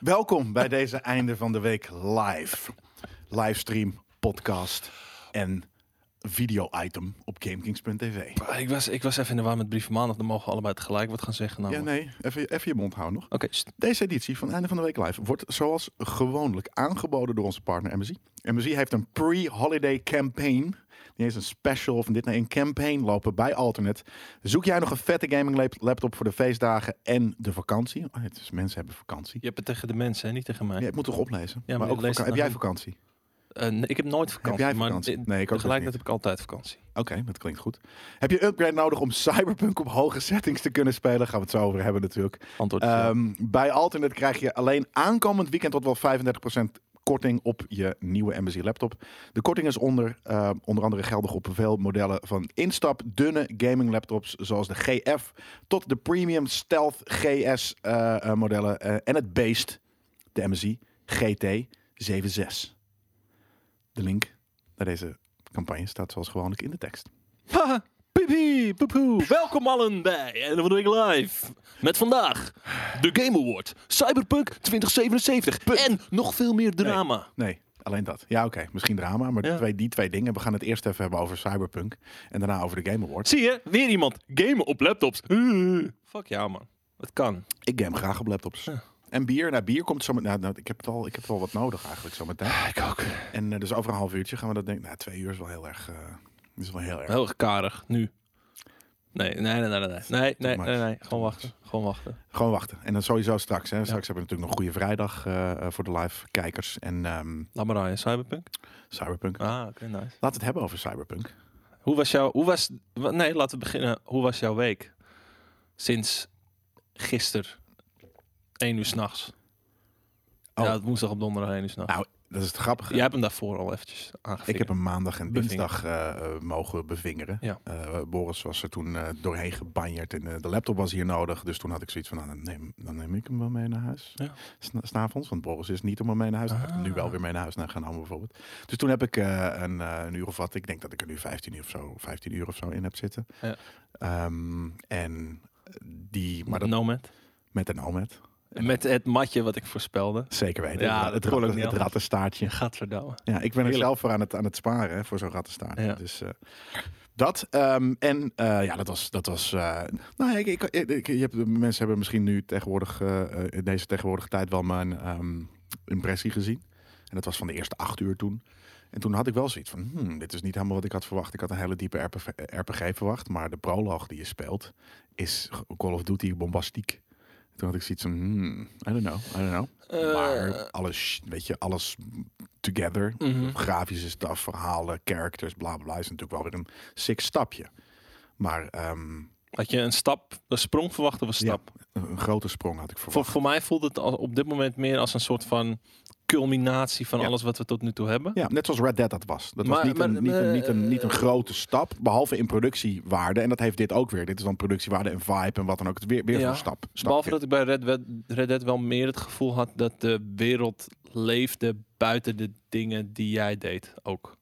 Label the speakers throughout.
Speaker 1: Welkom bij deze einde van de week live. Livestream, podcast en video-item op GameKings.tv.
Speaker 2: Ah, ik, was, ik was even in de war met brief van maandag. Dan mogen we allebei tegelijk wat gaan zeggen.
Speaker 1: Ja,
Speaker 2: namelijk.
Speaker 1: nee, even, even je mond houden nog.
Speaker 2: Oké, st-
Speaker 1: Deze editie van Einde van de Week Live wordt zoals gewoonlijk aangeboden door onze partner MSI. MSI heeft een pre-holiday campaign. Die heeft een special of dit naar een campaign lopen bij Alternate. Zoek jij nog een vette gaming lap- laptop voor de feestdagen en de vakantie? Oh, het is, mensen hebben vakantie.
Speaker 2: je hebt het tegen de mensen, hè, niet tegen mij.
Speaker 1: Ja, ik moet toch oplezen?
Speaker 2: maar
Speaker 1: maar
Speaker 2: ik
Speaker 1: ook
Speaker 2: lees
Speaker 1: vaka-
Speaker 2: het
Speaker 1: heb
Speaker 2: nou
Speaker 1: jij
Speaker 2: niet.
Speaker 1: vakantie?
Speaker 2: Eh, nee, ik heb nooit vakantie.
Speaker 1: jij vakantie?
Speaker 2: Maar, eh,
Speaker 1: Nee, ik ook dus
Speaker 2: Tegelijkertijd
Speaker 1: niet.
Speaker 2: heb ik altijd vakantie.
Speaker 1: Oké, dat klinkt goed. Heb je upgrade nodig om Cyberpunk op hoge settings te kunnen spelen? Gaan we het zo over hebben natuurlijk.
Speaker 2: Antwoord is ja.
Speaker 1: Ehm, bij Alternate krijg je alleen aankomend weekend tot wel 35% korting op je nieuwe MSI laptop. De korting is onder, eh, onder andere geldig op veel modellen van instap dunne gaming laptops zoals de GF tot de premium stealth GS eh, eh, modellen eh, en het beest, de MSI GT76. De link naar deze campagne staat zoals gewoonlijk in de tekst.
Speaker 2: Haha, Piepie, poepoe. Welkom allen bij Einde van de Week Live. Met vandaag de Game Award, Cyberpunk 2077 en nog veel meer drama.
Speaker 1: Nee, alleen dat. Ja, oké. Misschien drama, maar
Speaker 2: Ja.
Speaker 1: twee, die twee dingen. We gaan het eerst even hebben over Cyberpunk en daarna over de Game Awards.
Speaker 2: Zie je, weer iemand gamen op laptops. Uh, fuck ja man, het kan.
Speaker 1: Ik game graag op laptops.
Speaker 2: Ja.
Speaker 1: En bier. Nou, bier komt zo met. Nou, nou, ik, heb het al, ik heb het al wat nodig eigenlijk zo meteen.
Speaker 2: Ik ook.
Speaker 1: En eh, dus over een half uurtje gaan we dat denken. Nou, twee uur is wel heel erg. eh, is wel heel erg.
Speaker 2: Heel erg karig, nu. Nee, nee, nee, nee, nee. Nee, nee,
Speaker 1: much.
Speaker 2: nee, nee. Gewoon wachten. Gewoon wachten.
Speaker 1: Gewoon wachten. En dan sowieso straks. Hè. Straks hebben we natuurlijk nog een goede vrijdag eh, eh, voor de live kijkers. En ehm,
Speaker 2: Laat maar rijden, Cyberpunk.
Speaker 1: Cyberpunk.
Speaker 2: Ah, oké, nice.
Speaker 1: Laten we het hebben over Cyberpunk.
Speaker 2: Hoe was jouw... Hoe was, wa- nee, laten we beginnen. Hoe was jouw week? Sinds gisteren. 1 uur s'nachts.
Speaker 1: Oh.
Speaker 2: Ja, het woensdag op donderdag 1 uur s'nachts.
Speaker 1: Nou, dat is het grappige.
Speaker 2: Jij hebt hem daarvoor al eventjes aangevinkt.
Speaker 1: Ik heb hem maandag en
Speaker 2: Bevingen.
Speaker 1: dinsdag eh, eh, mogen bevingeren.
Speaker 2: Ja.
Speaker 1: Eh, Boris was er toen eh, doorheen gebanjerd en eh, de laptop was hier nodig. Dus toen had ik zoiets van, nou, dan, neem, dan neem ik hem wel mee naar huis.
Speaker 2: Ja.
Speaker 1: Sna- S'avonds, want Boris is niet om hem mee naar huis. te nemen.
Speaker 2: Ah.
Speaker 1: Nu wel weer mee naar huis naar gaan halen bijvoorbeeld. Dus toen heb ik eh, een, eh, een uur of wat. Ik denk dat ik er nu 15 uur of zo, 15 uur of zo in heb zitten.
Speaker 2: Ja.
Speaker 1: Ehm, en die, maar dat,
Speaker 2: Nomad.
Speaker 1: met een OMED.
Speaker 2: Met het matje wat ik voorspelde.
Speaker 1: Zeker weten.
Speaker 2: Ja,
Speaker 1: het,
Speaker 2: dat kon ook
Speaker 1: ratten-
Speaker 2: niet
Speaker 1: het
Speaker 2: anders.
Speaker 1: rattenstaartje.
Speaker 2: Gadverdamme.
Speaker 1: Ja, ik ben er
Speaker 2: Heerlijk.
Speaker 1: zelf voor aan het, aan het sparen hè, voor zo'n rattenstaartje.
Speaker 2: Ja.
Speaker 1: Dus eh, dat. ehm, en eh, ja, dat was. Dat was eh, nou, ik, ik, ik- ik- je hebt, de mensen hebben misschien nu tegenwoordig, eh, eh, in deze tegenwoordige tijd wel mijn ehm, impressie gezien. En dat was van de eerste acht uur toen. En toen had ik wel zoiets van: hmm, dit is niet helemaal wat ik had verwacht. Ik had een hele diepe RPV RPG verwacht. Maar de proloog die je speelt is Call of Duty bombastiek. Toen had ik zoiets van: hmm, I don't know, I don't know.
Speaker 2: Eh.
Speaker 1: maar alles, weet je, alles together.
Speaker 2: Mhm.
Speaker 1: Grafische staf, verhalen, characters, bla bla bla. Is natuurlijk wel weer een sick stapje. Maar ehm,
Speaker 2: Had je een stap, een sprong verwacht of een
Speaker 1: ja,
Speaker 2: stap?
Speaker 1: een een grote sprong had ik verwacht.
Speaker 2: Voor, voor mij voelt het al- op dit moment meer als een soort van culminatie van
Speaker 1: Ja.
Speaker 2: alles wat we tot nu toe hebben.
Speaker 1: Ja, net zoals Red Dead dat was. Dat was
Speaker 2: Maar-
Speaker 1: niet,
Speaker 2: maar-
Speaker 1: een, niet, een,
Speaker 2: maar-
Speaker 1: niet, een, niet een grote stap, behalve in productiewaarde. En dat heeft dit ook weer. Dit is dan productiewaarde en vibe en wat dan ook. Het weer, weer
Speaker 2: Ja.
Speaker 1: zo'n stap. stapje.
Speaker 2: Behalve dat ik bij Red, Wed- Red Dead wel meer het gevoel had dat de wereld leefde buiten de dingen die jij deed ook.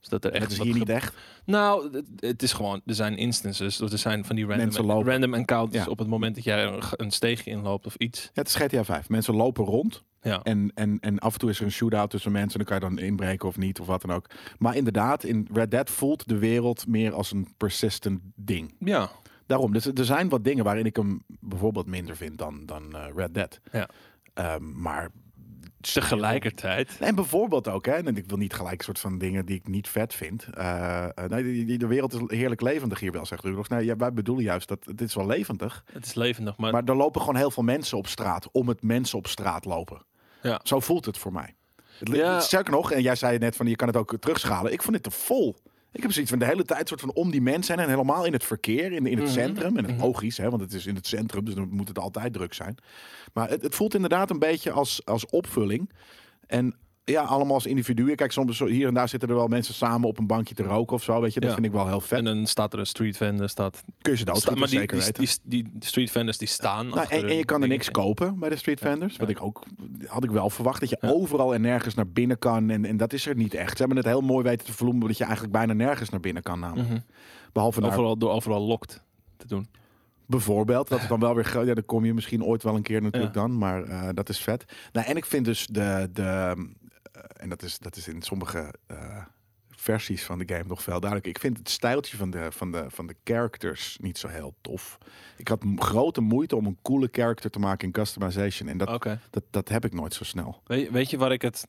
Speaker 2: Dus dat er echt
Speaker 1: het is
Speaker 2: wat
Speaker 1: hier
Speaker 2: ge-
Speaker 1: niet echt.
Speaker 2: Nou, het, het is gewoon, er zijn instances, dus er zijn van die
Speaker 1: Mensen
Speaker 2: random,
Speaker 1: lopen.
Speaker 2: random encounters
Speaker 1: Ja.
Speaker 2: op het moment dat jij een, ge- een steegje inloopt of iets.
Speaker 1: Ja, het is GTA 5. Mensen lopen rond.
Speaker 2: Ja.
Speaker 1: En, en, en af en toe is er een shootout tussen mensen. En dan kan je dan inbreken of niet of wat dan ook. Maar inderdaad, in Red Dead voelt de wereld meer als een persistent ding.
Speaker 2: Ja.
Speaker 1: Daarom, dus er zijn wat dingen waarin ik hem bijvoorbeeld minder vind dan, dan eh, Red Dead.
Speaker 2: Ja.
Speaker 1: Ehm, maar
Speaker 2: Tegelijkertijd.
Speaker 1: En bijvoorbeeld ook, hè, en ik wil niet gelijk soort van dingen die ik niet vet vind. Eh, eh, nee, die- die- de wereld is heerlijk levendig hier wel, zegt Rudolf. Nee, ja, wij bedoelen juist dat het is wel levendig.
Speaker 2: Het is levendig, maar,
Speaker 1: Maar er lopen gewoon heel veel mensen op straat om het mensen op straat lopen.
Speaker 2: Ja.
Speaker 1: Zo voelt het voor mij. Het, li-
Speaker 2: Ja.
Speaker 1: Sterker nog, en jij zei het net van je kan het ook terugschalen. Ik vond dit te vol. Ik heb zoiets van de hele tijd soort van om die mensen heen en helemaal in het verkeer, in,
Speaker 2: Mhm.
Speaker 1: in het centrum. En het logisch, hè, want het is in het centrum, dus dan moet het altijd druk zijn. Maar het, het voelt inderdaad een beetje als, als opvulling. En ja, allemaal als individuen. Kijk, soms zo- hier en daar zitten er wel mensen samen op een bankje te roken of zo. Weet je, dat
Speaker 2: Ja.
Speaker 1: vind ik wel heel
Speaker 2: en
Speaker 1: vet.
Speaker 2: dan staat er een street vendor, staat
Speaker 1: Kun je ze
Speaker 2: Sta-
Speaker 1: doodschieten,
Speaker 2: maar die,
Speaker 1: zeker
Speaker 2: die,
Speaker 1: weten.
Speaker 2: die, die street vendors die staan.
Speaker 1: Nou,
Speaker 2: achter
Speaker 1: en, en
Speaker 2: hun
Speaker 1: je kan er
Speaker 2: dingen.
Speaker 1: niks kopen bij de street vendors. Wat ik ook had ik wel verwacht. Dat je overal en nergens naar binnen kan. En, en dat is er niet echt. Ze hebben het heel mooi weten te verloemen.
Speaker 2: Mhm.
Speaker 1: Dat je eigenlijk bijna nergens naar binnen kan. Namelijk. Behalve naar
Speaker 2: Overal, door overal lokt te doen.
Speaker 1: Bijvoorbeeld, dat is dan wel weer groot. Ja, dan kom je misschien ooit wel een keer natuurlijk
Speaker 2: Ja.
Speaker 1: dan, maar eh, dat is vet. Nou, en ik vind dus de, de eh, en dat is, dat is in sommige eh, versies van de game nog veel duidelijker. Ik vind het stijltje van de, van, de, van de characters niet zo heel tof. Ik had m- grote moeite om een coole character te maken in customization. En dat,
Speaker 2: Oké.
Speaker 1: dat, dat heb ik nooit zo snel.
Speaker 2: Weet, weet je waar ik het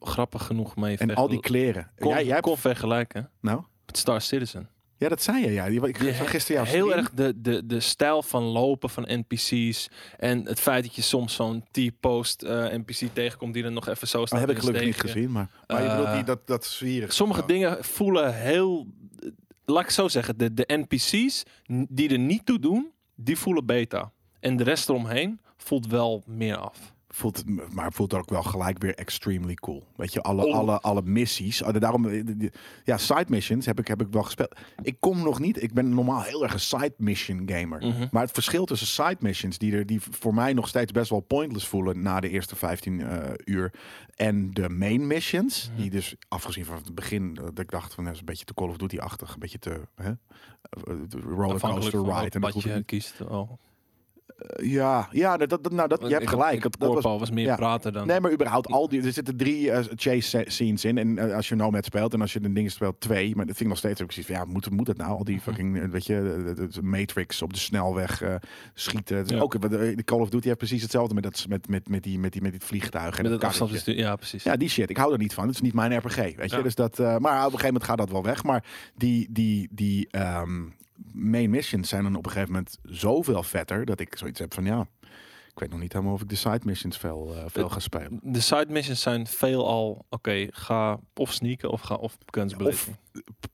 Speaker 2: grappig genoeg mee
Speaker 1: En al die
Speaker 2: vergel-
Speaker 1: kleren.
Speaker 2: kon,
Speaker 1: jij, jij hebt-
Speaker 2: kon vergelijken
Speaker 1: nou?
Speaker 2: met Star Citizen.
Speaker 1: Ja, dat zei je. Ja. Die- Ik
Speaker 2: Die
Speaker 1: zag gisteren jouw
Speaker 2: Heel
Speaker 1: stream.
Speaker 2: erg de, de, de stijl van lopen van NPC's. En het feit dat je soms zo'n T-post eh, NPC tegenkomt die er nog even zo
Speaker 1: Dat
Speaker 2: staat.
Speaker 1: heb
Speaker 2: in
Speaker 1: ik
Speaker 2: een
Speaker 1: gelukkig niet
Speaker 2: steegje.
Speaker 1: gezien, maar, maar je bedoelt
Speaker 2: Eh,
Speaker 1: die, dat, dat zwierig.
Speaker 2: Sommige
Speaker 1: Oh.
Speaker 2: dingen voelen heel. eh, Laat ik het zo zeggen, de, de NPC's n- die er niet toe doen, die voelen beta. En de rest eromheen voelt wel meer af.
Speaker 1: Voelt, maar voelt ook wel gelijk weer extremely cool. Weet je, alle,
Speaker 2: Oh.
Speaker 1: alle, alle missies. Ah, Daarom, eh, die- die- ja, side missions heb ik, heb ik wel gespeeld. Ik kom nog niet, ik ben normaal heel erg een side mission gamer.
Speaker 2: Mhm.
Speaker 1: Maar het verschil tussen side missions, die, er, die voor mij nog steeds best wel pointless voelen na de eerste 15 eh, uur, en de main missions,
Speaker 2: Mhm.
Speaker 1: die dus afgezien van het begin, eh, dat ik dacht van, dat is een beetje te Call of Duty-achtig, een beetje te hè, eh, de
Speaker 2: Afhankelijk
Speaker 1: rollercoaster
Speaker 2: van
Speaker 1: ride. En dat
Speaker 2: wat
Speaker 1: hoef ik
Speaker 2: je
Speaker 1: niet-
Speaker 2: kiest. Oh.
Speaker 1: ja, ja, dat, dat, nou, dat, je hebt
Speaker 2: Ik had-
Speaker 1: gelijk.
Speaker 2: Ik had
Speaker 1: dat was
Speaker 2: Corpo, was meer
Speaker 1: ja.
Speaker 2: praten dan.
Speaker 1: Nee, maar überhaupt al die. Er zitten drie eh, chase se- scenes in. En eh, als je Nomad speelt en als je een ding speelt, twee. Maar dat vind ik nog steeds ook precies. van, Ja, moet, moet dat nou? Al
Speaker 2: Mhm.
Speaker 1: die fucking, eh, weet je, de- de, de Matrix op de snelweg eh, schieten. Het is
Speaker 2: Ja.
Speaker 1: Ook eh, de Call of Duty heeft precies hetzelfde met dat met met met die met die met die vliegtuig en
Speaker 2: met
Speaker 1: dat
Speaker 2: het
Speaker 1: karretje.
Speaker 2: afstandsbestuur. Ja, precies.
Speaker 1: Ja, die shit. Ik hou er niet van. Het is niet mijn RPG, weet je.
Speaker 2: Ja.
Speaker 1: Dus dat, eh, maar op een gegeven moment gaat dat wel weg. Maar die, die, die ehm, main missions zijn dan op een gegeven moment zoveel vetter... dat ik zoiets heb van, ja, ik weet nog niet helemaal of ik de side missions veel, eh, veel
Speaker 2: Het-
Speaker 1: ga spelen.
Speaker 2: De side missions zijn veelal, oké, ga of sneaken of ga of guns
Speaker 1: Of
Speaker 2: beleven.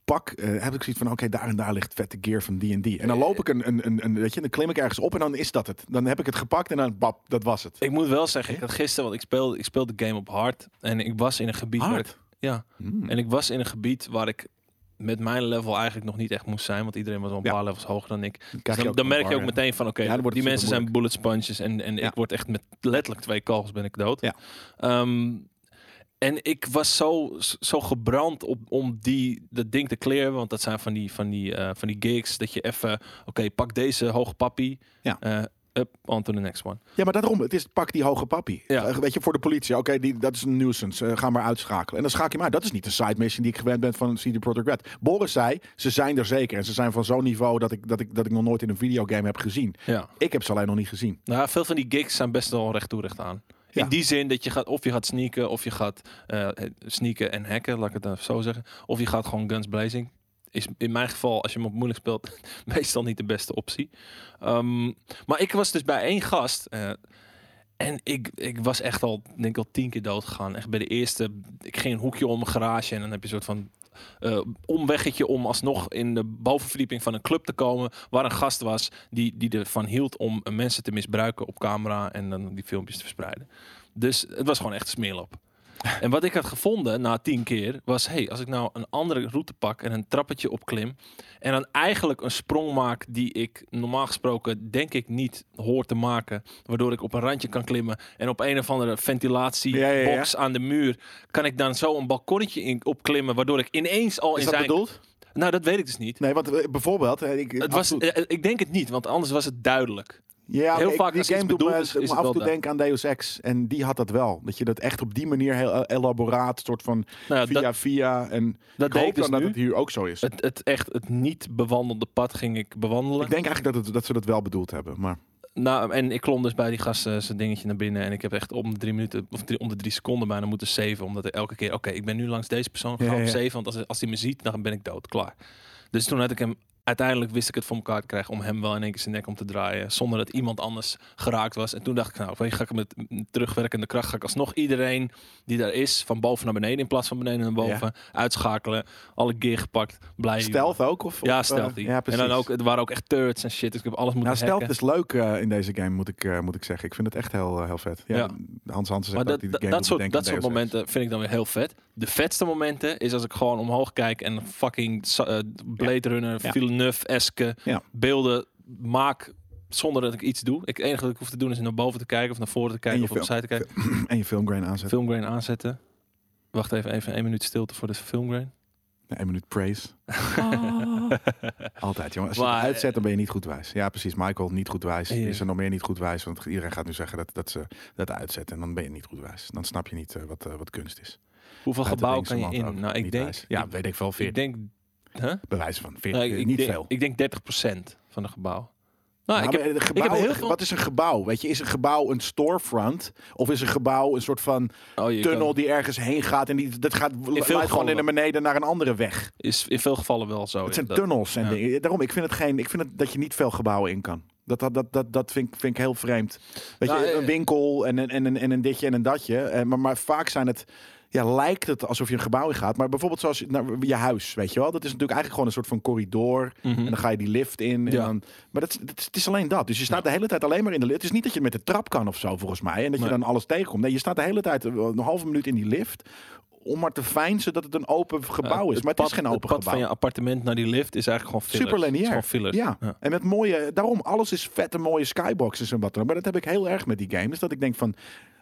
Speaker 1: pak, eh, heb ik zoiets van, oké, daar en daar ligt vette gear van die en die. En dan loop ik een, een, een, een, weet je, dan klim ik ergens op en dan is dat het. Dan heb ik het gepakt en dan, bap, dat was het.
Speaker 2: Ik moet wel zeggen, ik had gisteren, want ik speelde, ik speelde de game op hard. En ik was in een gebied waar ik-
Speaker 1: Hard.
Speaker 2: ja,
Speaker 1: Hmm.
Speaker 2: en ik was in een gebied waar ik met mijn level eigenlijk nog niet echt moest zijn, want iedereen was wel een
Speaker 1: Ja.
Speaker 2: paar levels hoger dan ik.
Speaker 1: Dan
Speaker 2: Dus
Speaker 1: krijg je
Speaker 2: dan, dan merk je
Speaker 1: bar,
Speaker 2: ook
Speaker 1: eh.
Speaker 2: meteen van, oké,
Speaker 1: Ja, dan wordt
Speaker 2: die
Speaker 1: het
Speaker 2: mensen zijn bullet sponges en, en
Speaker 1: Ja.
Speaker 2: ik word echt met letterlijk twee kogels ben ik dood.
Speaker 1: Ja.
Speaker 2: Ehm, en ik was zo, zo gebrand op, om die, dat ding te kleren. Want dat zijn van die, van die, eh, van die gigs. Dat je even, oké, pak deze hoge pappie.
Speaker 1: Ja.
Speaker 2: eh, up, on to the next one.
Speaker 1: Ja, maar daarom, het is pak die hoge pappie.
Speaker 2: Ja.
Speaker 1: Eh, weet je, voor de politie. Oké, die dat is een nuisance. eh, ga maar uitschakelen. En dan schakel je maar. Dat is niet de side mission die ik gewend ben van CD Projekt Red. Boris zei, ze zijn er zeker. En ze zijn van zo'n niveau dat ik, dat, ik, dat ik nog nooit in een videogame heb gezien.
Speaker 2: Ja.
Speaker 1: Ik heb ze alleen nog niet gezien.
Speaker 2: Nou, ja, veel van die gigs zijn best wel recht toe recht aan.
Speaker 1: Ja.
Speaker 2: In die zin dat je gaat, of je gaat sneaken, of je gaat eh, sneaken en hacken, laat ik het dan even zo zeggen. Of je gaat gewoon guns blazing. Is in mijn geval, als je hem op moeilijk speelt, meestal niet de beste optie. Ehm, maar ik was dus bij één gast. eh, en ik, ik was echt al, denk ik, al tien keer dood gegaan. Echt bij de eerste, ik ging een hoekje om een garage en dan heb je een soort van eh, omweggetje om alsnog in de bovenverdieping van een club te komen. Waar een gast was die, die ervan hield om eh, mensen te misbruiken op camera en dan die filmpjes te verspreiden. Dus het was gewoon echt een smeerlap. En wat ik had gevonden na tien keer was: hey, als ik nou een andere route pak en een trappetje opklim. en dan eigenlijk een sprong maak die ik normaal gesproken denk ik niet hoor te maken. waardoor ik op een randje kan klimmen en op een of andere
Speaker 1: Ja, ja, ja.
Speaker 2: ventilatiebox aan de muur. kan ik dan zo een balkonnetje in, opklimmen. waardoor ik ineens al
Speaker 1: Is
Speaker 2: in
Speaker 1: dat
Speaker 2: zijn.
Speaker 1: bedoeld?
Speaker 2: Nou, dat weet ik dus niet.
Speaker 1: Nee, want eh, bijvoorbeeld... eh, Ik,
Speaker 2: Het
Speaker 1: af
Speaker 2: was,
Speaker 1: en toe-
Speaker 2: eh, eh, ik denk het niet, want anders was het duidelijk.
Speaker 1: ja,
Speaker 2: heel
Speaker 1: oké,
Speaker 2: vaak
Speaker 1: die
Speaker 2: als iets
Speaker 1: game doet me,
Speaker 2: bedoeld is,
Speaker 1: doet me
Speaker 2: is
Speaker 1: af
Speaker 2: het
Speaker 1: en
Speaker 2: wel
Speaker 1: toe
Speaker 2: daar.
Speaker 1: denken aan Deus Ex. En die had dat wel. Dat je dat echt op die manier heel eh, elaboraat, soort van
Speaker 2: Nou, ja,
Speaker 1: via
Speaker 2: dat,
Speaker 1: via. En
Speaker 2: dat
Speaker 1: ik
Speaker 2: deed
Speaker 1: hoop
Speaker 2: ik dus
Speaker 1: dan dat
Speaker 2: nu.
Speaker 1: het hier ook zo is.
Speaker 2: Het, het echt het niet bewandelde pad ging ik bewandelen.
Speaker 1: Ik denk eigenlijk dat, het, dat ze dat wel bedoeld hebben. Maar
Speaker 2: Nou, en ik klom dus bij die gast eh, zijn dingetje naar binnen. En ik heb echt om de drie minuten, of drie, om de drie seconden bijna moeten saven. Omdat ik elke keer, oké, ik ben nu langs deze persoon
Speaker 1: Ja,
Speaker 2: gaan
Speaker 1: ja,
Speaker 2: ja,
Speaker 1: ja.
Speaker 2: saven. Want als, als hij me ziet, dan ben ik dood. Klaar. Dus toen had ik hem, uiteindelijk wist ik het voor elkaar te krijgen om hem wel in één keer zijn nek om te draaien. Zonder dat iemand anders geraakt was. En toen dacht ik, nou, weet je, ga ik met terugwerkende kracht, ga ik alsnog iedereen die daar is, van boven naar beneden in plaats van beneden naar boven, uitschakelen. Alle gear gepakt, blij.
Speaker 1: stealth ook? Of, of,
Speaker 2: Ja,
Speaker 1: eh,
Speaker 2: stealth. die.
Speaker 1: ja,
Speaker 2: en
Speaker 1: precies.
Speaker 2: dan ook, het waren ook echt turrets en shit. Dus ik heb alles moeten
Speaker 1: Nou, stealth
Speaker 2: hacken.
Speaker 1: is leuk eh, in deze game, moet ik, eh, moet ik zeggen. Ik vind het echt heel, eh, heel vet. Ja,
Speaker 2: Ja.
Speaker 1: Hans Hansen
Speaker 2: Maar
Speaker 1: zegt
Speaker 2: dat,
Speaker 1: dat, die de
Speaker 2: dat,
Speaker 1: game
Speaker 2: dat
Speaker 1: doet
Speaker 2: soort,
Speaker 1: denken
Speaker 2: dat
Speaker 1: aan
Speaker 2: soort
Speaker 1: Deus Ex.
Speaker 2: momenten vind ik dan weer heel vet. De vetste momenten is als ik gewoon omhoog kijk en fucking sa- eh, Blade Runner,
Speaker 1: Ja.
Speaker 2: Villeneuve-eske
Speaker 1: Ja.
Speaker 2: beelden maak zonder dat ik iets doe. Ik, het enige dat ik hoef te doen is naar boven te kijken of naar voren te kijken
Speaker 1: je
Speaker 2: of
Speaker 1: film-
Speaker 2: opzij te kijken.
Speaker 1: En je filmgrain aanzetten.
Speaker 2: Filmgrain aanzetten. Wacht even, even één minuut stilte voor de filmgrain.
Speaker 1: Een minuut praise. Altijd, jongen. Als je
Speaker 2: Oh. Maar, eh,
Speaker 1: het uitzet, dan ben je niet goed wijs. Ja, precies. Michael, niet goed wijs.
Speaker 2: Ja.
Speaker 1: Is er nog meer niet goed wijs? Want iedereen gaat nu zeggen dat, dat ze dat uitzetten. En dan ben je niet goed wijs. Dan snap je niet eh, wat, eh, wat kunst is.
Speaker 2: Hoeveel
Speaker 1: Uit het
Speaker 2: gebouw
Speaker 1: linkse
Speaker 2: kan je
Speaker 1: land
Speaker 2: in?
Speaker 1: ook.
Speaker 2: nou, ik
Speaker 1: Niet
Speaker 2: denk,
Speaker 1: wijs. Ja,
Speaker 2: ik,
Speaker 1: weet ik wel.
Speaker 2: ik
Speaker 1: 40.
Speaker 2: denk, huh?
Speaker 1: Bewijzen van
Speaker 2: Nou,
Speaker 1: 40.
Speaker 2: ik, ik
Speaker 1: niet
Speaker 2: denk,
Speaker 1: veel.
Speaker 2: Ik denk 30% van een gebouw. Nou, ik
Speaker 1: Maar
Speaker 2: heb,
Speaker 1: een gebouw-
Speaker 2: ik heb heel veel-
Speaker 1: Wat is een gebouw? Weet je, is een gebouw een storefront? Of is een gebouw een soort van
Speaker 2: oh, je
Speaker 1: tunnel
Speaker 2: kan-
Speaker 1: die ergens heen gaat en die, dat gaat leidt gewoon
Speaker 2: gevallen
Speaker 1: in naar beneden naar een andere weg?
Speaker 2: is in veel gevallen wel zo.
Speaker 1: Het zijn
Speaker 2: inderdaad.
Speaker 1: tunnels en
Speaker 2: ja.
Speaker 1: dingen. Daarom, ik vind het geen. Ik vind het dat je niet veel gebouwen in kan. Dat, dat, dat, dat, dat vind, ik- vind ik heel vreemd. Weet
Speaker 2: Nou,
Speaker 1: je,
Speaker 2: eh,
Speaker 1: een winkel en, een- en, een- en een ditje en een datje. Eh, Maar, maar vaak zijn het. Ja, lijkt het alsof je een gebouw in gaat. Maar bijvoorbeeld zoals je- naar je huis, weet je wel. Dat is natuurlijk eigenlijk gewoon een soort van corridor. En dan ga je die lift in. En
Speaker 2: Mhm. Ja.
Speaker 1: dan, maar dat, is- dat is- het is alleen dat. Dus je staat de hele tijd alleen maar in de lift. Het is niet dat je met de trap kan of zo, volgens mij. En dat je
Speaker 2: Nee.
Speaker 1: dan alles tegenkomt. Nee, je staat de hele tijd eh, een halve minuut in die lift. Om maar te fijnsen dat het een open gebouw
Speaker 2: Ja,
Speaker 1: is. Maar het is
Speaker 2: pad-
Speaker 1: geen open
Speaker 2: Eh, Het pad
Speaker 1: gebouw.
Speaker 2: van je appartement naar die lift is eigenlijk gewoon fillers.
Speaker 1: Super lineair.
Speaker 2: Het is gewoon fillers.
Speaker 1: Ja. en met mooie, daarom alles is vette mooie skyboxes en wat dan ook. Maar dat heb ik heel erg met die games. Dat ik denk van,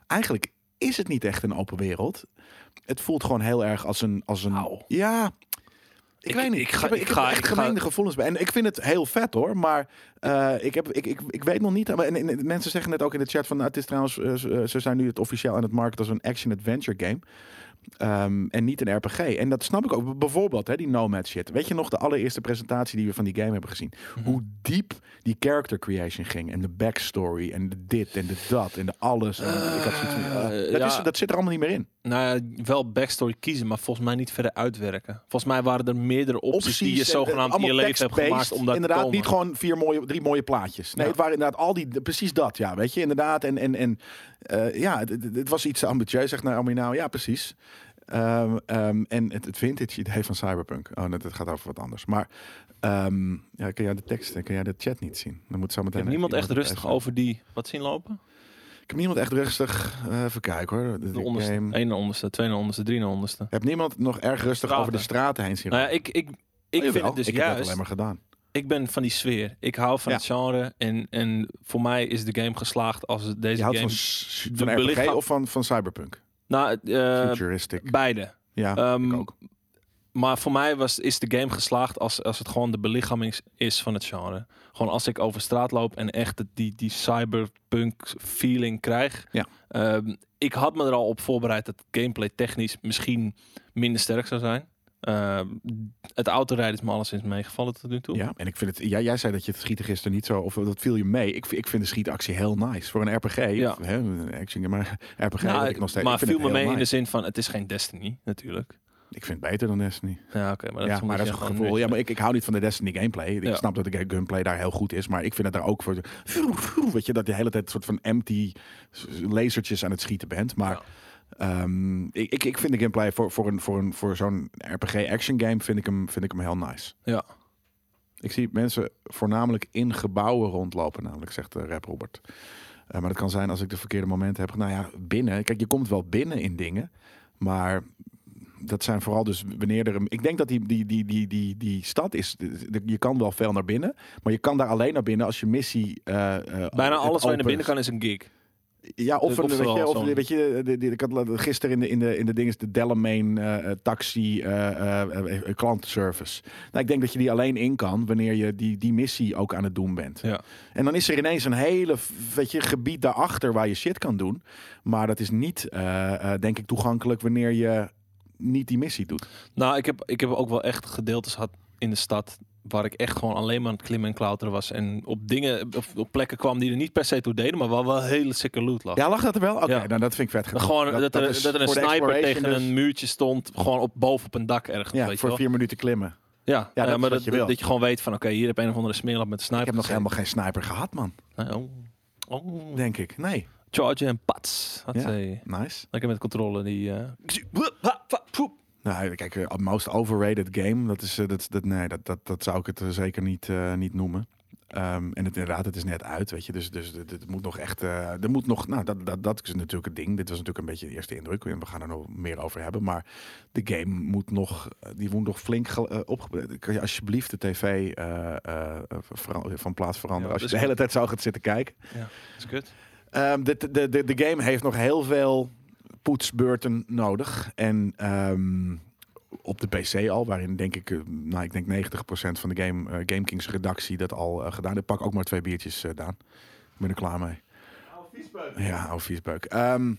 Speaker 1: eigenlijk is het niet echt een open wereld. Het voelt gewoon heel erg als een, als een,
Speaker 2: Au.
Speaker 1: ja. Ik,
Speaker 2: Ik-
Speaker 1: weet niet.
Speaker 2: ik
Speaker 1: Ik,
Speaker 2: ga-
Speaker 1: heb, ik
Speaker 2: ik
Speaker 1: heb
Speaker 2: ga-
Speaker 1: echt
Speaker 2: ik ga-
Speaker 1: gemengde gevoelens bij. En ik vind het heel vet hoor. Maar eh, ik, heb, ik, ik, ik weet nog niet. En, en- en mensen zeggen net ook in de chat van. nou, het is trouwens. eh, ze- ze zijn nu het officieel aan het marketen als een action-adventure game. Ehm, en niet een RPG. En dat snap ik ook. B- Bijvoorbeeld hè, die Nomad shit. Weet je nog de allereerste presentatie die we van die game hebben gezien? Hoe diep die character creation ging. En de backstory. En de dit en de dat. En de alles. En ik had zoiets van, eh, dat,
Speaker 2: ja.
Speaker 1: is, dat zit er allemaal niet meer in.
Speaker 2: Nou ja, wel backstory kiezen, maar volgens mij niet verder uitwerken. Volgens mij waren er meerdere opties, Dus die je
Speaker 1: en, eh,
Speaker 2: zogenaamd in je
Speaker 1: allemaal
Speaker 2: leven hebt
Speaker 1: text-based.
Speaker 2: gemaakt om dat
Speaker 1: Inderdaad,
Speaker 2: te komen.
Speaker 1: niet gewoon vier mooie, drie mooie plaatjes. Nee,
Speaker 2: Ja.
Speaker 1: het waren inderdaad al die, precies dat. Ja, weet je, inderdaad. En, en, en eh, ja, het, het- het was iets ambitieus, zegt nou Aminau. Ja, precies. Ehm, ehm, en het, het vintage idee van Cyberpunk. Oh, dat, dat gaat over wat anders. Maar ehm ja, kun jij de tekst en kun jij de chat niet zien? Dan moet zo
Speaker 2: Ik
Speaker 1: meteen
Speaker 2: heb
Speaker 1: even
Speaker 2: niemand echt
Speaker 1: iemand
Speaker 2: rustig
Speaker 1: even-
Speaker 2: over die... Wat zien lopen?
Speaker 1: Ik heb niemand echt rustig. eh, even kijken hoor. De,
Speaker 2: De
Speaker 1: de
Speaker 2: onderste,
Speaker 1: game.
Speaker 2: één naar onderste, twee naar onderste, drie naar onderste.
Speaker 1: Ik heb niemand nog erg rustig
Speaker 2: Straten.
Speaker 1: over de straten heen zien.
Speaker 2: Nou ja, ik, ik, ik
Speaker 1: Oh, jawel,
Speaker 2: vind het dus
Speaker 1: ik heb dat
Speaker 2: juist...
Speaker 1: alleen maar gedaan.
Speaker 2: Ik ben van die sfeer. Ik hou van
Speaker 1: Ja.
Speaker 2: het genre. En, en voor mij is de game geslaagd als het-
Speaker 1: Je
Speaker 2: deze
Speaker 1: houdt
Speaker 2: game...
Speaker 1: van, s- van
Speaker 2: de
Speaker 1: RPG
Speaker 2: belichaam-
Speaker 1: of van, van Cyberpunk?
Speaker 2: Nou, eh,
Speaker 1: Futuristic.
Speaker 2: beide.
Speaker 1: ja,
Speaker 2: ehm,
Speaker 1: ik ook.
Speaker 2: Maar voor mij was, is de game geslaagd als, als het gewoon de belichaming is van het genre. Gewoon als ik over straat loop en echt het- die, die cyberpunk feeling krijg.
Speaker 1: Ja.
Speaker 2: Ehm, ik had me er al op voorbereid dat gameplay technisch misschien minder sterk zou zijn. Ehm, het autorijden is me alleszins meegevallen tot nu toe. Nou,
Speaker 1: Ja, en ik vind het. Ja, jij zei dat je het schieten gisteren niet zo. Of dat viel je mee. Ik, ik vind de schietactie heel nice voor een RPG.
Speaker 2: Ja.
Speaker 1: Of, hè, een action, game, maar RPG.
Speaker 2: Nou,
Speaker 1: weet ik nog steeds.
Speaker 2: maar
Speaker 1: ik vind
Speaker 2: viel
Speaker 1: het
Speaker 2: me mee
Speaker 1: heel
Speaker 2: in de
Speaker 1: nice.
Speaker 2: zin van het is geen Destiny natuurlijk.
Speaker 1: Ik vind het beter dan Destiny.
Speaker 2: Ja, oké, maar dat is
Speaker 1: ja, maar dat is een gevoel. Ja, maar ik, ik hou niet van de Destiny gameplay. Ik
Speaker 2: Ja.
Speaker 1: snap dat de gameplay daar heel goed is, maar ik vind het daar ook voor. Weet je dat je de hele tijd een soort van empty lasertjes aan het schieten bent, maar.
Speaker 2: Ja.
Speaker 1: ehm, ik, ik, ik vind de gameplay voor, voor, een, voor, een, voor zo'n RPG-action game vind ik, hem, vind ik hem heel nice.
Speaker 2: Ja.
Speaker 1: Ik zie mensen voornamelijk in gebouwen rondlopen, namelijk, zegt eh, Rap Robert. Eh, maar dat kan zijn als ik de verkeerde momenten heb. Nou ja, binnen. Kijk, je komt wel binnen in dingen. Maar dat zijn vooral dus wanneer er... een- Ik denk dat die, die, die, die, die, die stad is... de- de- Je kan wel veel naar binnen. Maar je kan daar alleen naar binnen als je missie... eh, eh,
Speaker 2: Bijna
Speaker 1: het
Speaker 2: alles waar je naar
Speaker 1: opent.
Speaker 2: binnen kan is een gig.
Speaker 1: Ja, of,
Speaker 2: Of
Speaker 1: een, weet je,
Speaker 2: wel
Speaker 1: of
Speaker 2: zo'n-
Speaker 1: weet je de, de- ik had la- gisteren in de, in de, in de ding is de Delamain eh, eh, taxi eh eh, eh, klantenservice. Nou, ik denk dat je die alleen in kan wanneer je die, die missie ook aan het doen bent.
Speaker 2: Ja.
Speaker 1: En dan is er ineens een hele f- weet je, gebied daarachter waar je shit kan doen. Maar dat is niet, eh, eh, denk ik, toegankelijk wanneer je niet die missie doet.
Speaker 2: Nou, ik heb, ik heb ook wel echt gedeeltes gehad in de stad waar ik echt gewoon alleen maar aan het klimmen en klauteren was. En op dingen, op, op plekken kwam die er niet per se toe deden, maar waar wel hele sikke loot lag.
Speaker 1: Ja, lag dat er wel? Oké,
Speaker 2: Ja.
Speaker 1: nou dat vind ik vet. gedaan.
Speaker 2: Gewoon dat, er,
Speaker 1: is
Speaker 2: dat er een
Speaker 1: voor de
Speaker 2: sniper
Speaker 1: exploration
Speaker 2: tegen
Speaker 1: dus-
Speaker 2: een muurtje stond, gewoon op, boven op een dak ergens.
Speaker 1: Ja,
Speaker 2: weet
Speaker 1: voor
Speaker 2: je wel.
Speaker 1: vier minuten klimmen.
Speaker 2: ja,
Speaker 1: dat
Speaker 2: ja,
Speaker 1: is
Speaker 2: maar
Speaker 1: wat
Speaker 2: dat
Speaker 1: je
Speaker 2: je,
Speaker 1: wil.
Speaker 2: dat je gewoon weet van oké, hier heb een of andere smeerlap met een sniper.
Speaker 1: Ik heb nog
Speaker 2: gezeten.
Speaker 1: helemaal geen sniper gehad, man.
Speaker 2: Oh, oh.
Speaker 1: Denk ik. Nee.
Speaker 2: Charge en pats. had
Speaker 1: Ja.
Speaker 2: ze.
Speaker 1: Nice.
Speaker 2: Lekker met controle die... eh,
Speaker 1: Nou, kijk, eh, most overrated game. Dat is eh, dat, dat nee, dat, dat, dat zou ik het eh, zeker niet, eh, niet noemen. Ehm, en het, inderdaad, het is net uit, weet je. Dus, dus dit, dit moet nog echt. eh, er moet nog. Nou, dat, dat, dat is natuurlijk het ding. Dit was natuurlijk een beetje de eerste indruk. En we gaan er nog meer over hebben. Maar de game moet nog. eh, Die moet nog flink ge- eh, opgebreid. Kan je alsjeblieft de tv eh, eh, vera- van plaats veranderen?
Speaker 2: Ja,
Speaker 1: als je
Speaker 2: dus-
Speaker 1: de hele tijd zou gaan zitten kijken.
Speaker 2: is kut.
Speaker 1: Ehm, de, de, de, de game heeft nog heel veel poetsbeurten nodig. En ehm, op de PC al, waarin denk ik, eh, nou, ik denk 90% van de game, eh, GameKings redactie dat al eh, gedaan heeft. Pak ook maar twee biertjes, eh, Daan. Ik ben er klaar mee. Ja, oude viesbeuk. Ehm,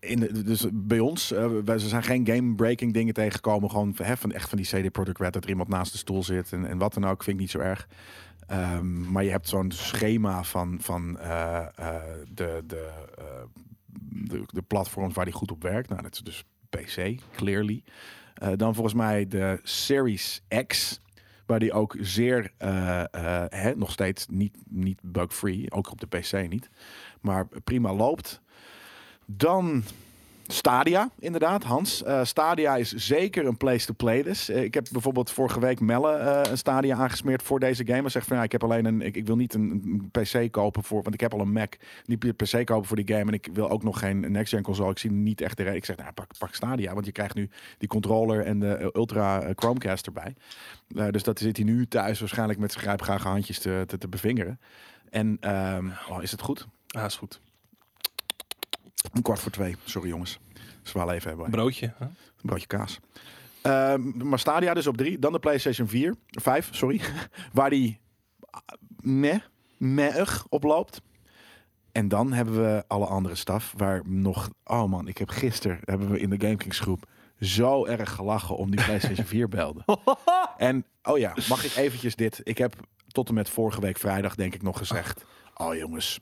Speaker 1: in de, dus bij ons, eh, wij, ze zijn geen game-breaking dingen tegengekomen. Gewoon hè, van, echt van die CD Projekt Red, dat er iemand naast de stoel zit en, en wat dan ook. Vind ik niet zo erg. Ehm, maar je hebt zo'n schema van, van eh, eh, de, de, eh, de, de platforms waar die goed op werkt. Nou, dat is dus PC, clearly. Eh, dan volgens mij de Series X. Waar die ook zeer, eh, eh, hè, nog steeds niet, niet bug-free, ook op de PC niet, maar prima loopt. Dan Stadia, inderdaad, Hans. Eh, Stadia is zeker een place to play dus. Eh, ik heb bijvoorbeeld vorige week Melle eh, een Stadia aangesmeerd voor deze game. Hij zegt van ja, ik heb alleen een, ik, ik wil niet een, een PC kopen voor, want ik heb al een Mac. Niet een PC kopen voor die game en ik wil ook nog geen next gen console. Ik zie niet echt de reden. Ik zeg nou, pak, pak Stadia, want je krijgt nu die controller en de eh, Ultra eh, Chromecast erbij. Eh, dus dat zit hij nu thuis waarschijnlijk met zijn grijpgrage handjes te, te, te bevingeren. En ehm, oh, is het goed?
Speaker 2: Ah, is goed.
Speaker 1: Een kwart voor twee. Sorry jongens. Zwaal even hebben. wij.
Speaker 2: Broodje. hè?
Speaker 1: Een broodje kaas. Ehm, maar Stadia dus op drie. Dan de PlayStation 4. 5, sorry. Waar die ah, meh, mehig op loopt. En dan hebben we alle andere staf. Waar nog... Oh man, ik heb gisteren... Hebben we in de GameKings groep zo erg gelachen om die PlayStation 4 belden. En, oh ja, mag ik eventjes dit... Ik heb tot en met vorige week vrijdag denk ik nog gezegd... Oh jongens,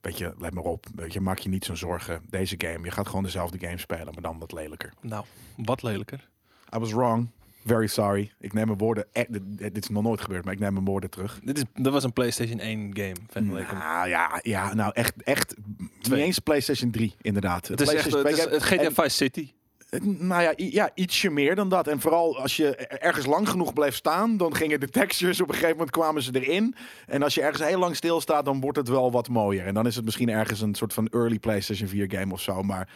Speaker 1: weet je, let maar op. Weet je, maak je niet zo'n zorgen. Deze game, je gaat gewoon dezelfde game spelen, maar dan wat lelijker.
Speaker 2: Nou, wat lelijker.
Speaker 1: I was wrong. Very sorry. Ik neem mijn woorden. eh, dit, dit is nog nooit gebeurd, maar ik neem mijn woorden terug.
Speaker 2: Dit is, dat was een PlayStation 1 game. vergeleken met-
Speaker 1: Nou ja, ja, nou echt, echt.
Speaker 2: Twee.
Speaker 1: Niet eens PlayStation 3, inderdaad.
Speaker 2: Het is echt
Speaker 1: PlayStation
Speaker 2: het is,
Speaker 1: 2
Speaker 2: het GTA
Speaker 1: en-
Speaker 2: 5 City.
Speaker 1: Nou ja, i- ja, ietsje meer dan dat. En vooral als je ergens lang genoeg bleef staan, dan gingen de textures op een gegeven moment kwamen ze erin. En als je ergens heel lang stilstaat, dan wordt het wel wat mooier. En dan is het misschien ergens een soort van early PlayStation 4 game of zo. Maar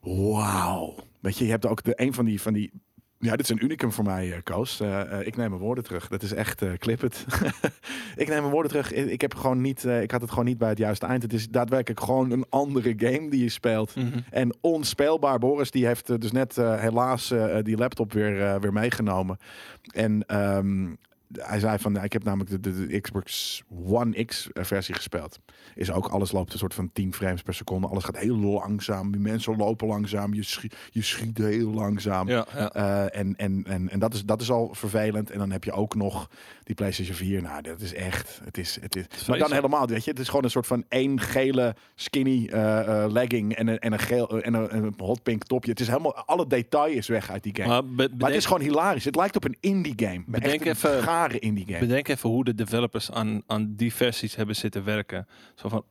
Speaker 1: wauw. Weet je, je hebt ook de, een van die, van die... Ja, dit is een unicum voor mij, eh, Koos. Eh, eh, ik neem mijn woorden terug. Dat is echt eh clip het. ik neem mijn woorden terug. Ik, ik heb gewoon niet, eh, ik had het gewoon niet bij het juiste eind. Het is daadwerkelijk gewoon een andere game die je speelt. En onspeelbaar. Boris die heeft eh, dus net eh, helaas eh, die laptop weer, eh, weer meegenomen. En ehm, hij zei van, nou, ik heb namelijk de, de, de Xbox One X eh, versie gespeeld. Is ook, alles loopt een soort van 10 frames per seconde. Alles gaat heel langzaam. Die mensen lopen langzaam. Je, schie- je schiet heel langzaam.
Speaker 2: Ja, ja.
Speaker 1: Eh, en en, en, en dat, is, dat is al vervelend. En dan heb je ook nog die PlayStation 4. Nou, dat is echt. Het is, het is, maar dan
Speaker 2: vreselijk.
Speaker 1: helemaal, weet je. Het is gewoon een soort van één gele skinny eh, eh, legging en een, en, een geel, eh, en een, en een hot pink topje. Het is helemaal. Alle detail is weg uit die game. Maar,
Speaker 2: Maar, be- bedenk,
Speaker 1: het is gewoon hilarisch. Het lijkt op een indie game. Maar
Speaker 2: Bedenk
Speaker 1: echt een
Speaker 2: even-
Speaker 1: gare indie game.
Speaker 2: bedenk even hoe de developers aan, aan die versies hebben zitten werken. Zo van,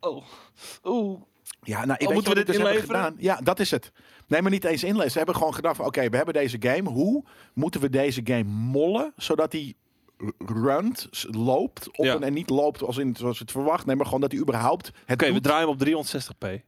Speaker 2: oh, oeh.
Speaker 1: Ja, nou, ik weet
Speaker 2: Oh, moeten
Speaker 1: je
Speaker 2: we
Speaker 1: wat
Speaker 2: dit
Speaker 1: dus hebben
Speaker 2: inleveren?
Speaker 1: gedaan. Ja, dat is het. Nee, maar niet eens inlezen. Ze hebben gewoon gedacht van, oké, we hebben deze game. Hoe moeten we deze game mollen, zodat die r- runt, s- loopt op
Speaker 2: Ja.
Speaker 1: een, en niet loopt als in, zoals het verwacht. Nee, maar gewoon dat hij überhaupt het
Speaker 2: Oké, we
Speaker 1: doet.
Speaker 2: draaien hem op 360p.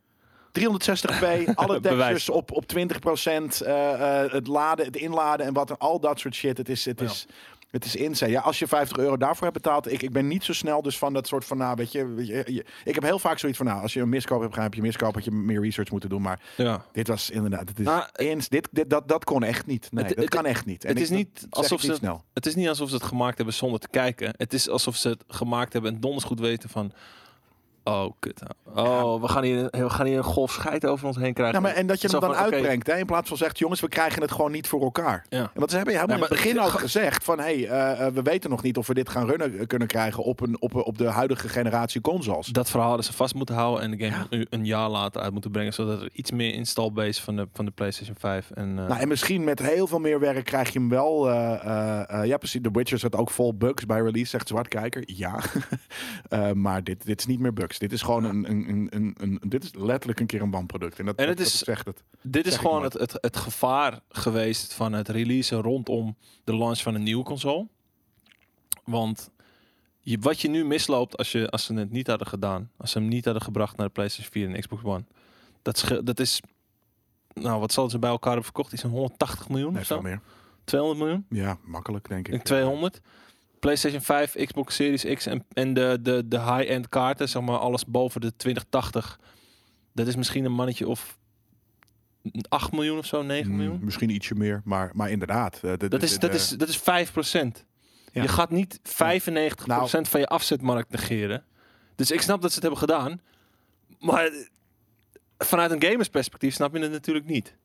Speaker 1: 360p, alle
Speaker 2: Bewijs.
Speaker 1: textures op, op 20%, eh, eh, het laden, het inladen en wat en al dat soort shit. Het is, het
Speaker 2: Ja.
Speaker 1: is, het is insane. Ja, als je 50 euro daarvoor hebt betaald, ik, ik ben niet zo snel dus van dat soort van, nou, weet je, weet je, je- ik heb heel vaak zoiets van, nou, als je een miskoop hebt gedaan, heb je een miskoop, had je meer research moeten doen, maar
Speaker 2: Ja.
Speaker 1: dit was inderdaad, het is
Speaker 2: Nou,
Speaker 1: eens, dit, dit, dat, dat kon echt niet. Nee,
Speaker 2: Het-
Speaker 1: dat
Speaker 2: het-
Speaker 1: kan echt niet. En
Speaker 2: het
Speaker 1: ik-
Speaker 2: is
Speaker 1: dat
Speaker 2: niet
Speaker 1: zeg ik
Speaker 2: alsof
Speaker 1: niet
Speaker 2: ze-
Speaker 1: snel.
Speaker 2: Het is niet alsof ze het gemaakt hebben zonder te kijken. Het is alsof ze het gemaakt hebben en donders goed weten van... Oh, kut. Oh, we, gaan hier, we gaan hier een golf scheid over ons heen krijgen.
Speaker 1: Nou, maar, en dat je
Speaker 2: Zo
Speaker 1: hem dan
Speaker 2: van, oké,
Speaker 1: uitbrengt, hè, in plaats van zegt, jongens, we krijgen het gewoon niet voor elkaar.
Speaker 2: Ja.
Speaker 1: En Want ze hebben helemaal
Speaker 2: Ja,
Speaker 1: in het
Speaker 2: maar-
Speaker 1: begin al
Speaker 2: Ge-
Speaker 1: gezegd van... hey, eh, eh, we weten nog niet of we dit gaan runnen eh, kunnen krijgen op, een, op, op de huidige generatie consoles.
Speaker 2: Dat verhaal hadden ze vast moeten houden en de game nu een jaar later uit moeten brengen. Zodat er iets meer install base van de, van de PlayStation 5 en... eh,
Speaker 1: Nou, en misschien met heel veel meer werk krijg je hem wel... eh, eh, eh, ja, precies. The Witcher zat ook vol bugs bij release, zegt Zwartkijker. Ja. Eh, maar dit, dit is niet meer bugs. Dit is gewoon een, een, een, een, een- Dit is letterlijk een keer een wanproduct. En, dat,
Speaker 2: En
Speaker 1: dat-
Speaker 2: het is-
Speaker 1: dat zegt het.
Speaker 2: Dit is
Speaker 1: Zeg ik
Speaker 2: gewoon
Speaker 1: maar.
Speaker 2: het, het, het gevaar geweest van het releasen rondom de launch van een nieuwe console. Want je, wat je nu misloopt als, je, als ze het niet hadden gedaan, als ze hem niet hadden gebracht naar de PlayStation 4 en de Xbox One, dat, sche- dat is, nou wat zal ze bij elkaar hebben verkocht? Is een 180 miljoen
Speaker 1: Nee,
Speaker 2: of zo?
Speaker 1: veel meer.
Speaker 2: 200 miljoen?
Speaker 1: Ja, makkelijk, denk ik.
Speaker 2: Ik 200? PlayStation 5, Xbox Series X en, en de, de, de high-end kaarten, zeg maar alles boven de 2080. Dat is misschien een mannetje of 8 miljoen of zo, 9
Speaker 1: Mm,
Speaker 2: miljoen.
Speaker 1: misschien ietsje meer, maar, maar inderdaad. eh, de-
Speaker 2: Dat
Speaker 1: de-
Speaker 2: is,
Speaker 1: de-
Speaker 2: dat
Speaker 1: de-
Speaker 2: is, dat is 5
Speaker 1: Ja. Nou-
Speaker 2: Je gaat niet 95% van je afzetmarkt negeren. Dus ik snap dat ze het hebben gedaan. Maar vanuit een gamersperspectief snap je het natuurlijk niet.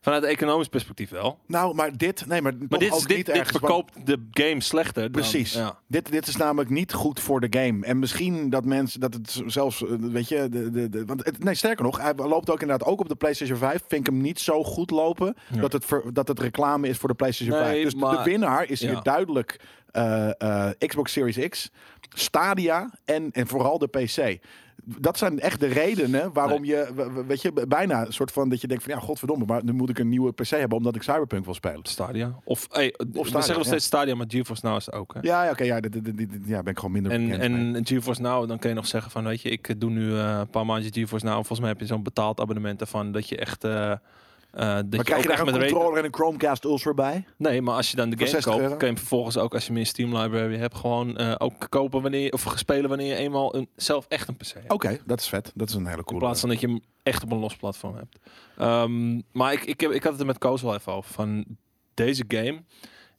Speaker 2: Vanuit een economisch perspectief wel.
Speaker 1: Nou, maar dit, nee, maar,
Speaker 2: Maar
Speaker 1: toch
Speaker 2: dit, is-
Speaker 1: ook
Speaker 2: dit,
Speaker 1: niet
Speaker 2: dit
Speaker 1: ergens, want
Speaker 2: verkoopt de game slechter. dan-
Speaker 1: Precies.
Speaker 2: ja.
Speaker 1: Dit, dit is namelijk niet goed voor de game. En misschien dat mensen dat het zelfs, eh, weet je, de, de, de- want het, nee, sterker nog, hij loopt ook inderdaad ook op de PlayStation 5. Vind ik hem niet zo goed lopen
Speaker 2: Ja.
Speaker 1: dat, het ver- dat het reclame is voor de PlayStation
Speaker 2: Nee,
Speaker 1: 5. Dus
Speaker 2: maar-
Speaker 1: de winnaar is
Speaker 2: Ja.
Speaker 1: hier duidelijk eh, eh, Xbox Series X, Stadia en, en vooral de PC. Dat zijn echt de redenen waarom je, w- w- weet je, b- bijna een soort van dat je denkt van ja, godverdomme, maar nu moet ik een nieuwe PC hebben omdat ik Cyberpunk wil spelen.
Speaker 2: Stadia. Of, hey, we
Speaker 1: Stadia,
Speaker 2: zeggen nog
Speaker 1: ja.
Speaker 2: steeds Stadia, maar GeForce Now is het ook. Hè?
Speaker 1: Ja, ja, oké, ja, dit- dit- dit- dit- ja, ben ik gewoon minder
Speaker 2: En,
Speaker 1: bekend mee.
Speaker 2: en GeForce Now, dan kun je nog zeggen van, weet je, ik doe nu eh, een paar maandjes GeForce Now. Volgens mij heb je zo'n betaald abonnement ervan dat je echt... eh eh, dat
Speaker 1: Maar krijg je
Speaker 2: ook
Speaker 1: daar
Speaker 2: echt
Speaker 1: een
Speaker 2: met rate-
Speaker 1: controller en een Chromecast Ultra bij?
Speaker 2: Nee, maar als je dan de
Speaker 1: Voor
Speaker 2: game
Speaker 1: 60
Speaker 2: koopt,
Speaker 1: euro?
Speaker 2: kun je hem vervolgens ook als je hem in Steam Library hebt, gewoon eh, ook kopen wanneer, of spelen wanneer je eenmaal een, zelf echt een PC hebt.
Speaker 1: Oké, dat is vet. Dat is een hele
Speaker 2: In
Speaker 1: coole.
Speaker 2: plaats van dat je hem echt op een los platform hebt. Ehm, maar ik, ik, heb, ik had het er met Koos wel even over. Van deze game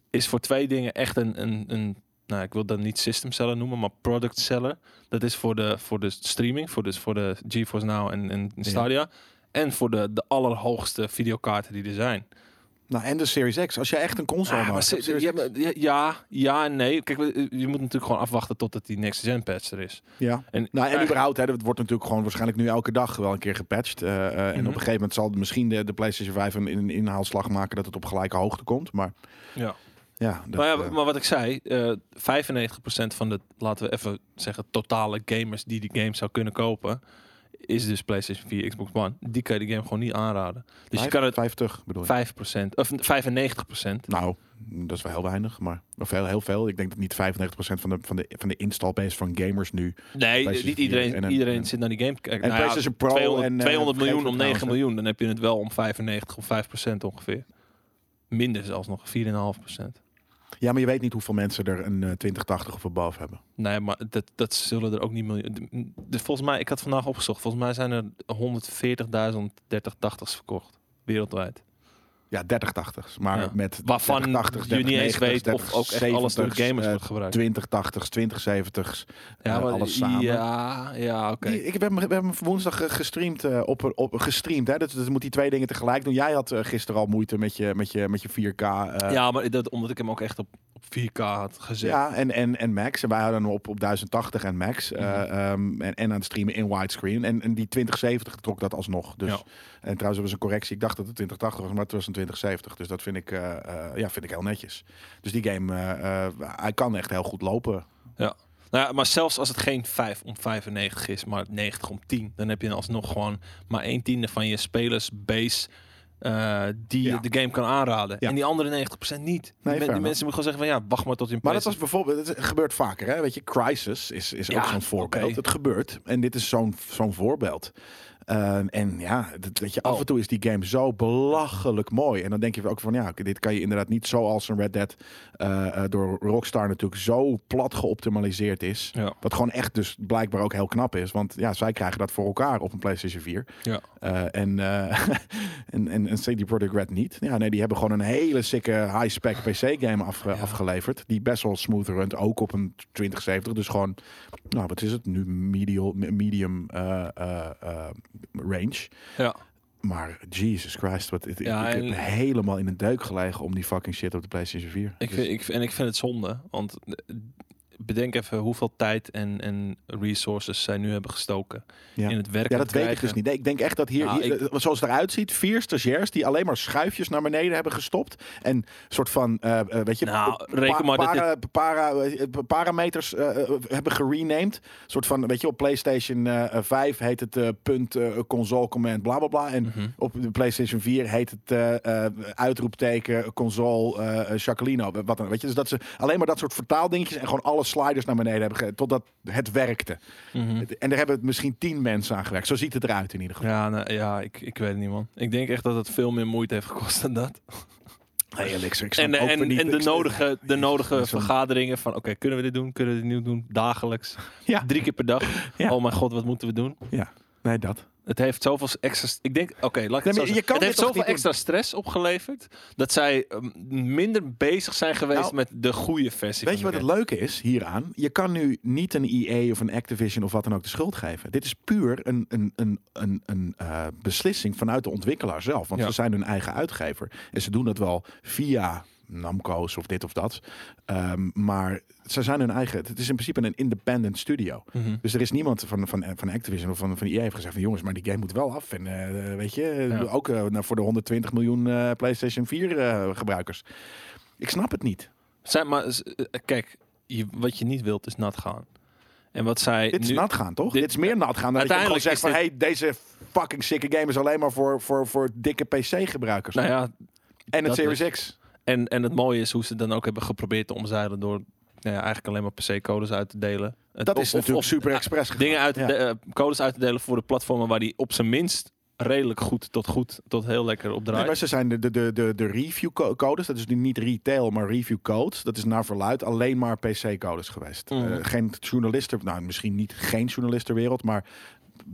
Speaker 2: is voor twee dingen echt een. een, een nou, ik wil dat niet system seller noemen, maar product seller. Dat is voor de, voor de streaming, voor, dus voor de GeForce Now en, en Stadia. En voor de, de allerhoogste videokaarten die er zijn.
Speaker 1: Nou, en de Series X. Als jij echt een console
Speaker 2: Ah, maar
Speaker 1: maakt.
Speaker 2: ze-
Speaker 1: Series
Speaker 2: ja,
Speaker 1: X.
Speaker 2: maar- ja, ja, ja en nee. Kijk, we- je moet natuurlijk gewoon afwachten totdat die next gen patch er is.
Speaker 1: ja.
Speaker 2: En Ah.
Speaker 1: Nou, en
Speaker 2: eigenlijk-
Speaker 1: überhaupt, hè, het wordt natuurlijk gewoon waarschijnlijk nu elke dag wel een keer gepatcht. eh, eh, En op
Speaker 2: Mhm.
Speaker 1: een gegeven moment zal misschien de, de PlayStation 5 een, een inhaalslag maken dat het op gelijke hoogte komt. Maar
Speaker 2: ja.
Speaker 1: ja, dat,
Speaker 2: maar, ja,
Speaker 1: eh,
Speaker 2: maar wat ik zei, eh 95% van de, laten we even zeggen, totale gamers die die game zou kunnen kopen, is dus PlayStation 4, Xbox One. Die kan je de game gewoon niet aanraden. Dus je
Speaker 1: vijf-
Speaker 2: kan het
Speaker 1: 50 bedoel je?
Speaker 2: 5%, of 95%.
Speaker 1: Nou, dat is wel heel weinig, maar of heel, heel veel. Ik denk dat niet 95% van de, van de, van de installbase van gamers nu.
Speaker 2: Nee,
Speaker 1: PlayStation
Speaker 2: niet iedereen,
Speaker 1: 4 en een-
Speaker 2: iedereen
Speaker 1: en-
Speaker 2: zit naar die game te kijken.
Speaker 1: En
Speaker 2: Nou ja,
Speaker 1: PlayStation Pro
Speaker 2: 200,
Speaker 1: en, eh,
Speaker 2: 200 miljoen
Speaker 1: vergeet
Speaker 2: om
Speaker 1: het
Speaker 2: 9
Speaker 1: trouwens,
Speaker 2: miljoen, dan heb je het wel om 95 of 5% ongeveer. Minder zelfs nog, 4,5%.
Speaker 1: Ja, maar je weet niet hoeveel mensen er een eh, 2080 of above hebben.
Speaker 2: Nee, maar dat, dat zullen er ook niet miljoen. Dus volgens mij, ik had vandaag opgezocht, volgens mij zijn er 140.000 3080's verkocht. Wereldwijd.
Speaker 1: Ja, 3080's. Maar
Speaker 2: Ja.
Speaker 1: met
Speaker 2: Waarvan
Speaker 1: 3080's,
Speaker 2: je niet eens
Speaker 1: 3090's,
Speaker 2: weet of ook echt alles door
Speaker 1: 3070's,
Speaker 2: de gamers
Speaker 1: eh,
Speaker 2: wordt gebruikt.
Speaker 1: 2080's, 2070's. eh,
Speaker 2: maar-
Speaker 1: alles samen.
Speaker 2: Ja, ja oké.
Speaker 1: Die- Ik heb hem, we hebben hem woensdag eh, gestreamd. eh, op, een- op, gestreamd hè? Dus, dus moet die twee dingen tegelijk doen. Jij had eh, gisteren al moeite met je, met je, met je 4K. eh, ja.
Speaker 2: ja, maar dat, omdat ik hem ook echt op, op 4K had gezet.
Speaker 1: en, en, en Max. En wij hadden hem op, op 1080 en Max. eh,
Speaker 2: Mhm.
Speaker 1: ehm, en, en aan het streamen in widescreen. En, en die 2070 trok dat alsnog. Dus,
Speaker 2: Ja.
Speaker 1: En trouwens, er was een correctie. Ik dacht dat het 2080 was, maar het was een 2070. Dus dat vind ik, eh, eh, ja, vind ik heel netjes. Dus die game, eh, eh, hij kan echt heel goed lopen.
Speaker 2: Nou ja, maar zelfs als het geen 5 om 95 is, maar 90 om 10, dan heb je alsnog gewoon maar 1 tiende van je spelersbase eh, die
Speaker 1: Ja.
Speaker 2: je de game kan aanraden.
Speaker 1: Ja.
Speaker 2: En die andere 90% niet. Die men-
Speaker 1: fair
Speaker 2: die,
Speaker 1: enough.
Speaker 2: mensen moeten gewoon zeggen van ja, wacht maar tot je een
Speaker 1: Maar dat
Speaker 2: PlayStation-
Speaker 1: was bijvoorbeeld, het gebeurt vaker, hè? Weet je, crisis is, is
Speaker 2: Ja,
Speaker 1: ook zo'n voorbeeld.
Speaker 2: oké.
Speaker 1: Het gebeurt en dit is zo'n zo'n voorbeeld. Ehm, en ja, dat, weet je, af
Speaker 2: Oh.
Speaker 1: en toe is die game zo belachelijk mooi. En dan denk je ook van, ja, dit kan je inderdaad niet zoals een Red Dead eh, eh, door Rockstar natuurlijk zo plat geoptimaliseerd is.
Speaker 2: Ja.
Speaker 1: Wat gewoon echt dus blijkbaar ook heel knap is. Want ja, zij krijgen dat voor elkaar op een PlayStation 4.
Speaker 2: Ja.
Speaker 1: Eh, en, eh en, en, en CD Projekt Red niet. Ja, nee, die hebben gewoon een hele sikke high-spec PC-game afgeleverd. Die best wel smooth runt, ook op een 2070. Dus gewoon, nou, wat is het nu? Medial, medium eh, eh, eh, range.
Speaker 2: Ja.
Speaker 1: Maar Jesus Christ, wat, ik,
Speaker 2: Ja,
Speaker 1: ik
Speaker 2: en-
Speaker 1: heb helemaal in een deuk gelegen om die fucking shit op de PlayStation 4.
Speaker 2: Ik
Speaker 1: Dus-
Speaker 2: vind, ik, en ik vind het zonde, want eh, bedenk even hoeveel tijd en, en resources zij nu hebben gestoken
Speaker 1: Ja.
Speaker 2: in het werk.
Speaker 1: ja, dat weet ik dus niet. Nee, ik denk echt dat hier,
Speaker 2: Nou,
Speaker 1: hier-
Speaker 2: ik-
Speaker 1: eh, zoals het eruit ziet, vier stagiairs die alleen maar schuifjes naar beneden hebben gestopt. En soort van, eh, eh, weet je,
Speaker 2: Nou,
Speaker 1: pa-
Speaker 2: reken maar dat dit-
Speaker 1: para, para- eh, parameters eh, eh, hebben gerenamed. soort van, weet je, op PlayStation eh, eh, 5 heet het eh, punt eh, console command bla bla bla. En
Speaker 2: Mhm.
Speaker 1: op de PlayStation 4 heet het eh, eh, uitroepteken console eh eh, Jacqueline. Wat dan, weet je, dus dat ze alleen maar dat soort vertaaldingetjes en gewoon alle sliders naar beneden hebben ge- totdat het werkte.
Speaker 2: Mhm. Hm.
Speaker 1: En daar hebben het misschien tien mensen aan gewerkt. Zo ziet het eruit in ieder geval.
Speaker 2: Ja, nou, ja ik, ik weet het niet, man. Ik denk echt dat het veel meer moeite heeft gekost dan dat.
Speaker 1: Hey, Elixir, ik snap
Speaker 2: En, eh,
Speaker 1: ook
Speaker 2: en,
Speaker 1: weer niet-
Speaker 2: en de
Speaker 1: ik-
Speaker 2: nodige, de nodige
Speaker 1: zo'n-
Speaker 2: vergaderingen van, oké, kunnen we dit doen? Kunnen we dit nieuw doen? Dagelijks.
Speaker 1: Ja.
Speaker 2: Drie keer per dag.
Speaker 1: Ja.
Speaker 2: Oh mijn god, wat moeten we doen?
Speaker 1: Nee, dat.
Speaker 2: Het heeft zoveel extra. Ik denk, oké, laat ik
Speaker 1: Nee,
Speaker 2: het
Speaker 1: maar
Speaker 2: zo
Speaker 1: je
Speaker 2: zeggen.
Speaker 1: kan
Speaker 2: Het heeft
Speaker 1: dit toch
Speaker 2: zoveel
Speaker 1: niet
Speaker 2: extra stress opgeleverd dat zij ehm, minder bezig zijn geweest
Speaker 1: Nou,
Speaker 2: met de goede versie.
Speaker 1: Weet je
Speaker 2: van
Speaker 1: wat
Speaker 2: de
Speaker 1: het leuke is hieraan? Je kan nu niet een EA of een Activision of wat dan ook de schuld geven. Dit is puur een, een, een, een, een eh, beslissing vanuit de ontwikkelaar zelf. Want
Speaker 2: Ja.
Speaker 1: ze zijn hun eigen uitgever. En ze doen dat wel via Namco's of dit of dat. Ehm, maar ze zijn hun eigen... Het is in principe een independent studio.
Speaker 2: game. Mhm.
Speaker 1: Dus er is niemand van, van, van Activision of van, van EA heeft gezegd van... jongens, maar die game moet wel af. En eh, weet je,
Speaker 2: Ja.
Speaker 1: ook eh, nou, voor de 120 miljoen eh, PlayStation 4 eh, gebruikers. Ik snap het niet.
Speaker 2: Zijn, maar z- eh, kijk, je, wat je niet wilt is nat gaan. En wat zij
Speaker 1: Dit is
Speaker 2: Eh, nu,
Speaker 1: nat gaan, toch? Dit,
Speaker 2: dit-
Speaker 1: is meer nat gaan dan dat je gewoon
Speaker 2: Uiteindelijk
Speaker 1: zegt
Speaker 2: is
Speaker 1: van... hey, deze fucking sicke game is alleen maar voor, voor, voor dikke PC-gebruikers.
Speaker 2: nou ja,
Speaker 1: en het
Speaker 2: dat
Speaker 1: Series X.
Speaker 2: en, en het mooie is hoe ze dan ook hebben geprobeerd te omzeilen door nou ja, eigenlijk alleen maar PC-codes uit te delen. Het-
Speaker 1: Dat
Speaker 2: of-
Speaker 1: is
Speaker 2: of-
Speaker 1: natuurlijk
Speaker 2: of
Speaker 1: super express gegaan.
Speaker 2: dingen uit
Speaker 1: Ja.
Speaker 2: de, eh, codes uit te delen voor de platformen waar die op zijn minst redelijk goed tot goed tot heel lekker op draait.
Speaker 1: Nee, maar ze zijn de, de, de, de, de review co- codes, dat is nu niet retail, maar review codes. Dat is naar verluid alleen maar PC-codes geweest.
Speaker 2: Mhm.
Speaker 1: Eh, geen journalisten, nou misschien niet geen journalisten ter wereld, maar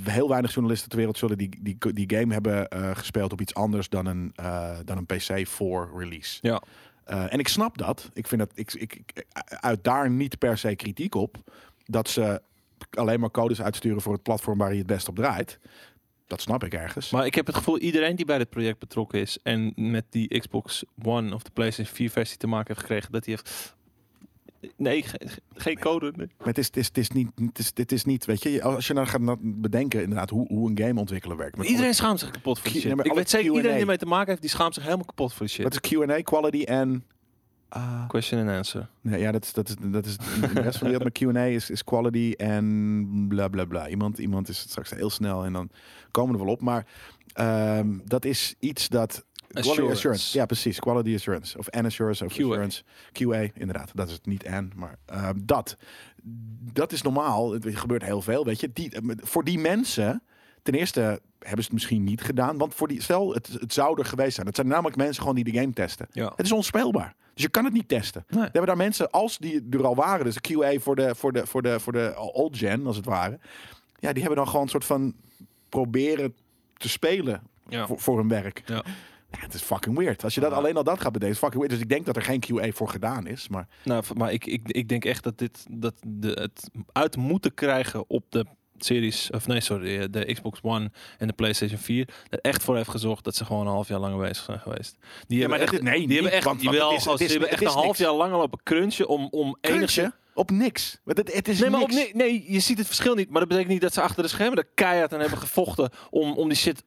Speaker 1: heel weinig journalisten ter wereld zullen die, die, die game hebben eh, gespeeld op iets anders dan een, eh, dan een PC voor release.
Speaker 2: Ja.
Speaker 1: Eh, en ik snap dat. Ik vind dat ik, ik, ik uit daar niet per se kritiek op dat ze alleen maar codes uitsturen voor het platform waar je het best op draait. Dat snap ik ergens.
Speaker 2: Maar ik heb het gevoel iedereen die bij dit project betrokken is en met die Xbox One of de PlayStation 4 versie te maken heeft gekregen, dat die heeft nee, ge- ge- geen code. nee.
Speaker 1: Maar het is, het is, het is niet, het is, dit is niet, weet je, als je nou gaat na- bedenken inderdaad hoe, hoe een game ontwikkelen werkt.
Speaker 2: Maar
Speaker 1: Met
Speaker 2: iedereen schaamt zich kapot voor die
Speaker 1: Q-
Speaker 2: shit.
Speaker 1: nee, maar
Speaker 2: ik
Speaker 1: alle
Speaker 2: weet zeker
Speaker 1: Q&A.
Speaker 2: iedereen die mee te maken heeft, die schaamt zich helemaal kapot voor die shit.
Speaker 1: Wat is Q&A, quality en... Ah.
Speaker 2: Question and answer.
Speaker 1: Nee, ja, dat is, dat is, dat is in de rest van de wereld. Maar Q&A is, is quality en bla bla bla. Iemand, iemand is het straks heel snel en dan komen we er wel op. Maar ehm, dat is iets dat... Quality
Speaker 2: Assurance.
Speaker 1: assurance. Ja, precies. Quality assurance. Of en assurance of
Speaker 2: QA.
Speaker 1: assurance. QA, inderdaad. Dat is het niet en, maar eh, dat. Dat is normaal. Het gebeurt heel veel, weet je. Die, voor die mensen, ten eerste hebben ze het misschien niet gedaan. Want voor die, stel, het, het zou er geweest zijn. Het zijn namelijk mensen gewoon die de game testen.
Speaker 2: Ja.
Speaker 1: Het is onspeelbaar. Dus je kan het niet testen.
Speaker 2: Nee.
Speaker 1: Er hebben daar mensen, als die er al waren, dus de QA voor de, voor de, voor de, voor de old gen, als het ware. Ja, die hebben dan gewoon een soort van proberen te spelen
Speaker 2: Ja.
Speaker 1: voor, voor hun werk.
Speaker 2: Ja.
Speaker 1: Ja, het is fucking weird. Als je dat
Speaker 2: Ja.
Speaker 1: alleen al dat gaat bedenken, is fucking weird. Dus ik denk dat er geen QA voor gedaan is. Maar
Speaker 2: Nou, v- maar ik, ik, ik denk echt dat dit dat de, het uit moeten krijgen op de series of nee sorry eh, de Xbox One en de PlayStation 4 er echt voor heeft gezorgd dat ze gewoon een half jaar lang bezig zijn geweest. Die
Speaker 1: maar
Speaker 2: hebben
Speaker 1: dat
Speaker 2: echt,
Speaker 1: is- nee,
Speaker 2: die
Speaker 1: niet,
Speaker 2: hebben echt,
Speaker 1: want- want
Speaker 2: jawel,
Speaker 1: het is- het
Speaker 2: gast,
Speaker 1: is-
Speaker 2: die hebben
Speaker 1: het
Speaker 2: echt
Speaker 1: is
Speaker 2: een half
Speaker 1: niks.
Speaker 2: jaar lang al op een crunchje om om enige
Speaker 1: Crunchen op niks. Want het, het is
Speaker 2: Nee, maar op
Speaker 1: niks.
Speaker 2: ni- nee, je ziet het verschil niet. Maar dat betekent niet dat ze achter de schermen er keihard aan hebben gevochten om, om die shit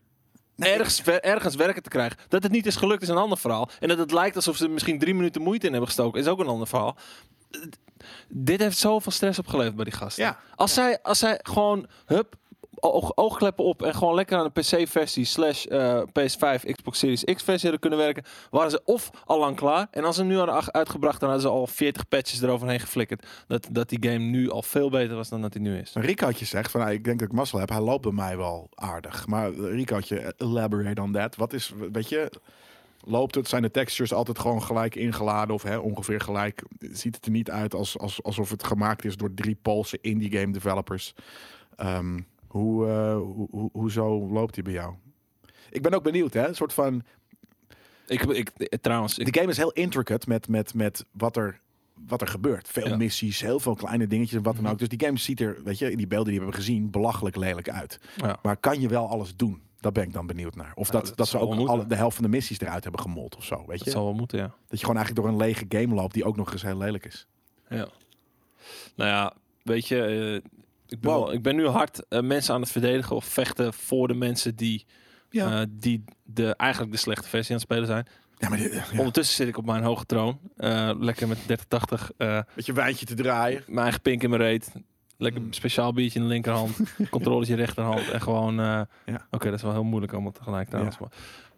Speaker 2: ergens, wer- ergens werken te krijgen. Dat het niet is gelukt is een ander verhaal. En dat het lijkt alsof ze er misschien drie minuten moeite in hebben gestoken is ook een ander verhaal. Eh, Dit heeft zoveel stress opgeleverd bij die gasten.
Speaker 1: Ja.
Speaker 2: Als, zij, als zij gewoon, hup, oog- oogkleppen op en gewoon lekker aan de PC-versie slash eh, PS5, Xbox Series X-versie hadden kunnen werken, waren ze of al lang klaar. En als ze hem nu hadden ach- uitgebracht, dan hadden ze al 40 patches eroverheen geflikkerd. Dat, dat die game nu al veel beter was dan dat hij nu is.
Speaker 1: Ricootje zegt van, nou, ik denk dat ik mazzel heb. Hij loopt bij mij wel aardig. Maar eh, Ricootje, elaborate on that. Wat is, weet je, loopt het? Zijn de textures altijd gewoon gelijk ingeladen of hè, ongeveer gelijk? Ziet het er niet uit als, als, alsof het gemaakt is door drie Poolse indie game developers? Ehm, hoe, eh, hoe, hoe- hoezo loopt die bij jou? Ik ben ook benieuwd, hè? Een soort van
Speaker 2: Ik, ik, eh, trouwens, ik,
Speaker 1: de game is heel intricate met, met, met wat, er, wat er gebeurt. Veel
Speaker 2: Ja.
Speaker 1: missies, heel veel kleine dingetjes en wat dan
Speaker 2: Mhm.
Speaker 1: ook. Dus die game ziet er, weet je, die beelden die we hebben gezien, belachelijk lelijk uit.
Speaker 2: Ja.
Speaker 1: Maar kan je wel alles doen? Daar ben ik dan benieuwd naar. Of dat,
Speaker 2: dat
Speaker 1: dat ze
Speaker 2: zal wel
Speaker 1: ook
Speaker 2: moeten.
Speaker 1: alle, de helft van de missies eruit hebben gemold of zo. Weet
Speaker 2: dat
Speaker 1: je?
Speaker 2: zal wel moeten, ja.
Speaker 1: Dat je gewoon eigenlijk door een lege game loopt die ook nog eens heel lelijk is.
Speaker 2: ja. Nou ja, weet je, eh, ik, ben
Speaker 1: Wow.
Speaker 2: wel- ik ben nu hard eh, mensen aan het verdedigen of vechten voor de mensen die,
Speaker 1: Ja,
Speaker 2: eh, die de, eigenlijk de slechte versie aan het spelen zijn.
Speaker 1: ja maar dit- ja.
Speaker 2: Ondertussen zit ik op mijn hoge troon. eh, lekker met 3080. eh
Speaker 1: Met je wijntje te draaien.
Speaker 2: mijn eigen pink in mijn reet. Lekker
Speaker 1: Mm.
Speaker 2: speciaal biertje in de linkerhand. controletje rechterhand. En gewoon... eh, Oké, dat is wel heel moeilijk allemaal tegelijk trouwens. Maar,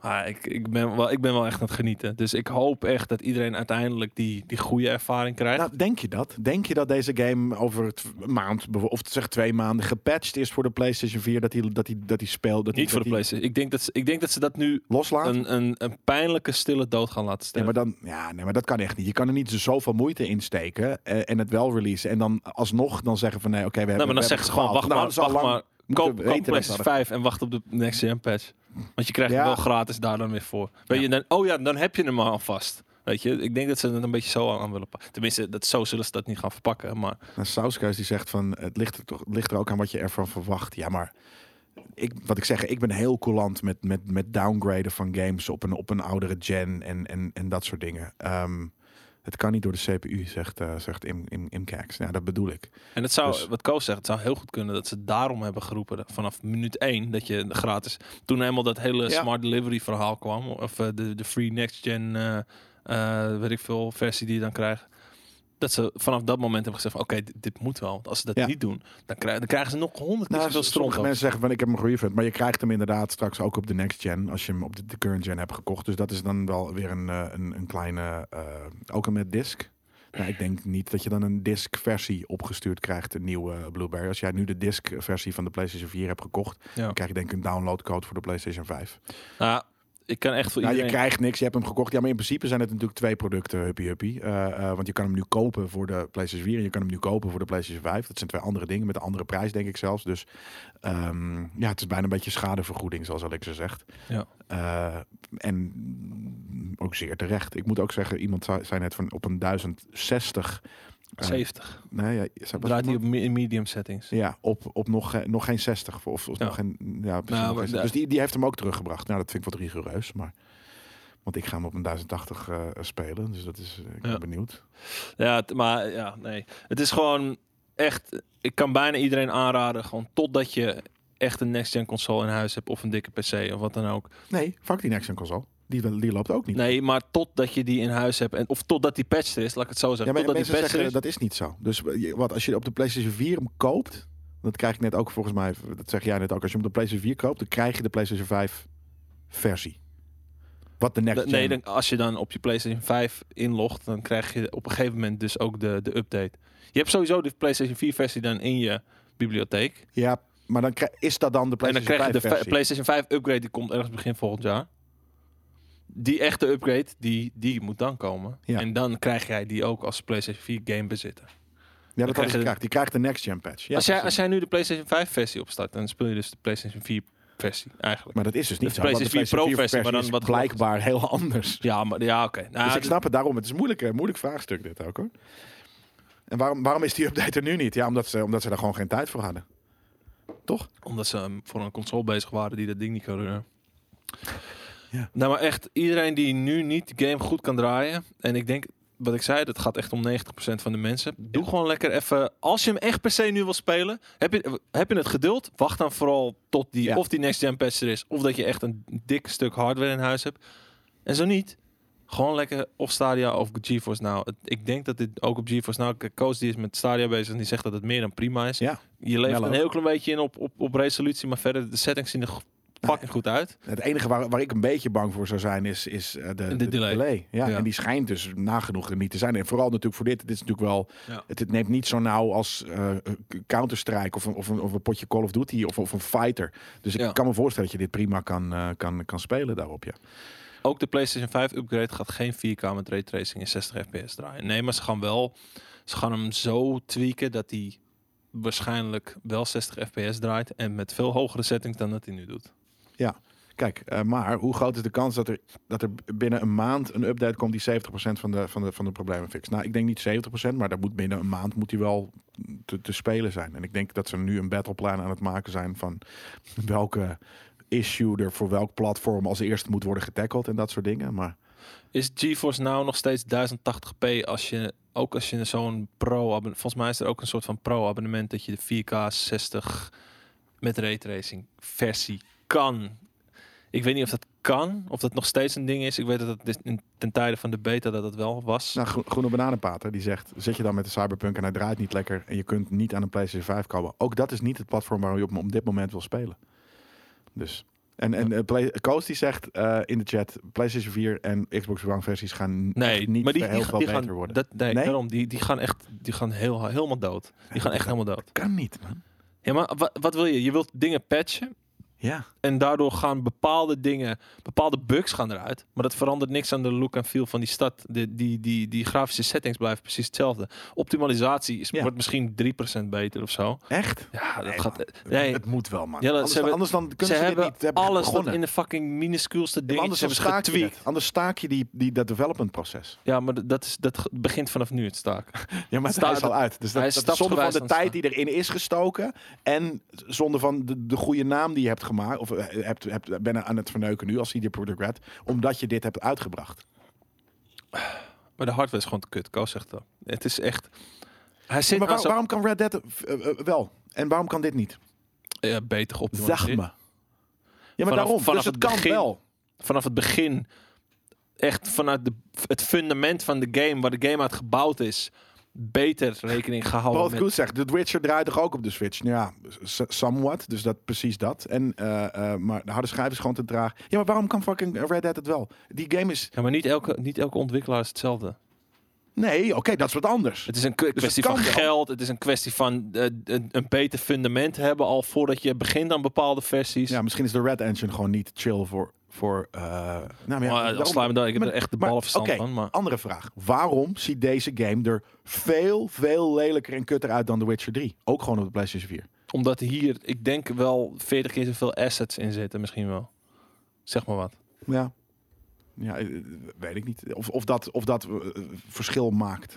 Speaker 2: maar ik, ik, ben wel, ik ben wel echt aan het genieten. Dus ik hoop echt dat iedereen uiteindelijk die, die goede ervaring krijgt.
Speaker 1: Nou, denk je dat? Denk je dat deze game over tw- een maand, bijvo- of zeg twee maanden, gepatcht is voor de PlayStation 4? Dat die, dat die, dat die speelt. Dat die-
Speaker 2: Niet voor de
Speaker 1: dat die
Speaker 2: PlayStation. Ik denk dat ze, ik denk dat, ze dat nu
Speaker 1: Loslaat?
Speaker 2: een, een, een pijnlijke stille dood gaan laten
Speaker 1: Ja,
Speaker 2: stellen.
Speaker 1: maar dan, ja, nee, maar dat kan echt niet. Je kan er niet zoveel moeite in steken eh, en het wel releasen. En dan alsnog dan zeggen van nee, oké, we hebben.
Speaker 2: nou, maar dan
Speaker 1: we
Speaker 2: zeggen ze
Speaker 1: hebben
Speaker 2: gewoon, wacht
Speaker 1: gefaald. Nou, dat
Speaker 2: maar,
Speaker 1: is al
Speaker 2: wacht
Speaker 1: lang-
Speaker 2: maar. Koop,
Speaker 1: weten
Speaker 2: koop
Speaker 1: dat we
Speaker 2: PlayStation
Speaker 1: hadden-
Speaker 2: 5 en wacht op de next gen patch. Want je krijgt
Speaker 1: Ja.
Speaker 2: hem wel gratis daar dan weer voor. Weet
Speaker 1: Ja.
Speaker 2: je, dan, oh ja, dan heb je hem al vast. Weet je, ik denk dat ze het een beetje zo aan- aan willen pakken. Tenminste, dat, zo zullen ze dat niet gaan verpakken. Maar
Speaker 1: Nou, Sauskuis die zegt van het ligt er, toch, het ligt er ook aan wat je ervan verwacht. Ja, maar ik, wat ik zeg, ik ben heel coulant met, met, met downgraden van games op een, op een oudere gen en, en, en dat soort dingen. Ehm, het kan niet door de CPU, zegt, eh, zegt Im, Im, Imcax. Ja, dat bedoel ik.
Speaker 2: En het zou,
Speaker 1: Dus-
Speaker 2: wat Koos zegt, het zou heel goed kunnen dat ze daarom hebben geroepen dat vanaf minuut 1 dat je gratis. Toen helemaal dat hele
Speaker 1: Ja.
Speaker 2: smart delivery verhaal kwam, of eh, de, de free next gen, eh, eh, weet ik veel, versie die je dan krijgt. Dat ze vanaf dat moment hebben gezegd: van, oké, dit, dit moet wel. Want als ze dat
Speaker 1: Ja.
Speaker 2: niet doen, dan, krijgen, dan krijgen ze nog honderd keer
Speaker 1: Nou,
Speaker 2: zoveel stront.
Speaker 1: sommige
Speaker 2: over.
Speaker 1: mensen zeggen van ik heb hem gerefund, maar je krijgt hem inderdaad straks ook op de next gen als je hem op de, de current gen hebt gekocht. Dus dat is dan wel weer een, eh, een, een kleine, eh, ook al met disc. Nou, ik denk niet dat je dan een disc versie opgestuurd krijgt, een nieuwe eh, Blueberry. Als jij nu de disc versie van de PlayStation 4 hebt gekocht,
Speaker 2: Ja.
Speaker 1: dan krijg je denk ik een downloadcode voor de PlayStation 5.
Speaker 2: Nou, ik kan echt voor
Speaker 1: Nou, je
Speaker 2: iedereen.
Speaker 1: krijgt niks, je hebt hem gekocht. Ja, maar in principe zijn het natuurlijk twee producten, huppie huppie. Eh, eh, want je kan hem nu kopen voor de PlayStation 4 en je kan hem nu kopen voor de PlayStation 5. Dat zijn twee andere dingen met een andere prijs, denk ik zelfs. Dus ehm, ja, het is bijna een beetje schadevergoeding, zoals Alexa zegt.
Speaker 2: Ja.
Speaker 1: Eh, en ook zeer terecht. Ik moet ook zeggen, iemand zei zei net van op een 1060... eh,
Speaker 2: 70.
Speaker 1: nee, ja, zei- was
Speaker 2: Draait
Speaker 1: iemand?
Speaker 2: die op me- in medium settings.
Speaker 1: Ja, op, op nog, eh, nog geen 60. Of, of
Speaker 2: Ja.
Speaker 1: nog geen, ja, precies,
Speaker 2: Nou,
Speaker 1: nog
Speaker 2: maar
Speaker 1: geen-
Speaker 2: de-
Speaker 1: Dus die, die heeft hem ook teruggebracht. Nou, dat vind ik wat rigoureus, maar... Want ik ga hem op een 1080 eh, spelen, dus dat is... eh, ik ben
Speaker 2: Ja.
Speaker 1: benieuwd.
Speaker 2: Ja, het- maar ja, nee. Het is gewoon echt. Ik kan bijna iedereen aanraden, gewoon totdat je echt een next-gen console in huis hebt of een dikke PC of wat dan ook.
Speaker 1: Nee, fuck die next-gen console. Die, wel- die loopt ook niet.
Speaker 2: Nee, maar totdat je die in huis hebt en of totdat die patch er is, laat ik het zo
Speaker 1: ja,
Speaker 2: zeggen.
Speaker 1: maar
Speaker 2: totdat
Speaker 1: mensen
Speaker 2: die patch
Speaker 1: zeggen,
Speaker 2: er is.
Speaker 1: dat is niet zo. Dus eh, je- wat, als je op de PlayStation 4 hem koopt... Dat krijg ik net ook volgens mij... Dat zeg jij net ook. Als je hem op de PlayStation 4 koopt, dan krijg je de PlayStation 5 versie. Wat de
Speaker 2: Dat-
Speaker 1: next-gen...
Speaker 2: nee, dan, als je dan op je PlayStation 5 inlogt, dan krijg je op een gegeven moment dus ook de, de update. Je hebt sowieso de PlayStation 4 versie dan in je bibliotheek.
Speaker 1: Ja, maar dan krijg- is dat dan de
Speaker 2: En dan
Speaker 1: PlayStation
Speaker 2: krijg je de
Speaker 1: 5
Speaker 2: fi-
Speaker 1: versie?
Speaker 2: PlayStation 5 upgrade, die komt ergens begin volgend jaar. Die echte upgrade, die, die moet dan komen.
Speaker 1: Ja.
Speaker 2: En dan krijg jij die ook als PlayStation 4 game bezitter.
Speaker 1: Ja,
Speaker 2: dan
Speaker 1: dat had
Speaker 2: krijg je
Speaker 1: ik
Speaker 2: de-
Speaker 1: gekraakt. Die krijgt de next-gen patch. Ja,
Speaker 2: als, jij,
Speaker 1: precies.
Speaker 2: als jij nu de PlayStation 5 versie opstart, dan speel je dus de PlayStation 4 versie eigenlijk.
Speaker 1: Maar dat is dus niet
Speaker 2: De
Speaker 1: zo.
Speaker 2: PlayStation
Speaker 1: want de
Speaker 2: 4 Pro versie,
Speaker 1: PlayStation 4
Speaker 2: maar dan
Speaker 1: is
Speaker 2: wat
Speaker 1: blijkbaar heel anders.
Speaker 2: Ja, maar ja, oké. Nou,
Speaker 1: dus ik
Speaker 2: d-
Speaker 1: snap het daarom. Het is een moeilijk, eh, moeilijk vraagstuk dit ook hoor. En waarom, waarom is die update er nu niet? Ja, omdat ze, omdat ze daar gewoon geen tijd voor hadden.
Speaker 2: Omdat ze um, voor een console bezig waren die dat ding niet kan runnen.
Speaker 1: Ja.
Speaker 2: Nou, maar echt, iedereen die nu niet de game goed kan draaien. En ik denk, wat ik zei, dat gaat echt om 90% van de mensen. Doe gewoon lekker even. Als je hem echt per se nu wil spelen, heb je, heb je het geduld? Wacht dan vooral tot die,
Speaker 1: Ja.
Speaker 2: of die next gen patch er is. Of dat je echt een dik stuk hardware in huis hebt. En zo niet. Gewoon lekker of Stadia of GeForce Now. Het- Ik denk dat dit ook op GeForce Now... Kijk, Koos die is met Stadia bezig en die zegt dat het meer dan prima is.
Speaker 1: Ja.
Speaker 2: Je leeft
Speaker 1: Mellow.
Speaker 2: een heel klein beetje in op, op, op resolutie, maar verder de settings zien er
Speaker 1: Nou,
Speaker 2: go- fucking goed uit.
Speaker 1: Het enige waar, waar ik een beetje bang voor zou zijn is, is eh, de, de,
Speaker 2: delay.
Speaker 1: Ja,
Speaker 2: Ja.
Speaker 1: En die schijnt dus nagenoeg er niet te zijn. En vooral natuurlijk voor dit. Dit is natuurlijk wel.
Speaker 2: Ja.
Speaker 1: Het, het neemt niet zo nauw als eh, Counter-Strike of een, of, een, of een potje Call of Duty of, of een fighter. Dus ik
Speaker 2: Ja.
Speaker 1: kan me voorstellen dat je dit prima kan, eh, kan, kan spelen daarop. Ja.
Speaker 2: Ook de PlayStation 5 upgrade gaat geen 4K met raytracing en 60 fps draaien. Nee, maar ze gaan wel, ze gaan hem zo tweaken dat hij waarschijnlijk wel 60 fps draait en met veel hogere settings dan dat hij nu doet.
Speaker 1: Kijk, eh, maar hoe groot is de kans dat er, dat er binnen een maand een update komt die 70% van de, van, de, van de problemen fixt? Nou, ik denk niet 70%, maar daar moet binnen een maand moet die wel te, te spelen zijn. En ik denk dat ze nu een battleplan aan het maken zijn van welke issue er voor welk platform als eerste moet worden getackled en dat soort dingen. Maar
Speaker 2: Is GeForce Now nog steeds 1080p als je ook als je zo'n pro abonnement volgens mij is er ook een soort van pro abonnement dat je de 4K 60 met raytracing versie kan. Ik weet niet of dat kan, of dat nog steeds een ding is. Ik weet dat het dit- in- ten tijde van de beta dat dat wel was.
Speaker 1: nou, Groen- Groene Bananenpater die zegt, zit je dan met de Cyberpunk en hij draait niet lekker en je kunt niet aan een PlayStation 5 komen. Ook dat is niet het platform waar je op op dit moment wil spelen. Dus. En, en eh, Play- Koos die zegt eh, in de chat, PlayStation 4 en Xbox One versies gaan
Speaker 2: nee,
Speaker 1: echt niet
Speaker 2: maar die,
Speaker 1: heel
Speaker 2: die,
Speaker 1: veel
Speaker 2: die
Speaker 1: beter
Speaker 2: gaan
Speaker 1: worden.
Speaker 2: dat nee,
Speaker 1: Nee?
Speaker 2: daarom die, die gaan echt die gaan heel, helemaal dood. Die gaan echt helemaal dood.
Speaker 1: kan niet, man.
Speaker 2: Ja, maar wa- wat wil je? Je wilt dingen patchen.
Speaker 1: Ja.
Speaker 2: En daardoor gaan bepaalde dingen, bepaalde bugs gaan eruit. Maar dat verandert niks aan de look en feel van die stad. De, die, die, die grafische settings blijven precies hetzelfde. Optimalisatie is,
Speaker 1: Ja.
Speaker 2: wordt misschien 3% beter of zo.
Speaker 1: Echt?
Speaker 2: Ja, dat
Speaker 1: Nee,
Speaker 2: gaat.
Speaker 1: Het-
Speaker 2: Nee,
Speaker 1: het moet wel, man.
Speaker 2: Ja, dat-
Speaker 1: anders,
Speaker 2: ze hebben-
Speaker 1: anders dan kunnen
Speaker 2: ze
Speaker 1: ze, dit
Speaker 2: hebben
Speaker 1: niet hebben
Speaker 2: alles tot
Speaker 1: begonnen.
Speaker 2: in de fucking minuscuulste
Speaker 1: Ja, maar
Speaker 2: dingetjes
Speaker 1: anders, dan staak
Speaker 2: hebben ze
Speaker 1: je
Speaker 2: getweakt.
Speaker 1: het. anders staak je die, die, dat development proces.
Speaker 2: Ja, maar dat, is, dat ge- begint vanaf nu het staak.
Speaker 1: Ja, maar
Speaker 2: Staak-
Speaker 1: staat al uit. Dus
Speaker 2: hij
Speaker 1: dat,
Speaker 2: is
Speaker 1: dat is zonde van
Speaker 2: stapsgewijs
Speaker 1: de
Speaker 2: aan
Speaker 1: tijd die erin is gestoken. En zonde van de, de goede naam die je hebt gemaakt. Of eh, hebt, hebt, ben aan het verneuken nu als CD Projekt Red. Omdat je dit hebt uitgebracht.
Speaker 2: Maar de hardware is gewoon te kut. Koos zegt dat. Het is echt. Hij zit
Speaker 1: Maar
Speaker 2: maar
Speaker 1: waar- waarom kan Red Dead eh, eh, wel? En waarom kan dit niet?
Speaker 2: beter
Speaker 1: Zeg
Speaker 2: geoptimaliseerd.
Speaker 1: me. Ja, maar
Speaker 2: Vanaf-
Speaker 1: daarom.
Speaker 2: vanaf
Speaker 1: dus het,
Speaker 2: het
Speaker 1: kan
Speaker 2: begin.
Speaker 1: wel.
Speaker 2: vanaf het begin echt vanuit de, het fundament van de game, waar de game uit gebouwd is, beter rekening gehouden
Speaker 1: Paul
Speaker 2: met...
Speaker 1: Goed zegt, The Witcher draait toch ook op de Switch? Nou ja, s- somewhat. Dus dat, precies dat. En, eh, eh, maar de harde schijf is gewoon te traag. Ja, maar waarom kan fucking Red Dead het wel? Die game is...
Speaker 2: Ja, maar niet elke, niet elke ontwikkelaar is hetzelfde.
Speaker 1: Nee, oké, dat is wat anders.
Speaker 2: Het is een k- kwestie
Speaker 1: Dus kan
Speaker 2: van
Speaker 1: wel.
Speaker 2: geld, het is een kwestie van eh, een, een beter fundament hebben al voordat je begint aan bepaalde versies.
Speaker 1: Ja, misschien is de Red Engine gewoon niet chill voor... voor eh, nou, maar ja,
Speaker 2: Maar, eh,
Speaker 1: daarom-
Speaker 2: als slaan we daar, ik heb
Speaker 1: Maar-
Speaker 2: er echt de
Speaker 1: maar-
Speaker 2: ballen verstand
Speaker 1: oké,
Speaker 2: van. Maar
Speaker 1: Andere vraag. Waarom ziet deze game er veel, veel lelijker en kutter uit dan The Witcher 3? Ook gewoon op de PlayStation 4.
Speaker 2: omdat hier, ik denk wel 40 keer zoveel assets in zitten, misschien wel. Zeg maar wat.
Speaker 1: Ja. Ja, eh, weet ik niet. Of, of dat, of dat eh, verschil maakt.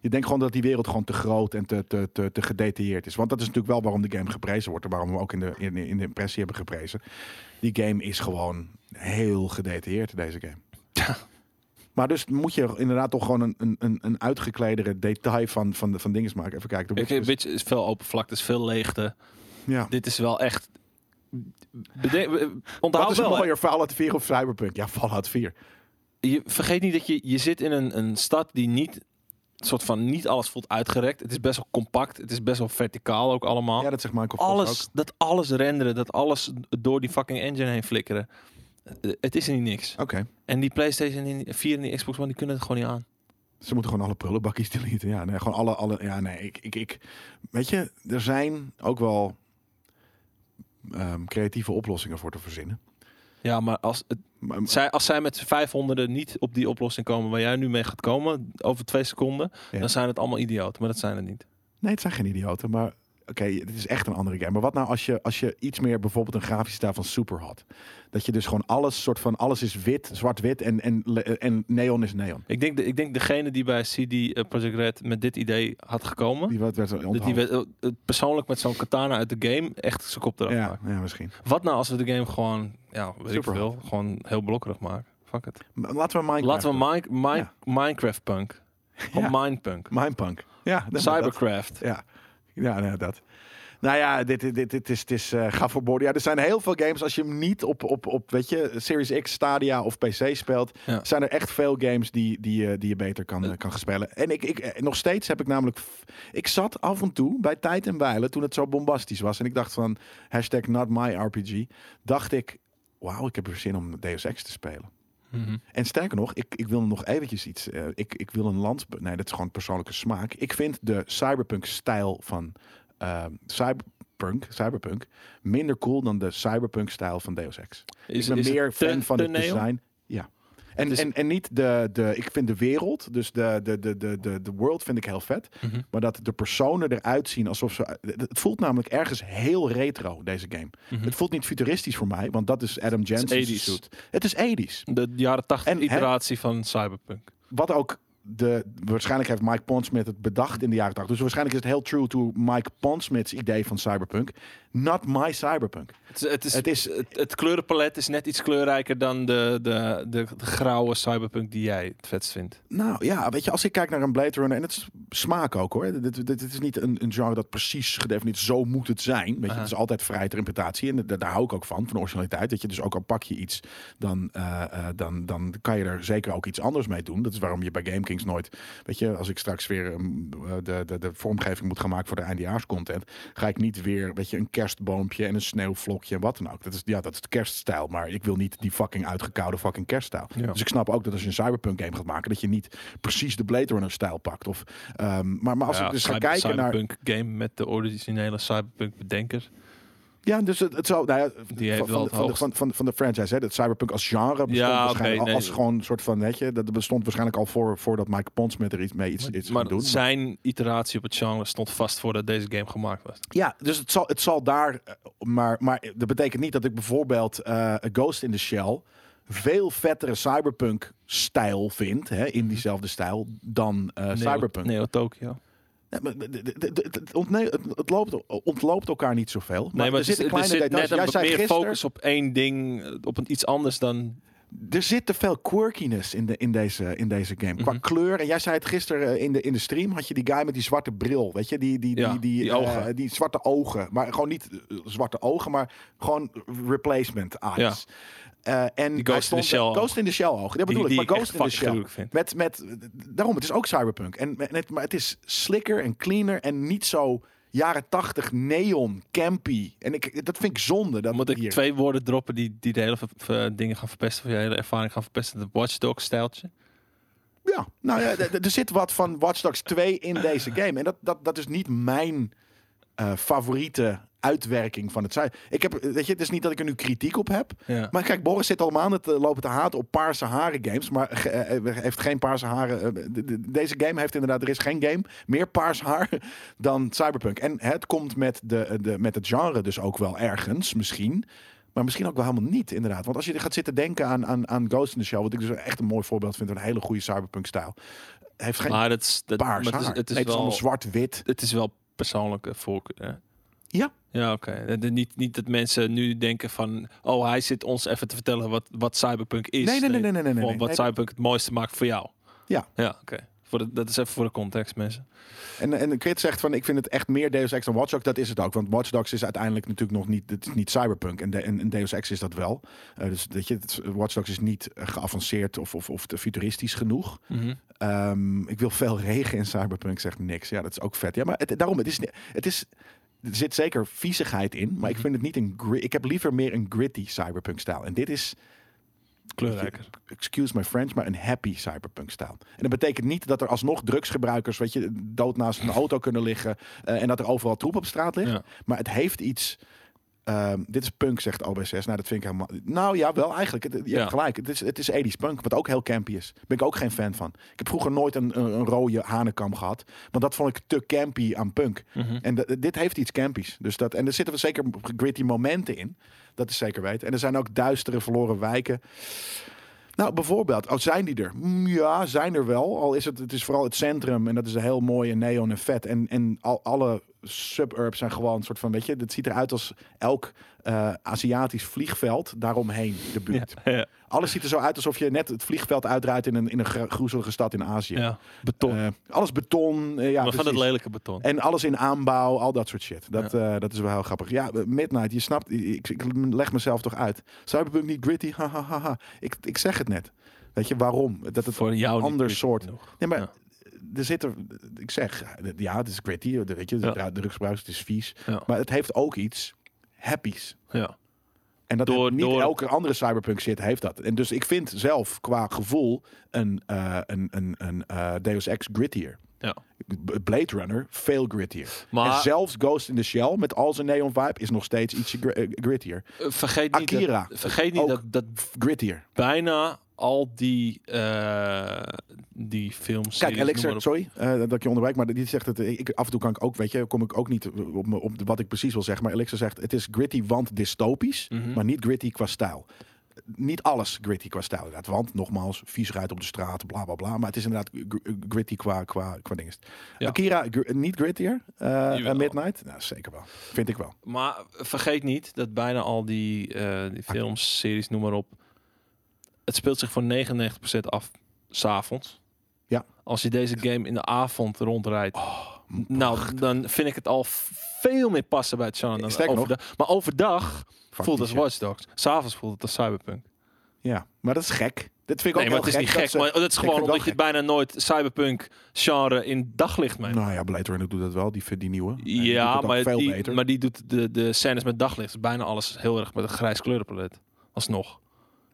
Speaker 1: Je denkt gewoon dat die wereld gewoon te groot en te, te, te, te gedetailleerd is. Want dat is natuurlijk wel waarom de game geprezen wordt. En waarom we ook in de, in, de- in de impressie hebben geprezen. Die game is gewoon heel gedetailleerd, deze game.
Speaker 2: Ja.
Speaker 1: Maar dus moet je inderdaad toch gewoon een, een- een, een uitgekledere detail van, van, van dingen maken. Even kijken.
Speaker 2: Ik,
Speaker 1: Dus-
Speaker 2: Witch is veel open vlakte, is veel leegte.
Speaker 1: ja.
Speaker 2: Dit is wel echt. Bede- we-
Speaker 1: Wat
Speaker 2: Onthoud
Speaker 1: is
Speaker 2: wel, hè.
Speaker 1: mooier, Fallout 4 of Cyberpunk? Ja, Fallout 4.
Speaker 2: je vergeet niet dat je, je zit in een, een stad die niet, soort van niet alles voelt uitgerekt. Het is best wel compact, het is best wel verticaal ook allemaal.
Speaker 1: Ja, dat zegt Michael Fox ook.
Speaker 2: alles, dat alles renderen, dat alles door die fucking engine heen flikkeren. Eh, Het is er niet niks.
Speaker 1: Oké.
Speaker 2: En die PlayStation en die- 4 en die Xbox One, die kunnen het gewoon niet aan.
Speaker 1: Ze moeten gewoon alle prullenbakjes deleten. Ja, nee, gewoon alle, alle. Ja, nee, ik, ik, ik. Weet je, er zijn ook wel ehm, creatieve oplossingen voor te verzinnen.
Speaker 2: Ja, maar als, het,
Speaker 1: Maar,
Speaker 2: zij, als zij met z'n 500 niet op die oplossing komen waar jij nu mee gaat komen, over twee seconden,
Speaker 1: Ja.
Speaker 2: dan zijn het allemaal idioten. Maar dat zijn het niet.
Speaker 1: nee, het zijn geen idioten, maar oké, dit is echt een andere game. Maar wat nou als je, als je iets meer bijvoorbeeld een grafische stijl van Super had? Dat je dus gewoon alles, soort van alles is wit, zwart-wit en, en, le- en neon is neon.
Speaker 2: Ik denk, de, ik denk degene die bij CD Project Red met dit idee had gekomen.
Speaker 1: Die werd, werd onthouden.
Speaker 2: dat die werd, eh, eh, persoonlijk met zo'n katana uit de game echt zijn kop eraf
Speaker 1: ja,
Speaker 2: maakt.
Speaker 1: ja, misschien.
Speaker 2: Wat nou als we de game gewoon, ja, weet ik
Speaker 1: Superhot.
Speaker 2: veel, gewoon heel blokkerig maken? Fuck it.
Speaker 1: Maar Laten we Minecraft.
Speaker 2: Laten we Mine- Mine-
Speaker 1: Ja.
Speaker 2: Minecraft punk. Gewoon Minepunk.
Speaker 1: Mindpunk. Ja, dat- dat-
Speaker 2: Cybercraft.
Speaker 1: Ja, ja nou, dat. Nou ja, dit, dit, dit, dit is, het is eh, ga voor borden. Ja, er zijn heel veel games. Als je hem niet op, op, op weet je, Series X, Stadia of PC speelt,
Speaker 2: Ja.
Speaker 1: zijn er echt veel games die, die, je- die je beter kan, eh, kan gaan spelen. En ik, ik, eh, nog steeds heb ik namelijk. f- Ik zat af en toe bij Tijd en Weilen toen het zo bombastisch was. En ik dacht van hashtag not my RPG. Dacht ik, wauw, ik heb er zin om Deus Ex te spelen.
Speaker 2: Mhm.
Speaker 1: En sterker nog, ik, ik wil nog eventjes iets. eh, ik, ik wil een land. Nee, dat is gewoon persoonlijke smaak. Ik vind de cyberpunk-stijl van ehm, cyberpunk, cyberpunk minder cool dan de cyberpunk-stijl van Deus Ex.
Speaker 2: Is,
Speaker 1: ik ben
Speaker 2: is
Speaker 1: meer
Speaker 2: het
Speaker 1: fan
Speaker 2: te-
Speaker 1: van
Speaker 2: te
Speaker 1: het
Speaker 2: neo?
Speaker 1: design. Ja. En,
Speaker 2: Het is-
Speaker 1: en, en niet de, de. Ik vind de wereld, dus de, de, de, de, de, de world vind ik heel vet.
Speaker 2: Mhm.
Speaker 1: Maar dat de personen eruit zien alsof ze. Het voelt namelijk ergens heel retro, deze game.
Speaker 2: Mhm.
Speaker 1: Het voelt niet futuristisch voor mij, want dat is Adam Jensen's
Speaker 2: 80s.
Speaker 1: suit. Het is 80s
Speaker 2: De jaren 80
Speaker 1: En, hè?
Speaker 2: iteratie van Cyberpunk.
Speaker 1: wat ook de, waarschijnlijk heeft Mike Pondsmith het bedacht in de jaren 80. Dus waarschijnlijk is het heel true to Mike Pondsmith's idee van cyberpunk. Not my cyberpunk.
Speaker 2: Het, is- het, is,
Speaker 1: Het
Speaker 2: het,
Speaker 1: is-
Speaker 2: het, kleurenpalet is net iets kleurrijker dan de, de, de, de grauwe Cyberpunk die jij het vetst vindt.
Speaker 1: Nou ja, weet je, als ik kijk naar een Blade Runner, en het is smaak ook hoor. Dit, dit, dit is niet een, een genre dat precies gedefinieerd is, zo moet het zijn. Weet je,
Speaker 2: Aha.
Speaker 1: het is altijd vrijheid interpretatie en da- daar hou ik ook van, van originaliteit. Dat je dus ook al pak je iets, dan, eh, eh, dan, dan kan je er zeker ook iets anders mee doen. Dat is waarom je bij Game Kings nooit, weet je, als ik straks weer mm, eh, de, de, de vormgeving moet gaan maken voor de eindejaarscontent, ga ik niet weer, weet je, een kerstboompje en een sneeuwvlokje en wat dan ook. Dat is, ja, dat is de kerststijl, maar ik wil niet die fucking uitgekoude fucking kerststijl.
Speaker 2: Ja.
Speaker 1: Dus ik snap ook dat als je een cyberpunk game gaat maken, dat je niet precies de Blade Runner stijl pakt. Of, ehm, maar, maar als
Speaker 2: Ja,
Speaker 1: ik dus ga
Speaker 2: cyber-
Speaker 1: kijken naar...
Speaker 2: cyberpunk game met de originele cyberpunk bedenker.
Speaker 1: Ja, dus het, het zou. Nou ja,
Speaker 2: Die heeft
Speaker 1: van,
Speaker 2: wel
Speaker 1: van,
Speaker 2: het
Speaker 1: de- van, de-
Speaker 2: hoogst.
Speaker 1: van, van, van de franchise, hè, dat cyberpunk als genre bestond
Speaker 2: Ja,
Speaker 1: waarschijnlijk
Speaker 2: oké,
Speaker 1: al- als
Speaker 2: nee.
Speaker 1: gewoon een soort van, weet je, dat bestond waarschijnlijk al voor voordat Mike Pondsmith er iets mee iets, iets
Speaker 2: maar
Speaker 1: ging doen.
Speaker 2: zijn iteratie op het genre stond vast voordat deze game gemaakt was.
Speaker 1: Ja, dus het zal, het zal daar. eh, Maar, maar dat betekent niet dat ik bijvoorbeeld eh, A Ghost in the Shell veel vettere cyberpunk-stijl vind, hè,
Speaker 2: Mhm.
Speaker 1: in diezelfde stijl, dan eh, cyberpunk.
Speaker 2: Neo Tokyo.
Speaker 1: Nee, maar de- de- de- de- het ontne- het- het loopt- ontloopt elkaar niet zoveel. Maar,
Speaker 2: nee, maar
Speaker 1: er zitten kleine
Speaker 2: er zit
Speaker 1: details.
Speaker 2: net
Speaker 1: Jij
Speaker 2: een,
Speaker 1: zei
Speaker 2: meer
Speaker 1: gisteren,
Speaker 2: focus op één ding, eh, op een, iets anders dan...
Speaker 1: er zit te veel quirkiness in, de, in, deze, in deze game. Qua
Speaker 2: Mhm.
Speaker 1: kleur. En jij zei het gisteren eh, in de, in de stream. Had je die guy met die zwarte bril. Weet je, die, die,
Speaker 2: Ja,
Speaker 1: die,
Speaker 2: die
Speaker 1: eh,
Speaker 2: ogen.
Speaker 1: die zwarte ogen. Maar gewoon niet eh, zwarte ogen, maar gewoon replacement eyes. Eh, en
Speaker 2: Die
Speaker 1: hij
Speaker 2: Ghost in the
Speaker 1: stond-
Speaker 2: Shell ogen.
Speaker 1: Ghost in the Shell ogen. Dat
Speaker 2: Die,
Speaker 1: bedoel
Speaker 2: die
Speaker 1: ik. Maar Ghost in
Speaker 2: ik
Speaker 1: the
Speaker 2: echt
Speaker 1: Shell.
Speaker 2: gruwelijk vind.
Speaker 1: Met, met, daarom, het is ook cyberpunk. En, en het, maar het is slicker en cleaner en niet zo jaren tachtig neon, campy. En ik, dat vind ik zonde. Dat
Speaker 2: Moet ik
Speaker 1: hier-
Speaker 2: twee woorden droppen die, die de hele ver- ver- dingen gaan verpesten, of je hele ervaring gaan verpesten? Het Watch Dogs stijltje.
Speaker 1: Ja, nou ja, d- d- er zit wat van Watch Dogs 2 in deze game. En dat, dat, dat is niet mijn eh, favoriete uitwerking van het cijfer. Ik heb, eh, weet je, het is niet dat ik er nu kritiek op heb.
Speaker 2: Ja.
Speaker 1: Maar kijk, Boris zit al maanden te lopen te haten op paarse haren games. Maar ge- eh, eh, heeft geen paarse haren. eh, de- de- deze game heeft inderdaad, er is geen game meer paars haar dan Cyberpunk. En het komt met, de, de, met het genre dus ook wel ergens, misschien. Maar misschien ook wel helemaal niet, inderdaad. Want als je gaat zitten denken aan, aan, aan Ghost in the Shell, wat ik dus echt een mooi voorbeeld vind, van een hele goede cyberpunk-stijl. Heeft geen
Speaker 2: Maar dat is, dat, maar
Speaker 1: paars
Speaker 2: het is,
Speaker 1: haar.
Speaker 2: het is
Speaker 1: Nee, het is
Speaker 2: wel,
Speaker 1: allemaal zwart-wit.
Speaker 2: het is wel persoonlijke voorkeur. hè?
Speaker 1: Ja.
Speaker 2: Ja, oké. Eh, de- Niet, niet dat mensen nu denken van... Oh, hij zit ons even te vertellen wat, wat cyberpunk is.
Speaker 1: Nee, nee, nee, nee, nee, nee,
Speaker 2: Gewoon
Speaker 1: nee.
Speaker 2: wat
Speaker 1: Nee,
Speaker 2: cyberpunk het mooiste maakt voor jou.
Speaker 1: Ja.
Speaker 2: Ja, oké. Voor de- Dat is even voor de context, mensen.
Speaker 1: En, en Crit zegt van, ik vind het echt meer Deus Ex dan Watch Dogs. Dat is het ook, want Watch Dogs is uiteindelijk natuurlijk nog niet, het is niet cyberpunk. En, de, en, en Deus Ex is dat wel. Eh, dus weet je, het is- Watch Dogs is niet eh, geavanceerd of, of, of te futuristisch genoeg.
Speaker 2: Mhm.
Speaker 1: Ehm, ik wil veel regen in cyberpunk, zegt niks. Ja, dat is ook vet. Ja, maar het, daarom, het is, het is, er zit zeker viezigheid in, maar ik vind het niet een... gri- Ik heb liever meer een gritty cyberpunk-stijl. En dit is
Speaker 2: Kleurrijker.
Speaker 1: excuse my French, maar een happy cyberpunk staan. En dat betekent niet dat er alsnog drugsgebruikers, weet je, dood naast een auto kunnen liggen eh, en dat er overal troep op straat ligt.
Speaker 2: Ja.
Speaker 1: Maar het heeft iets. ehm, dit is punk, zegt OB6. Nou, dat vind ik helemaal. Nou ja, wel eigenlijk. Het- Je
Speaker 2: Ja.
Speaker 1: hebt gelijk. Het is, het is 80s punk, wat ook heel campy is. Daar ben ik ook geen fan van. Ik heb vroeger nooit een, een, een rode hanenkam gehad. Want dat vond ik te campy aan punk.
Speaker 2: Mhm.
Speaker 1: En dat- dit heeft iets campies. Dus dat, en er zitten we zeker gritty momenten in. Dat is zeker weten. En er zijn ook duistere verloren wijken. Nou, bijvoorbeeld, oh, zijn die er? Mm, Ja, zijn er wel. Al is het, het is vooral het centrum en dat is een heel mooi en neon en vet. En, en al, alle suburbs zijn gewoon een soort van, weet je, dat ziet eruit als elk eh, Aziatisch vliegveld daaromheen de buurt.
Speaker 2: Ja.
Speaker 1: Alles ziet er zo uit alsof je net het vliegveld uitrijdt in een, in een gro- groezelige stad in Azië.
Speaker 2: ja. Beton.
Speaker 1: Eh, alles beton. eh, ja,
Speaker 2: maar van
Speaker 1: precies.
Speaker 2: het lelijke beton.
Speaker 1: En alles in aanbouw, al dat soort shit. Dat, eh, dat is wel heel grappig. Ja, eh, Midnight, je snapt, ik, ik leg mezelf toch uit. Cyberpunk niet gritty, ha, ha, ha, ha. Ik, ik zeg het net. Weet je, waarom? Dat het
Speaker 2: voor jou niet
Speaker 1: ander
Speaker 2: gritty
Speaker 1: soort.
Speaker 2: genoeg.
Speaker 1: Nee, maar
Speaker 2: Ja.
Speaker 1: er zit er, ik zeg, eh, ja, het is gritty, weet je,
Speaker 2: Ja.
Speaker 1: de drugsgebruik, het is vies.
Speaker 2: Ja.
Speaker 1: Maar het heeft ook iets happies.
Speaker 2: Ja.
Speaker 1: En dat
Speaker 2: Door-
Speaker 1: heeft niet
Speaker 2: door-
Speaker 1: elke andere cyberpunk shit heeft dat. En dus ik vind zelf qua gevoel een, eh, een, een, een eh, Deus Ex grittier.
Speaker 2: Ja.
Speaker 1: B- Blade Runner veel grittier.
Speaker 2: Maar-
Speaker 1: en zelfs Ghost in the Shell met al zijn neon vibe is nog steeds ietsje gr- eh, grittier.
Speaker 2: Eh, Vergeet niet,
Speaker 1: Akira.
Speaker 2: Dat, vergeet niet
Speaker 1: Ook.
Speaker 2: dat, dat
Speaker 1: F- Grittier.
Speaker 2: bijna al die, eh die films...
Speaker 1: Kijk, Elixir, sorry eh, dat ik je onderwijk, maar die zegt het. eh, Ik, af en toe kan ik ook, weet je, kom ik ook niet eh, op, me- op wat ik precies wil zeggen. Maar Elixir zegt: het is gritty, want dystopisch,
Speaker 2: Mhm.
Speaker 1: maar niet gritty qua stijl. Niet alles gritty qua stijl, inderdaad. Want nogmaals, vies rijdt op de straat, bla bla bla. Maar het is inderdaad gr- eh, gritty qua, qua, qua dingen.
Speaker 2: Ja.
Speaker 1: Akira, gr- niet grittier? eh,
Speaker 2: Jawel.
Speaker 1: Midnight? Nou, zeker wel. Vind ik wel.
Speaker 2: Maar vergeet niet dat bijna al die, eh,
Speaker 1: Ah.
Speaker 2: die films, series, noem maar op. Het speelt zich voor 99% af s'avonds.
Speaker 1: Ja. Oh,
Speaker 2: Als je deze game in de avond rondrijdt. nou, dan vind ik het al veel meer passen bij het genre. Dan
Speaker 1: Sterker nog-
Speaker 2: overdag. Maar overdag voelt het
Speaker 1: Faktisch,
Speaker 2: als
Speaker 1: ja.
Speaker 2: Watch Dogs. S'avonds voelt het als Cyberpunk.
Speaker 1: Ja, maar dat is gek. Dit vind ik ook
Speaker 2: Nee, maar
Speaker 1: heel
Speaker 2: het is niet gek.
Speaker 1: dat ze-
Speaker 2: maar dat is
Speaker 1: Ik
Speaker 2: gewoon
Speaker 1: vind
Speaker 2: omdat
Speaker 1: het
Speaker 2: je
Speaker 1: wel
Speaker 2: bijna nooit Cyberpunk genre in daglicht mee.
Speaker 1: Nou ja, Blade Runner doet dat wel, die, die nieuwe. En die doet
Speaker 2: ja,
Speaker 1: het ook
Speaker 2: maar
Speaker 1: veel
Speaker 2: die,
Speaker 1: beter.
Speaker 2: maar die doet de, de scènes met daglicht. Bijna alles heel erg met een grijs kleurenpalet. Alsnog.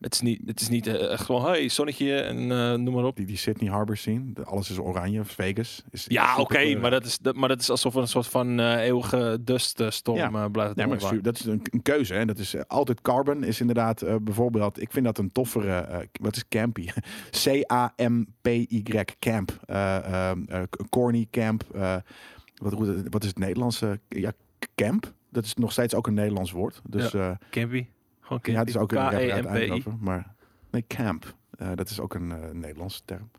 Speaker 2: Het is niet, het is niet eh, echt gewoon, hey, zonnetje en eh, noem maar op.
Speaker 1: Die, die Sydney Harbor scene, de- alles is oranje, Vegas. Is,
Speaker 2: Ja,
Speaker 1: is
Speaker 2: oké,
Speaker 1: superkleurig.
Speaker 2: maar, dat is, dat, maar dat is alsof er een soort van eh, eeuwige duststorm
Speaker 1: Ja.
Speaker 2: eh, blijft.
Speaker 1: Ja, maar dat is
Speaker 2: hangen.
Speaker 1: natuurlijk- dat is een, een keuze. Hè. Dat is eh, altijd Carbon is inderdaad eh, bijvoorbeeld. Ik vind dat een toffere. eh, wat is Campy? C-A-M-P-Y Camp. Eh, ehm, eh, corny Camp. eh, wat, hoe dat- wat is het Nederlandse? Ja, camp. Dat is nog steeds ook een Nederlands woord. Dus eh,
Speaker 2: Campy. Gewoon
Speaker 1: ja, het is ook een rapper uit
Speaker 2: K-E-M-P-I.
Speaker 1: Eindhoven, Maar nee, camp. Eh, dat is ook een eh Nederlandse term.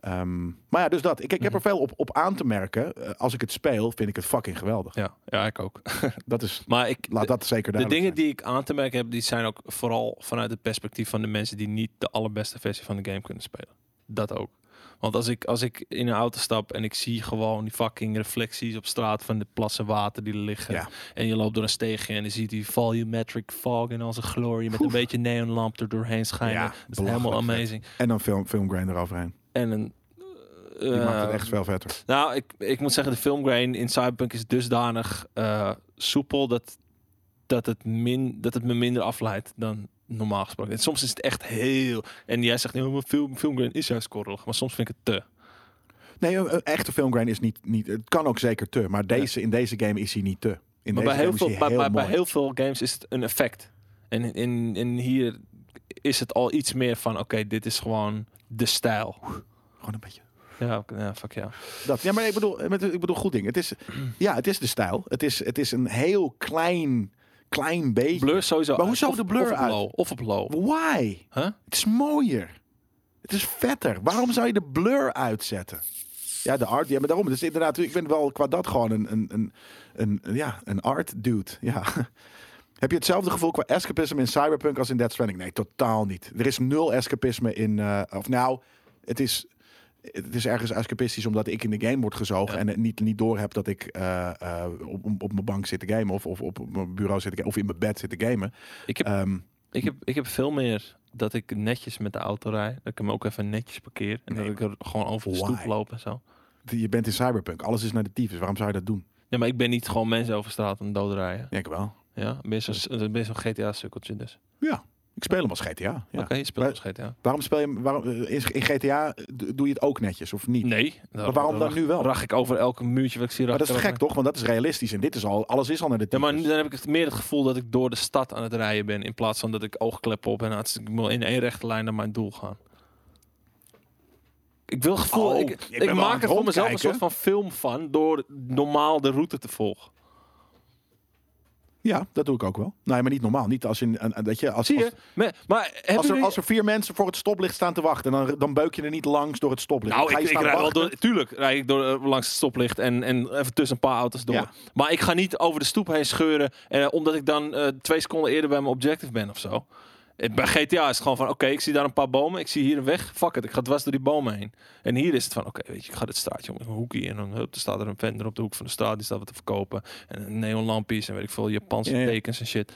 Speaker 1: Ehm, maar ja, dus dat. Ik, ik
Speaker 2: Mhm.
Speaker 1: heb er veel op, op aan te merken. Eh, als ik het speel, vind ik het fucking geweldig.
Speaker 2: Ja, ja, ik ook.
Speaker 1: Dat is,
Speaker 2: Maar ik,
Speaker 1: laat dat zeker
Speaker 2: de
Speaker 1: duidelijk
Speaker 2: dingen
Speaker 1: zijn.
Speaker 2: die ik aan te merken heb, die zijn ook vooral vanuit het perspectief van de mensen die niet de allerbeste versie van de game kunnen spelen. Dat ook. Want als ik, als ik in een auto stap en ik zie gewoon die fucking reflecties op straat van de plassen water die er liggen.
Speaker 1: Ja.
Speaker 2: En je loopt door een steegje en je ziet die volumetric fog in al zijn glorie met
Speaker 1: Oef.
Speaker 2: een beetje neonlamp er doorheen schijnen.
Speaker 1: Ja,
Speaker 2: dat is helemaal
Speaker 1: belachelijk vet.
Speaker 2: amazing.
Speaker 1: En dan film, filmgrain eroverheen.
Speaker 2: En een...
Speaker 1: Die maakt het
Speaker 2: eh,
Speaker 1: echt veel vetter.
Speaker 2: Nou, ik, ik moet zeggen, de filmgrain in Cyberpunk is dusdanig eh, soepel dat, dat, het min, dat het me minder afleidt dan normaal gesproken. En soms is het echt heel... En jij zegt, "Ja, maar film, filmgrain is juist korrelig, maar soms vind ik het te.
Speaker 1: Nee, een, een echte filmgrain is niet, niet... Het kan ook zeker te, maar deze, in deze game is hij niet te. In
Speaker 2: maar
Speaker 1: deze
Speaker 2: bij heel,
Speaker 1: game
Speaker 2: veel,
Speaker 1: is hij
Speaker 2: bij, bij, bij
Speaker 1: mooi.
Speaker 2: heel veel games is het een effect. En in, in hier is het al iets meer van, oké, dit is gewoon de stijl.
Speaker 1: Gewoon een beetje...
Speaker 2: Ja, oké, ja, fuck ja.
Speaker 1: Dat. Ja, maar ik bedoel, met- ik bedoel goed ding. Het is, ja, het is de stijl. Het is, het is een heel klein, klein beetje...
Speaker 2: Blur sowieso
Speaker 1: Maar hoezo
Speaker 2: uit.
Speaker 1: de blur
Speaker 2: of op
Speaker 1: uit?
Speaker 2: Low, of op low.
Speaker 1: Why?
Speaker 2: Huh?
Speaker 1: Het is mooier. Het is vetter. Waarom zou je de blur uitzetten? Ja, de art. Ja, maar daarom. Dus inderdaad, ik ben wel qua dat gewoon een, een, een, een, ja, een art dude. Ja. Heb je hetzelfde gevoel qua escapisme in Cyberpunk als in Dead Stranding? Nee, totaal niet. Er is nul escapisme in. eh, of nou, het is, het is ergens escapistisch omdat ik in de game word gezogen en het niet, niet door heb dat ik eh, eh, op, op, op mijn bank zit te gamen of, of op mijn bureau zit te ga- of in mijn bed zit te gamen.
Speaker 2: Ik heb
Speaker 1: Ehm,
Speaker 2: Ik heb, ik heb veel meer dat ik netjes met de auto rijd. Dat ik hem ook even netjes parkeer. En
Speaker 1: Nee,
Speaker 2: dat ik er gewoon over de
Speaker 1: why?
Speaker 2: stoep loop en zo.
Speaker 1: je bent in Cyberpunk. Alles is naar de tyfus. Waarom zou je dat doen?
Speaker 2: Ja, maar ik ben niet gewoon mensen over straat aan dood rijden.
Speaker 1: Ja, ik wel.
Speaker 2: Ja, ben je zo'n- dan ben je zo'n GTA-sukkeltje dus.
Speaker 1: Ja, ik speel hem als GTA. Ja.
Speaker 2: Oké, je speelt
Speaker 1: Maar-
Speaker 2: als GTA.
Speaker 1: Waarom speel je hem? Waarom, eh, in, in GTA eh, d- doe je het ook netjes of niet?
Speaker 2: Nee.
Speaker 1: Maar waarom dan nu wel?
Speaker 2: Rag ik over elke muurtje wat ik zie.
Speaker 1: Maar
Speaker 2: rag
Speaker 1: dat is
Speaker 2: ik
Speaker 1: gek
Speaker 2: erover.
Speaker 1: toch? Want dat is realistisch en dit is al alles is al naar de
Speaker 2: Ja,
Speaker 1: tyfus.
Speaker 2: maar nu- dan heb ik het meer het gevoel dat ik door de stad aan het rijden ben. In plaats van dat ik oogkleppen op en hartstikke- ik wil in één rechte lijn naar mijn doel gaan. Ik wil gevoel.
Speaker 1: Oh,
Speaker 2: ik
Speaker 1: ik ben
Speaker 2: ik
Speaker 1: wel aan
Speaker 2: maak
Speaker 1: het
Speaker 2: er voor mezelf een
Speaker 1: rondkijken.
Speaker 2: soort van film van door normaal de route te volgen.
Speaker 1: Ja, dat doe ik ook wel. Nee, maar niet normaal. Niet als in eh, dat je als
Speaker 2: Zie je?
Speaker 1: als-
Speaker 2: Maar, maar hebben
Speaker 1: Als, er,
Speaker 2: jullie-
Speaker 1: als er vier mensen voor het stoplicht staan te wachten, dan, dan beuk je er niet langs door het stoplicht.
Speaker 2: Nou,
Speaker 1: Ga
Speaker 2: ik,
Speaker 1: je
Speaker 2: ik
Speaker 1: staan
Speaker 2: rijd wel
Speaker 1: wachten?
Speaker 2: door, tuurlijk rijd ik door, eh, langs het stoplicht en, en even tussen een paar auto's door.
Speaker 1: Ja.
Speaker 2: Maar ik ga niet over de stoep heen scheuren, eh, omdat ik dan eh, twee seconden eerder bij mijn objective ben of zo. Eh, Bij GTA is het gewoon van, oké, ik zie daar een paar bomen, ik zie hier een weg, fuck it, ik ga dwars door die bomen heen. En hier is het van, oké, weet je, ik ga dit straatje om een hoekje in en dan hup, er staat er een vender op de hoek van de straat, die staat wat te verkopen. En neonlampjes en weet ik veel, Japanse
Speaker 1: Ja, ja.
Speaker 2: tekens en shit.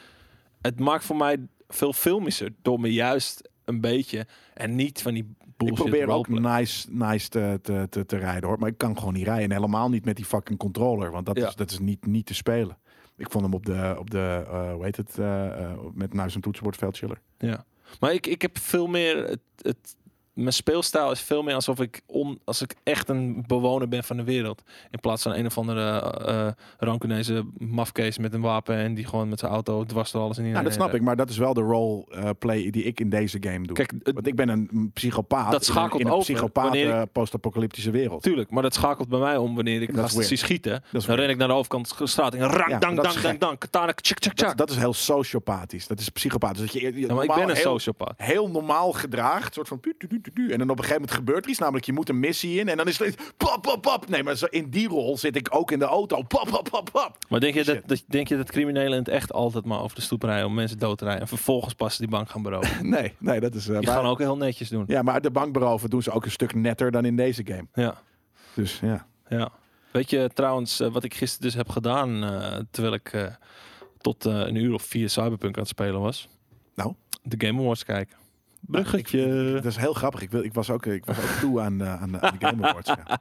Speaker 2: Het maakt voor mij veel filmischer door me juist een beetje en niet van die
Speaker 1: Ik
Speaker 2: bullshit
Speaker 1: probeer ook
Speaker 2: roleplay.
Speaker 1: nice, nice te, te, te, te rijden hoor. Maar ik kan gewoon niet rijden. En helemaal niet met die fucking controller. Want dat
Speaker 2: Ja.
Speaker 1: is, dat is niet, niet te spelen. Ik vond hem op de, op de eh, hoe heet het, eh, eh, met muis en toetsenbord veel chiller.
Speaker 2: Ja, maar ik, ik heb veel meer. Het, het, mijn speelstijl is veel meer alsof ik, on, als ik echt een bewoner ben van de wereld. In plaats van een of andere eh eh, rancunese mafkees met een wapen en die gewoon met zijn auto dwars door alles in.
Speaker 1: Ja, Nou, dat snap ik. Maar dat is wel de role eh, play die ik in deze game doe.
Speaker 2: Kijk, het-
Speaker 1: Want ik ben een psychopaat
Speaker 2: Dat
Speaker 1: in een,
Speaker 2: schakelt
Speaker 1: in een
Speaker 2: over
Speaker 1: psychopaat
Speaker 2: wanneer ik-
Speaker 1: eh, post-apocalyptische wereld.
Speaker 2: tuurlijk, maar dat schakelt bij mij om wanneer ik
Speaker 1: Dat is
Speaker 2: gasten zie
Speaker 1: weird.
Speaker 2: schieten.
Speaker 1: Dat is
Speaker 2: Dan
Speaker 1: weird.
Speaker 2: ren ik naar de overkant van de straat en rang,
Speaker 1: Ja,
Speaker 2: dang,
Speaker 1: dat is
Speaker 2: dang, dang,
Speaker 1: gek.
Speaker 2: dang, katana, tjik, tjik, tjak.
Speaker 1: Dat, dat is heel sociopathisch. Dat is psychopaat. Dus dat je, je
Speaker 2: Ja, maar ik
Speaker 1: normaal
Speaker 2: ben een
Speaker 1: heel-
Speaker 2: sociopaat.
Speaker 1: heel normaal gedraagt. Soort van. tu, tu, tu, tu, tu. En dan op een gegeven moment gebeurt er iets. Namelijk, je moet een missie in. En dan is het. Pap, pap, pap. Nee, maar zo in die rol zit ik ook in de auto. Pap, pap, pap, pap.
Speaker 2: Maar denk je, dat,
Speaker 1: Shit.
Speaker 2: dat, denk je dat criminelen in het echt altijd maar over de stoep rijden om mensen dood te rijden en vervolgens pas die bank gaan beroven?
Speaker 1: Nee, nee, dat is. eh,
Speaker 2: Die
Speaker 1: maar-
Speaker 2: gaan ook heel netjes doen.
Speaker 1: Ja, maar de bankberoven doen ze ook een stuk netter dan in deze game.
Speaker 2: ja.
Speaker 1: Dus ja.
Speaker 2: Ja. Weet je trouwens eh, wat ik gisteren dus heb gedaan eh, terwijl ik eh, tot eh, een uur of vier Cyberpunk aan het spelen was?
Speaker 1: Nou?
Speaker 2: De Game Awards kijken. Bruggetje.
Speaker 1: eh, Dat is heel grappig. Ik, wil, ik, was, ook, ik was ook toe aan, eh, aan, de- aan de Game Awards. ja.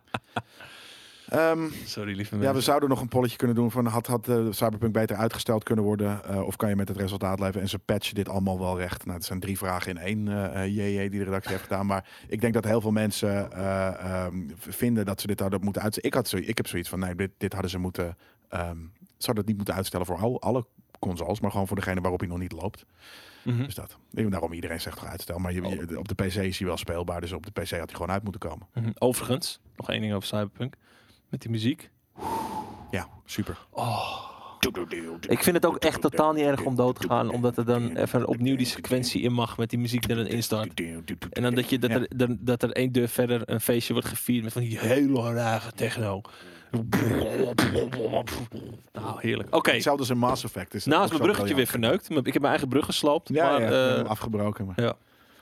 Speaker 1: Ehm,
Speaker 2: Sorry, lieve
Speaker 1: ja, we
Speaker 2: mensen.
Speaker 1: zouden nog een polletje kunnen doen van had, had eh, Cyberpunk beter uitgesteld kunnen worden eh, of kan je met het resultaat leven en ze patchen dit allemaal wel recht. Nou, het zijn drie vragen in één eh eh, JJ die de redactie heeft gedaan, maar ik denk dat heel veel mensen eh, ehm, v- vinden dat ze dit hadden moeten uitstellen. Ik, had zo, ik heb zoiets van, nee, dit, dit hadden ze moeten, ehm ze hadden het niet moeten uitstellen voor al, alle consoles, maar gewoon voor degene waarop hij nog niet loopt.
Speaker 2: Mhm.
Speaker 1: Dus dat. Ik- Daarom iedereen zegt toch uitstel, maar je, je- op de PC is hij wel speelbaar, dus op de PC had hij gewoon uit moeten komen.
Speaker 2: Mhm. Overigens, nog één ding over Cyberpunk. Met die muziek.
Speaker 1: Ja, super.
Speaker 2: Oh, Ik vind het ook echt totaal niet erg om dood te gaan. Omdat er dan even opnieuw die sequentie in mag met die muziek er dan instart. En dan dat, je, dat,
Speaker 1: Ja.
Speaker 2: er, dan- dat er één deur verder een feestje wordt gevierd met van die hele rare techno. Nou, heerlijk. Oké,
Speaker 1: Hetzelfde als in Mass Effect. Is
Speaker 2: nou is
Speaker 1: ook
Speaker 2: mijn
Speaker 1: zo
Speaker 2: bruggetje weer
Speaker 1: briljant.
Speaker 2: verneukt. maar Ik heb mijn eigen brug gesloopt.
Speaker 1: Ja,
Speaker 2: maar,
Speaker 1: ja, ik
Speaker 2: eh,
Speaker 1: heb hem afgebroken. Maar.
Speaker 2: ja.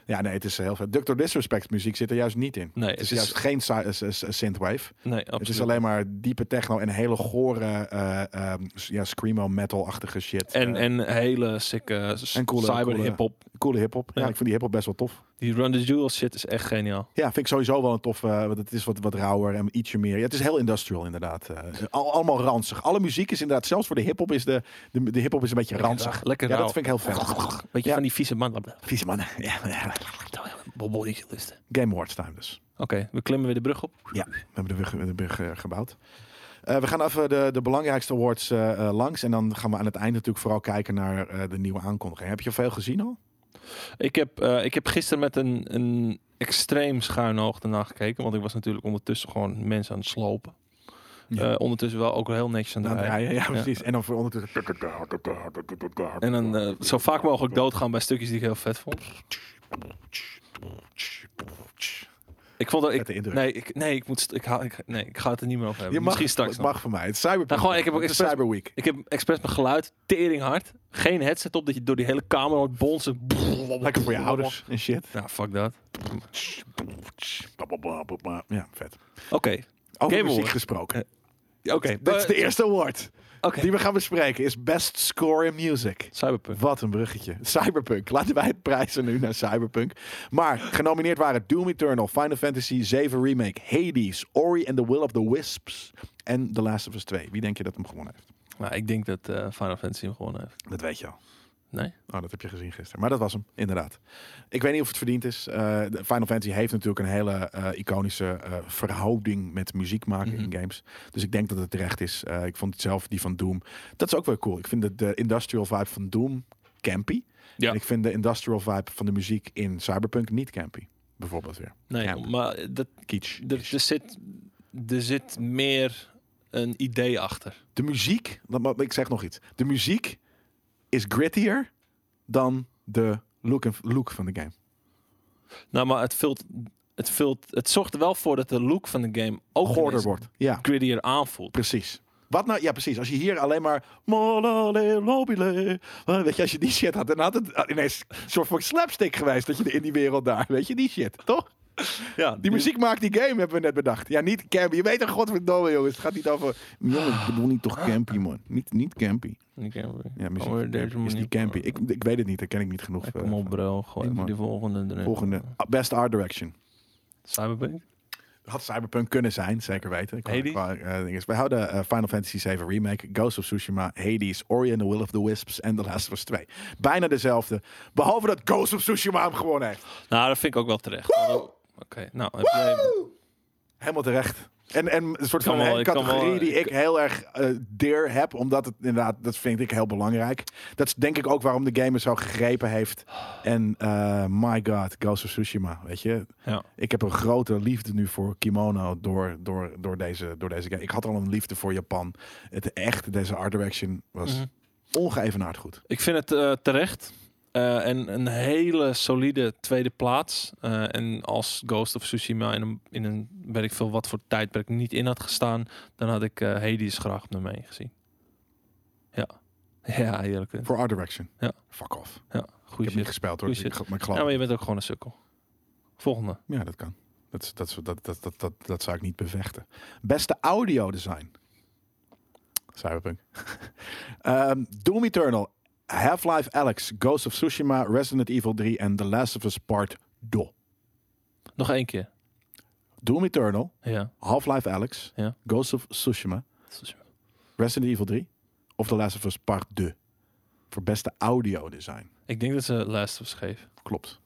Speaker 1: Ja, nee, het is eh, heel vet. Dr. Disrespect muziek zit er juist niet in.
Speaker 2: Nee,
Speaker 1: het is
Speaker 2: het is-
Speaker 1: juist geen sy- eh, eh, synthwave.
Speaker 2: nee,
Speaker 1: Het is
Speaker 2: absoluut.
Speaker 1: alleen maar diepe techno en hele gore eh, ehm, s- ja, screamo metal-achtige shit.
Speaker 2: En,
Speaker 1: Eh,
Speaker 2: en hele sikke
Speaker 1: En coole-
Speaker 2: cyber
Speaker 1: coole-
Speaker 2: hip-hop.
Speaker 1: coole hip-hop. Ja,
Speaker 2: Ja.
Speaker 1: ik vind die hip-hop best wel tof.
Speaker 2: Die Run the Jewels shit is echt geniaal.
Speaker 1: Ja, vind ik sowieso wel een tof. eh, want het is wat, wat rauwer en ietsje meer. Ja, het is heel industrial inderdaad. eh. al, allemaal ranzig. Alle muziek is inderdaad, zelfs voor de hip-hop is de, de, de hip-hop is een beetje ranzig.
Speaker 2: Lekker
Speaker 1: Ja,
Speaker 2: rauw.
Speaker 1: dat vind ik heel vet.
Speaker 2: Beetje
Speaker 1: Ja.
Speaker 2: van die vieze man.
Speaker 1: Vieze man. Ja, ja.
Speaker 2: Bodylisten.
Speaker 1: Game Awards time dus.
Speaker 2: Oké, we klimmen weer de brug op.
Speaker 1: Ja, we hebben de brug, de brug eh, gebouwd. Eh, we gaan even de, de belangrijkste awards eh, eh, langs. En dan gaan we aan het eind natuurlijk vooral kijken naar eh, de nieuwe aankondiging. Heb je veel gezien al?
Speaker 2: Ik heb, eh, ik heb gisteren met een, een extreem schuine hoogte naar gekeken. Want ik was natuurlijk ondertussen gewoon mensen aan het slopen.
Speaker 1: Ja.
Speaker 2: Eh, ondertussen wel ook heel netjes aan het
Speaker 1: Nou, ja,
Speaker 2: rijden.
Speaker 1: ja, ja, precies. En dan voor ondertussen.
Speaker 2: En dan eh, zo vaak mogelijk doodgaan bij stukjes die ik heel vet vond. Ik vond dat ik...
Speaker 1: Vette indruk.
Speaker 2: Nee, ik, nee, ik, moet, st- ik, haal, ik, nee, ik ga het er niet meer over hebben.
Speaker 1: Je mag,
Speaker 2: Misschien straks
Speaker 1: het
Speaker 2: nog.
Speaker 1: mag van mij. Het is Cyber.
Speaker 2: Nou, gewoon, ik heb ook
Speaker 1: het is
Speaker 2: expres-
Speaker 1: Cyber Week.
Speaker 2: Ik heb expres mijn geluid tering hard. Geen headset op, dat je door die hele kamer hoort bonzen.
Speaker 1: Lekker voor je ouders en shit.
Speaker 2: Nou, fuck dat.
Speaker 1: Ja, vet.
Speaker 2: Oké.
Speaker 1: Over
Speaker 2: Game
Speaker 1: muziek
Speaker 2: Award.
Speaker 1: gesproken.
Speaker 2: Ja, Oké.
Speaker 1: Dit is de
Speaker 2: Eh,
Speaker 1: eerste award
Speaker 2: Oké.
Speaker 1: die we gaan bespreken. Is Best Score in Music.
Speaker 2: Cyberpunk.
Speaker 1: Wat een bruggetje. Cyberpunk. Laten wij het prijzen nu naar Cyberpunk. Maar genomineerd waren Doom Eternal, Final Fantasy VII Remake, Hades, Ori and the Will of the Wisps en The Last of Us 2. Wie denk je dat hem gewonnen heeft?
Speaker 2: Nou, ik denk dat eh, Final Fantasy hem gewonnen heeft.
Speaker 1: Dat weet je al.
Speaker 2: Nee?
Speaker 1: Oh, dat heb je gezien gisteren. Maar dat was hem, inderdaad. Ik weet niet of het verdiend is. Eh, de Final Fantasy heeft natuurlijk een hele eh, iconische eh, verhouding met muziek maken
Speaker 2: Mhm.
Speaker 1: in games. Dus ik denk dat het terecht is. Eh, ik vond het zelf die van Doom. Dat is ook wel cool. Ik vind de, de industrial vibe van Doom campy.
Speaker 2: Ja.
Speaker 1: En ik vind de industrial vibe van de muziek in Cyberpunk niet campy. Bijvoorbeeld weer.
Speaker 2: Nee,
Speaker 1: Ja.
Speaker 2: maar dat,
Speaker 1: Kitsch.
Speaker 2: er, er zit, er zit meer een idee achter.
Speaker 1: De muziek, dat ma- ik zeg nog iets. De muziek is grittier dan de look, en, look van de game.
Speaker 2: Nou, maar het vult... Het, vult, het zorgt er wel voor dat de look van de game ook
Speaker 1: Gorder
Speaker 2: ineens
Speaker 1: wordt. Ja.
Speaker 2: grittier aanvoelt.
Speaker 1: Precies. Wat nou? Ja, precies. Als je hier alleen maar. Molale, lobile, eh, Weet je, als je die shit had, dan had het eh, ineens een soort van slapstick geweest. Dat je in die wereld daar. Weet je, die shit, toch?
Speaker 2: Ja,
Speaker 1: Die muziek maakt die game, hebben we net bedacht. Ja, niet campy. Je weet toch, godverdomme, jongens. Het gaat niet over. Jongens, ik bedoel niet toch campy, man. Niet, niet campy. Ja, muziek is niet campy. Ik, ik weet het niet, daar ken ik niet genoeg. eh,
Speaker 2: Oh, Kom op
Speaker 1: van.
Speaker 2: bro, gooi
Speaker 1: Ik
Speaker 2: even
Speaker 1: mag-
Speaker 2: die volgende erin.
Speaker 1: Volgende. Ah, Best Art Direction.
Speaker 2: Cyberpunk?
Speaker 1: Had Cyberpunk kunnen zijn, zeker weten. Ik
Speaker 2: Hades?
Speaker 1: qua, eh, ding is. We houden eh, Final Fantasy VII Remake, Ghost of Tsushima, Hades, Ori and the Will of the Wisps en The Last of Us 2. Bijna dezelfde. Behalve dat Ghost of Tsushima hem gewonnen heeft.
Speaker 2: Nou, dat vind ik ook wel terecht. Oké, nou, heb jij...
Speaker 1: Helemaal terecht. En, en een soort van
Speaker 2: Kan wel,
Speaker 1: een
Speaker 2: ik kan
Speaker 1: categorie
Speaker 2: wel,
Speaker 1: die
Speaker 2: ik-
Speaker 1: ik heel erg eh dear heb. Omdat het inderdaad, dat vind ik heel belangrijk. Dat is denk ik ook waarom de game het zo gegrepen heeft. En eh, my god, Ghost of Tsushima, weet je.
Speaker 2: ja.
Speaker 1: Ik heb een grote liefde nu voor kimono door, door, door, deze, door deze game. Ik had al een liefde voor Japan. Het echt, deze art direction was
Speaker 2: Mhm.
Speaker 1: ongeëvenaard goed.
Speaker 2: Ik vind het eh, terecht. Eh, en een hele solide tweede plaats. Eh, en als Ghost of Tsushima in een, in een weet ik veel wat voor tijdperk niet in had gestaan, dan had ik eh Hades graag op nummer 1 gezien. Ja. Ja, heerlijk.
Speaker 1: Voor art direction.
Speaker 2: Ja.
Speaker 1: Fuck off. Ik
Speaker 2: Ja,
Speaker 1: heb
Speaker 2: goed
Speaker 1: niet
Speaker 2: shit.
Speaker 1: gespeeld hoor,
Speaker 2: Goeie
Speaker 1: dus ik,
Speaker 2: shit.
Speaker 1: ge- maar ik geloof
Speaker 2: Ja, maar
Speaker 1: het.
Speaker 2: je bent ook gewoon een sukkel. Volgende.
Speaker 1: Ja, dat kan. Dat, is- dat, is- dat, dat, dat, dat, dat zou ik niet bevechten. Beste audio design. Cyberpunk. Ehm, Doom Eternal, Half-Life Alex, Ghost of Tsushima, Resident Evil 3 en The Last of Us Part Do.
Speaker 2: Nog één keer.
Speaker 1: Doom Eternal,
Speaker 2: Ja.
Speaker 1: Half-Life Alyx,
Speaker 2: Ja.
Speaker 1: Ghost of Tsushima, Resident Evil 3 of The Last of Us Part 2. Voor beste audio design.
Speaker 2: Ik denk dat ze Last of Us geven.
Speaker 1: Klopt.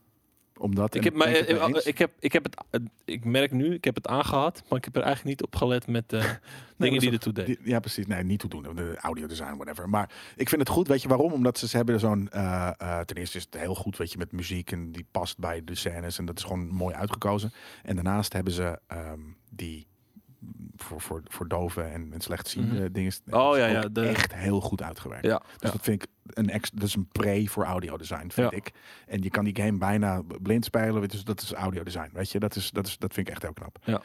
Speaker 1: Omdat
Speaker 2: Ik
Speaker 1: en
Speaker 2: heb, maar,
Speaker 1: ben het
Speaker 2: eh,
Speaker 1: mee
Speaker 2: eh,
Speaker 1: eens.
Speaker 2: ik, heb, ik heb het, eh, ik merk nu, ik heb het aangehad, maar ik heb er eigenlijk niet op gelet met eh, dingen
Speaker 1: dat
Speaker 2: die
Speaker 1: is
Speaker 2: ertoe deden.
Speaker 1: Die- Ja, precies. Nee, niet toedoen. De audio design, whatever. Maar ik vind het goed. Weet je waarom? Omdat ze, ze hebben zo'n. eh, eh, ten eerste is het heel goed, weet je, met muziek en die past bij de scènes en dat is gewoon mooi uitgekozen. En daarnaast hebben ze ehm, die voor, voor, voor doven en, en slechtziende
Speaker 2: Mhm.
Speaker 1: dingen.
Speaker 2: Oh,
Speaker 1: dat is
Speaker 2: ja, ja,
Speaker 1: ook
Speaker 2: de-
Speaker 1: Echt heel goed uitgewerkt.
Speaker 2: Ja,
Speaker 1: Dus
Speaker 2: ja.
Speaker 1: dat vind ik een ex, dat is een pre voor audio design, vind
Speaker 2: Ja.
Speaker 1: ik. En je kan die game bijna blind spelen. weet je, Dus dat is audio design. Weet je, dat is, dat is dat vind ik echt heel knap.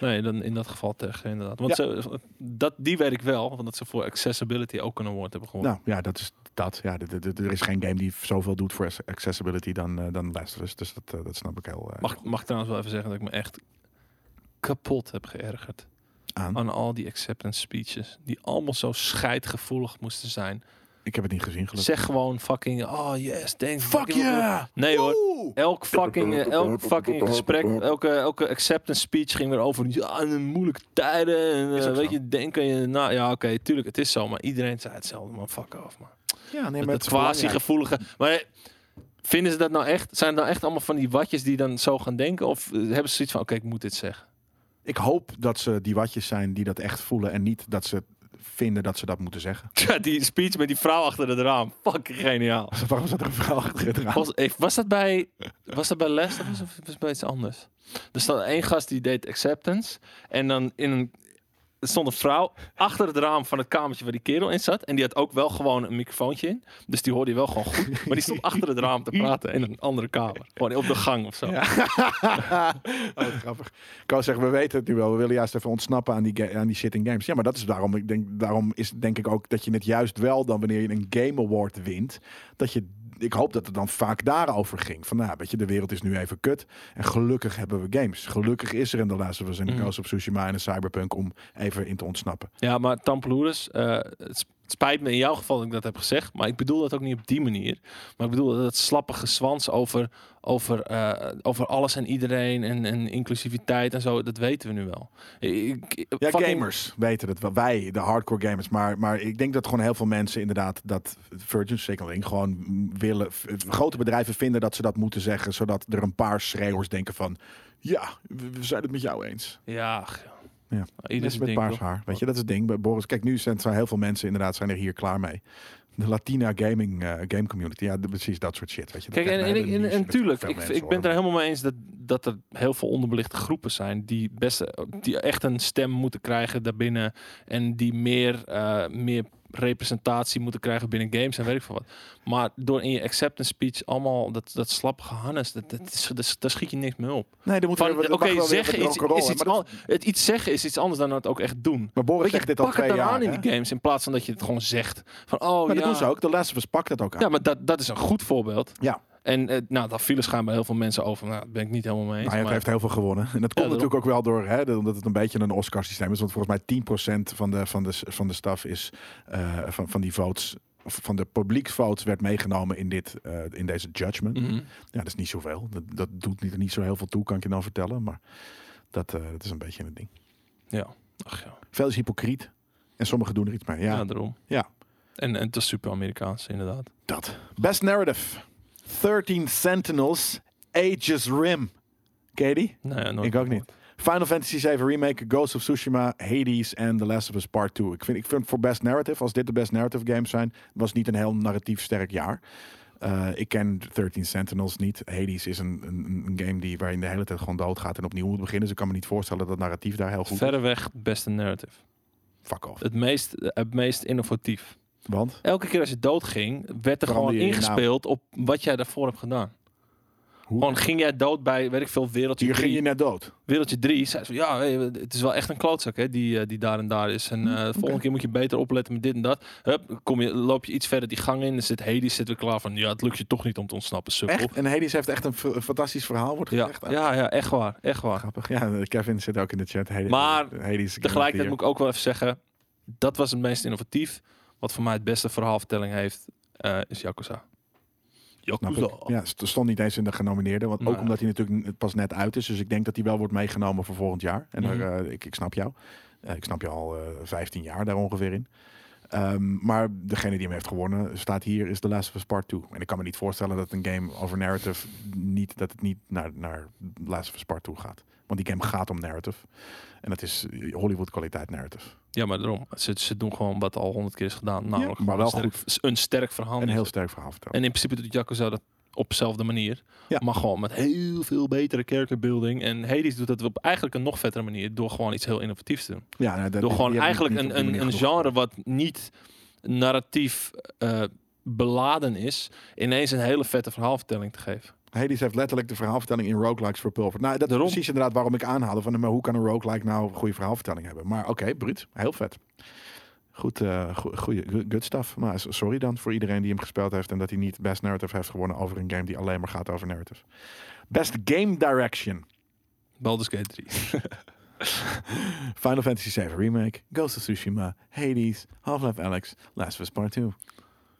Speaker 2: Nee, dan in dat geval tegen, inderdaad. Want ze, dat, die weet ik wel, want dat ze voor accessibility ook een award hebben gewonnen.
Speaker 1: Nou ja, dat is dat. Ja, d- d- d- er is geen game die zoveel doet voor ac- accessibility dan, eh, dan Last of Us. Dus dat, eh, dat snap ik heel eh,
Speaker 2: mag, mag ik trouwens wel even zeggen dat ik me echt kapot heb geërgerd
Speaker 1: aan.
Speaker 2: aan al die acceptance speeches. Die allemaal zo scheidgevoelig moesten zijn.
Speaker 1: Ik heb het niet gezien, gelukkig.
Speaker 2: Zeg gewoon fucking, oh yes, thanks.
Speaker 1: Fuck yeah!
Speaker 2: Nee hoor,
Speaker 1: Woe!
Speaker 2: Elk fucking, eh, elk fucking gesprek, elke, elke acceptance speech ging weer over ja, en de moeilijke tijden. En,
Speaker 1: Is
Speaker 2: eh,
Speaker 1: ook
Speaker 2: weet
Speaker 1: zo.
Speaker 2: je, denken je, nou ja, oké, tuurlijk, het is zo, maar iedereen zei hetzelfde, man, fuck off, man.
Speaker 1: Ja, nee, maar
Speaker 2: Dat, dat
Speaker 1: het is belangrijk.
Speaker 2: quasi-gevoelige. Maar eh, vinden ze dat nou echt? Zijn het nou echt allemaal van die watjes die dan zo gaan denken? Of eh, hebben ze zoiets van, oké, ik moet dit zeggen?
Speaker 1: Ik hoop dat ze die watjes zijn die dat echt voelen en niet dat ze vinden dat ze dat moeten zeggen.
Speaker 2: Tja, die speech met die vrouw achter het raam, fucking geniaal.
Speaker 1: Waarom zat er een verhaal achter het raam?
Speaker 2: Was, eh, was dat bij, was dat bij Last of Us of was het bij iets anders? Er stond één gast die deed acceptance. En dan in een, er stond een vrouw achter het raam van het kamertje waar die kerel in zat. En die had ook wel gewoon een microfoontje in. Dus die hoorde je wel gewoon goed. Maar die stond achter het raam te praten in een andere kamer. Gewoon op de gang of zo.
Speaker 1: Ja. oh, wat grappig. Ik kan zeggen, we weten het nu wel. We willen juist even ontsnappen aan die, ga- aan die shit in games. Ja, maar dat is daarom. Ik denk, daarom is het denk ik ook dat je het juist wel dan wanneer je een Game Award wint. Dat je, ik hoop dat het dan vaak daarover ging. Van nou, weet je, de wereld is nu even kut. En gelukkig hebben we games. Gelukkig is er in de laatste was in de
Speaker 2: Mhm.
Speaker 1: Ghost of Tsushima en de Cyberpunk om even in te ontsnappen.
Speaker 2: Ja, maar Tampeloeres, eh, het sp- het spijt me in jouw geval dat ik dat heb gezegd, maar ik bedoel dat ook niet op die manier. Maar ik bedoel dat het slappige zwans over, over, eh, over alles en iedereen en, en inclusiviteit en zo, dat weten we nu wel. Ik- ik-
Speaker 1: Ja,
Speaker 2: fucking-
Speaker 1: gamers weten het wel. Wij, de hardcore gamers. Maar, maar ik denk dat gewoon heel veel mensen inderdaad dat Virgin Signaling gewoon mm, willen. f- Grote bedrijven vinden dat ze dat moeten zeggen, zodat er een paar schreeuwers denken van. Ja, we we zijn het met jou eens.
Speaker 2: Ja, ach,
Speaker 1: Ja.
Speaker 2: Ieder
Speaker 1: Mensen
Speaker 2: zijn
Speaker 1: met
Speaker 2: ding,
Speaker 1: paars
Speaker 2: toch?
Speaker 1: haar. Weet je, dat is het ding bij Boris. Kijk, nu zijn, zijn heel veel mensen inderdaad zijn er hier klaar mee. De Latina gaming eh, game community. Ja, de- precies dat soort shit. Weet je. dus Dat
Speaker 2: Kijk, en,
Speaker 1: krijgt
Speaker 2: en,
Speaker 1: een
Speaker 2: ik-
Speaker 1: hele
Speaker 2: en,
Speaker 1: niche
Speaker 2: en
Speaker 1: met
Speaker 2: tuurlijk,
Speaker 1: veel
Speaker 2: ik,
Speaker 1: mensen,
Speaker 2: ik ben
Speaker 1: hoor.
Speaker 2: het er helemaal mee eens dat, dat er heel veel onderbelichte groepen zijn die, best, die echt een stem moeten krijgen daarbinnen en die meer, eh, meer representatie moeten krijgen binnen games en weet ik veel wat. Maar door in je acceptance speech allemaal dat, dat slappige hannes, dat, dat, is- dat- daar schiet je niks mee op.
Speaker 1: Nee, dan moeten
Speaker 2: Van,
Speaker 1: we- dat
Speaker 2: Oké,
Speaker 1: mag wel weer
Speaker 2: zeggen
Speaker 1: met
Speaker 2: iets,
Speaker 1: rock'n'roll,
Speaker 2: is
Speaker 1: hè,
Speaker 2: iets,
Speaker 1: maar dat-
Speaker 2: an- het iets zeggen is iets anders dan het ook echt doen.
Speaker 1: Maar Boris
Speaker 2: Weet
Speaker 1: zegt
Speaker 2: je,
Speaker 1: dit al
Speaker 2: pak het
Speaker 1: twee
Speaker 2: dan
Speaker 1: jaar.
Speaker 2: aan in
Speaker 1: hè?
Speaker 2: die games in plaats van dat je het gewoon zegt. Van, oh,
Speaker 1: Maar
Speaker 2: ja.
Speaker 1: dat doen ze ook. De Last of Us pakt dat ook aan.
Speaker 2: Ja, maar dat, dat is een goed voorbeeld.
Speaker 1: Ja.
Speaker 2: En eh, nou, daar vielen schijnbaar heel veel mensen over. Nou, daar ben ik niet helemaal mee eens.
Speaker 1: Nou ja, het
Speaker 2: maar-
Speaker 1: heeft heel veel gewonnen. En dat komt
Speaker 2: daarom.
Speaker 1: natuurlijk ook wel door, hè, dat- omdat het een beetje een Oscar-systeem is. Want volgens mij 10% van de, van de, van de staf is eh, van, van die votes, of van de publieksvotes werd meegenomen in, dit, eh, in deze judgment.
Speaker 2: Mhm.
Speaker 1: Ja, dat is niet zoveel. Dat, dat doet niet, niet zo heel veel toe, kan ik je dan vertellen. Maar dat, eh, dat is een beetje een ding.
Speaker 2: Ja, ach ja.
Speaker 1: Veel is hypocriet. En sommigen doen er iets mee.
Speaker 2: Ja,
Speaker 1: Ja,
Speaker 2: daarom.
Speaker 1: Ja.
Speaker 2: En, en het is super Amerikaans, inderdaad.
Speaker 1: dat. Best Narrative. 13 Sentinels, Aegis Rim. Katie?
Speaker 2: Nou ja, nooit
Speaker 1: Ik ook
Speaker 2: gehoord.
Speaker 1: niet. Final Fantasy VII Remake, Ghost of Tsushima, Hades en The Last of Us Part 2. Ik vind, ik vind voor Best Narrative, als dit de Best Narrative games zijn, was het niet een heel narratief sterk jaar. Eh, ik ken 13 Sentinels niet. Hades is een, een, een game die, waarin de hele tijd gewoon doodgaat en opnieuw moet beginnen. Dus ik kan me niet voorstellen dat narratief daar heel goed is.
Speaker 2: Verreweg het beste narrative.
Speaker 1: Fuck off.
Speaker 2: Het meest, het meest innovatief.
Speaker 1: Want?
Speaker 2: Elke keer als je doodging, werd er
Speaker 1: Verander
Speaker 2: gewoon
Speaker 1: je je naam.
Speaker 2: ingespeeld op wat jij daarvoor hebt gedaan.
Speaker 1: Hoe?
Speaker 2: Gewoon ging jij dood bij, weet ik veel, wereldje
Speaker 1: Hier
Speaker 2: 3.
Speaker 1: ging je net dood.
Speaker 2: Wereldje 3, zei ze van, ja, hey, het is wel echt een klootzak hè, die, eh, die daar en daar is. En eh, de volgende keer moet je beter opletten met dit en dat. Hup, kom je, loop je iets verder die gang in, dan zit Hades zit weer klaar van, ja, het lukt je toch niet om te ontsnappen, sukkel.
Speaker 1: Echt? En Hades heeft echt een, f- een fantastisch verhaal, wordt
Speaker 2: Ja,
Speaker 1: gezegd. Ah,
Speaker 2: ja, ja, echt waar, echt waar.
Speaker 1: Grappig. Ja, Kevin zit ook in de chat. Hades,
Speaker 2: Maar
Speaker 1: Hades Game of the
Speaker 2: Tegelijkertijd
Speaker 1: Year.
Speaker 2: moet ik ook wel even zeggen, dat was het meest innovatief. Wat voor mij het beste verhaalvertelling heeft, eh, is Yakuza.
Speaker 1: Snap
Speaker 2: Yakuza.
Speaker 1: ik. Ja, het stond niet eens in de genomineerde. Want ook
Speaker 2: Nou.
Speaker 1: omdat hij natuurlijk n- pas net uit is. Dus ik denk dat hij wel wordt meegenomen voor volgend jaar. En daar,
Speaker 2: Mhm.
Speaker 1: eh, ik, ik snap jou. Eh, ik snap je al eh 15 jaar daar ongeveer in. Ehm, maar degene die hem heeft gewonnen staat hier is The Last of Us Part 2. En ik kan me niet voorstellen dat een game over narrative niet, dat het niet naar, naar The Last of Us Part 2 gaat. Want die game gaat om narrative. En dat is Hollywood kwaliteit narrative.
Speaker 2: Ja, maar daarom. Ze, ze doen gewoon wat al honderd keer is gedaan. Namelijk
Speaker 1: maar wel
Speaker 2: een sterk, een sterk verhaal.
Speaker 1: En een heel
Speaker 2: neerzetten.
Speaker 1: sterk verhaal vertellen.
Speaker 2: En in principe doet Yakuza dat op dezelfde manier.
Speaker 1: Ja.
Speaker 2: Maar gewoon met heel veel betere character building. En Hades doet dat op eigenlijk een nog vettere manier. Door gewoon iets heel innovatiefs te doen.
Speaker 1: Ja, nou, dat-
Speaker 2: door
Speaker 1: die
Speaker 2: gewoon
Speaker 1: hebben
Speaker 2: eigenlijk
Speaker 1: niet op
Speaker 2: een,
Speaker 1: die
Speaker 2: een,
Speaker 1: manier
Speaker 2: een
Speaker 1: genoeg.
Speaker 2: genre wat niet narratief eh, beladen is. Ineens een hele vette verhaalvertelling te geven.
Speaker 1: Hades heeft letterlijk de verhaalvertelling in roguelikes verpulverd. Nou, dat
Speaker 2: Daarom.
Speaker 1: is precies inderdaad waarom ik aanhaalde van... eh, maar hoe kan een roguelike nou een goede verhaalvertelling hebben? Maar oké, bruut. Heel vet. Goed, eh go- goeie, go- good stuff. Maar s- sorry dan voor iedereen die hem gespeeld heeft... en dat hij niet Best Narrative heeft gewonnen over een game die alleen maar gaat over narrative. Best Game Direction.
Speaker 2: Baldur's Gate 3.
Speaker 1: Final Fantasy VII Remake, Ghost of Tsushima, Hades, Half-Life Alex, Last of Us Part 2.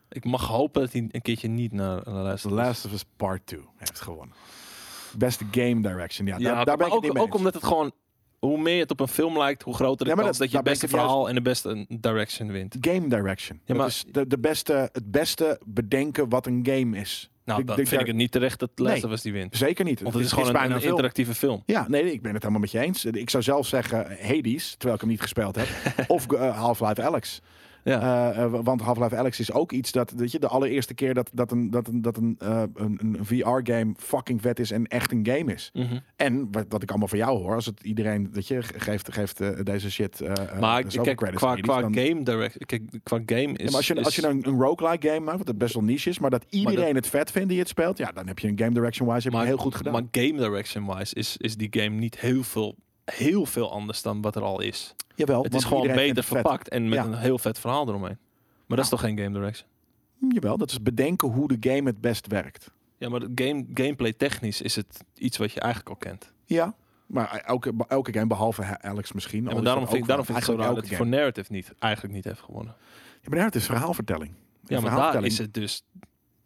Speaker 2: Ik mag hopen dat hij een keertje niet naar, naar
Speaker 1: The
Speaker 2: luistert.
Speaker 1: Last of Us Part 2 heeft gewonnen. Best Game Direction. Ja,
Speaker 2: Ja,
Speaker 1: daar, daar ben ik
Speaker 2: maar
Speaker 1: het niet
Speaker 2: ook,
Speaker 1: mee
Speaker 2: ook
Speaker 1: eens.
Speaker 2: omdat het gewoon... Hoe meer het op een film lijkt, hoe groter de
Speaker 1: Ja, maar
Speaker 2: kans
Speaker 1: dat-
Speaker 2: dat, je het
Speaker 1: daar
Speaker 2: beste
Speaker 1: ben ik het
Speaker 2: verhaal en de beste direction wint.
Speaker 1: Game direction.
Speaker 2: Ja,
Speaker 1: dat
Speaker 2: maar-
Speaker 1: is de, de beste, het beste bedenken wat een game is.
Speaker 2: Nou,
Speaker 1: Ik
Speaker 2: dan
Speaker 1: denk
Speaker 2: vind ik
Speaker 1: daar-
Speaker 2: het niet terecht dat
Speaker 1: Nee.
Speaker 2: Last of Us die wint.
Speaker 1: Zeker niet.
Speaker 2: Want het is gewoon een,
Speaker 1: Dus bijna
Speaker 2: een
Speaker 1: film.
Speaker 2: interactieve film.
Speaker 1: Ja, nee, nee, ik ben het helemaal met je eens. Ik zou zelf zeggen Hades, terwijl ik hem niet gespeeld heb. of eh, Half-Life Alex.
Speaker 2: Ja.
Speaker 1: Eh, eh, want Half-Life Alex is ook iets dat, weet je, de allereerste keer dat, dat een, dat een, dat een, eh, een, een VR-game fucking vet is en echt een game is.
Speaker 2: Mhm.
Speaker 1: En wat, wat ik allemaal van jou hoor, als het iedereen, weet je, ge- geeft, geeft eh, deze shit. eh, eh,
Speaker 2: maar
Speaker 1: zoveel
Speaker 2: kijk,
Speaker 1: credits
Speaker 2: qua,
Speaker 1: aan
Speaker 2: qua
Speaker 1: Hades, dan-
Speaker 2: game direct, kijk, qua game is...
Speaker 1: Ja, maar als je,
Speaker 2: is-
Speaker 1: als je nou een, een roguelike game maakt, wat het best wel niche is, maar dat iedereen het vet vindt die het speelt, ja, dan heb je een game direction wise heb je
Speaker 2: maar-
Speaker 1: het heel goed gedaan.
Speaker 2: Maar game direction wise is, is die game niet heel veel, heel veel anders dan wat er al is.
Speaker 1: Jawel,
Speaker 2: het
Speaker 1: want
Speaker 2: is gewoon
Speaker 1: iedereen vindt
Speaker 2: beter
Speaker 1: het vet.
Speaker 2: verpakt en met
Speaker 1: Ja. Nou.
Speaker 2: een heel vet verhaal eromheen. Maar dat is toch geen game direction?
Speaker 1: Hm, Jawel, dat is bedenken hoe de game het best werkt.
Speaker 2: Ja, maar game, gameplay technisch is het iets wat je eigenlijk al kent.
Speaker 1: Ja, maar e- elke, elke game behalve He- Alex misschien.
Speaker 2: Ja,
Speaker 1: al
Speaker 2: maar
Speaker 1: is
Speaker 2: daarom
Speaker 1: dat
Speaker 2: vind ik,
Speaker 1: ook
Speaker 2: daarom
Speaker 1: wel
Speaker 2: vind ik het zo raar
Speaker 1: eigenlijk
Speaker 2: dat hij
Speaker 1: elke
Speaker 2: voor narrative niet, eigenlijk niet heeft gewonnen.
Speaker 1: game. Ja, maar ja, het is verhaalvertelling.
Speaker 2: Ja, maar daar
Speaker 1: Verhaalvertelling.
Speaker 2: is het dus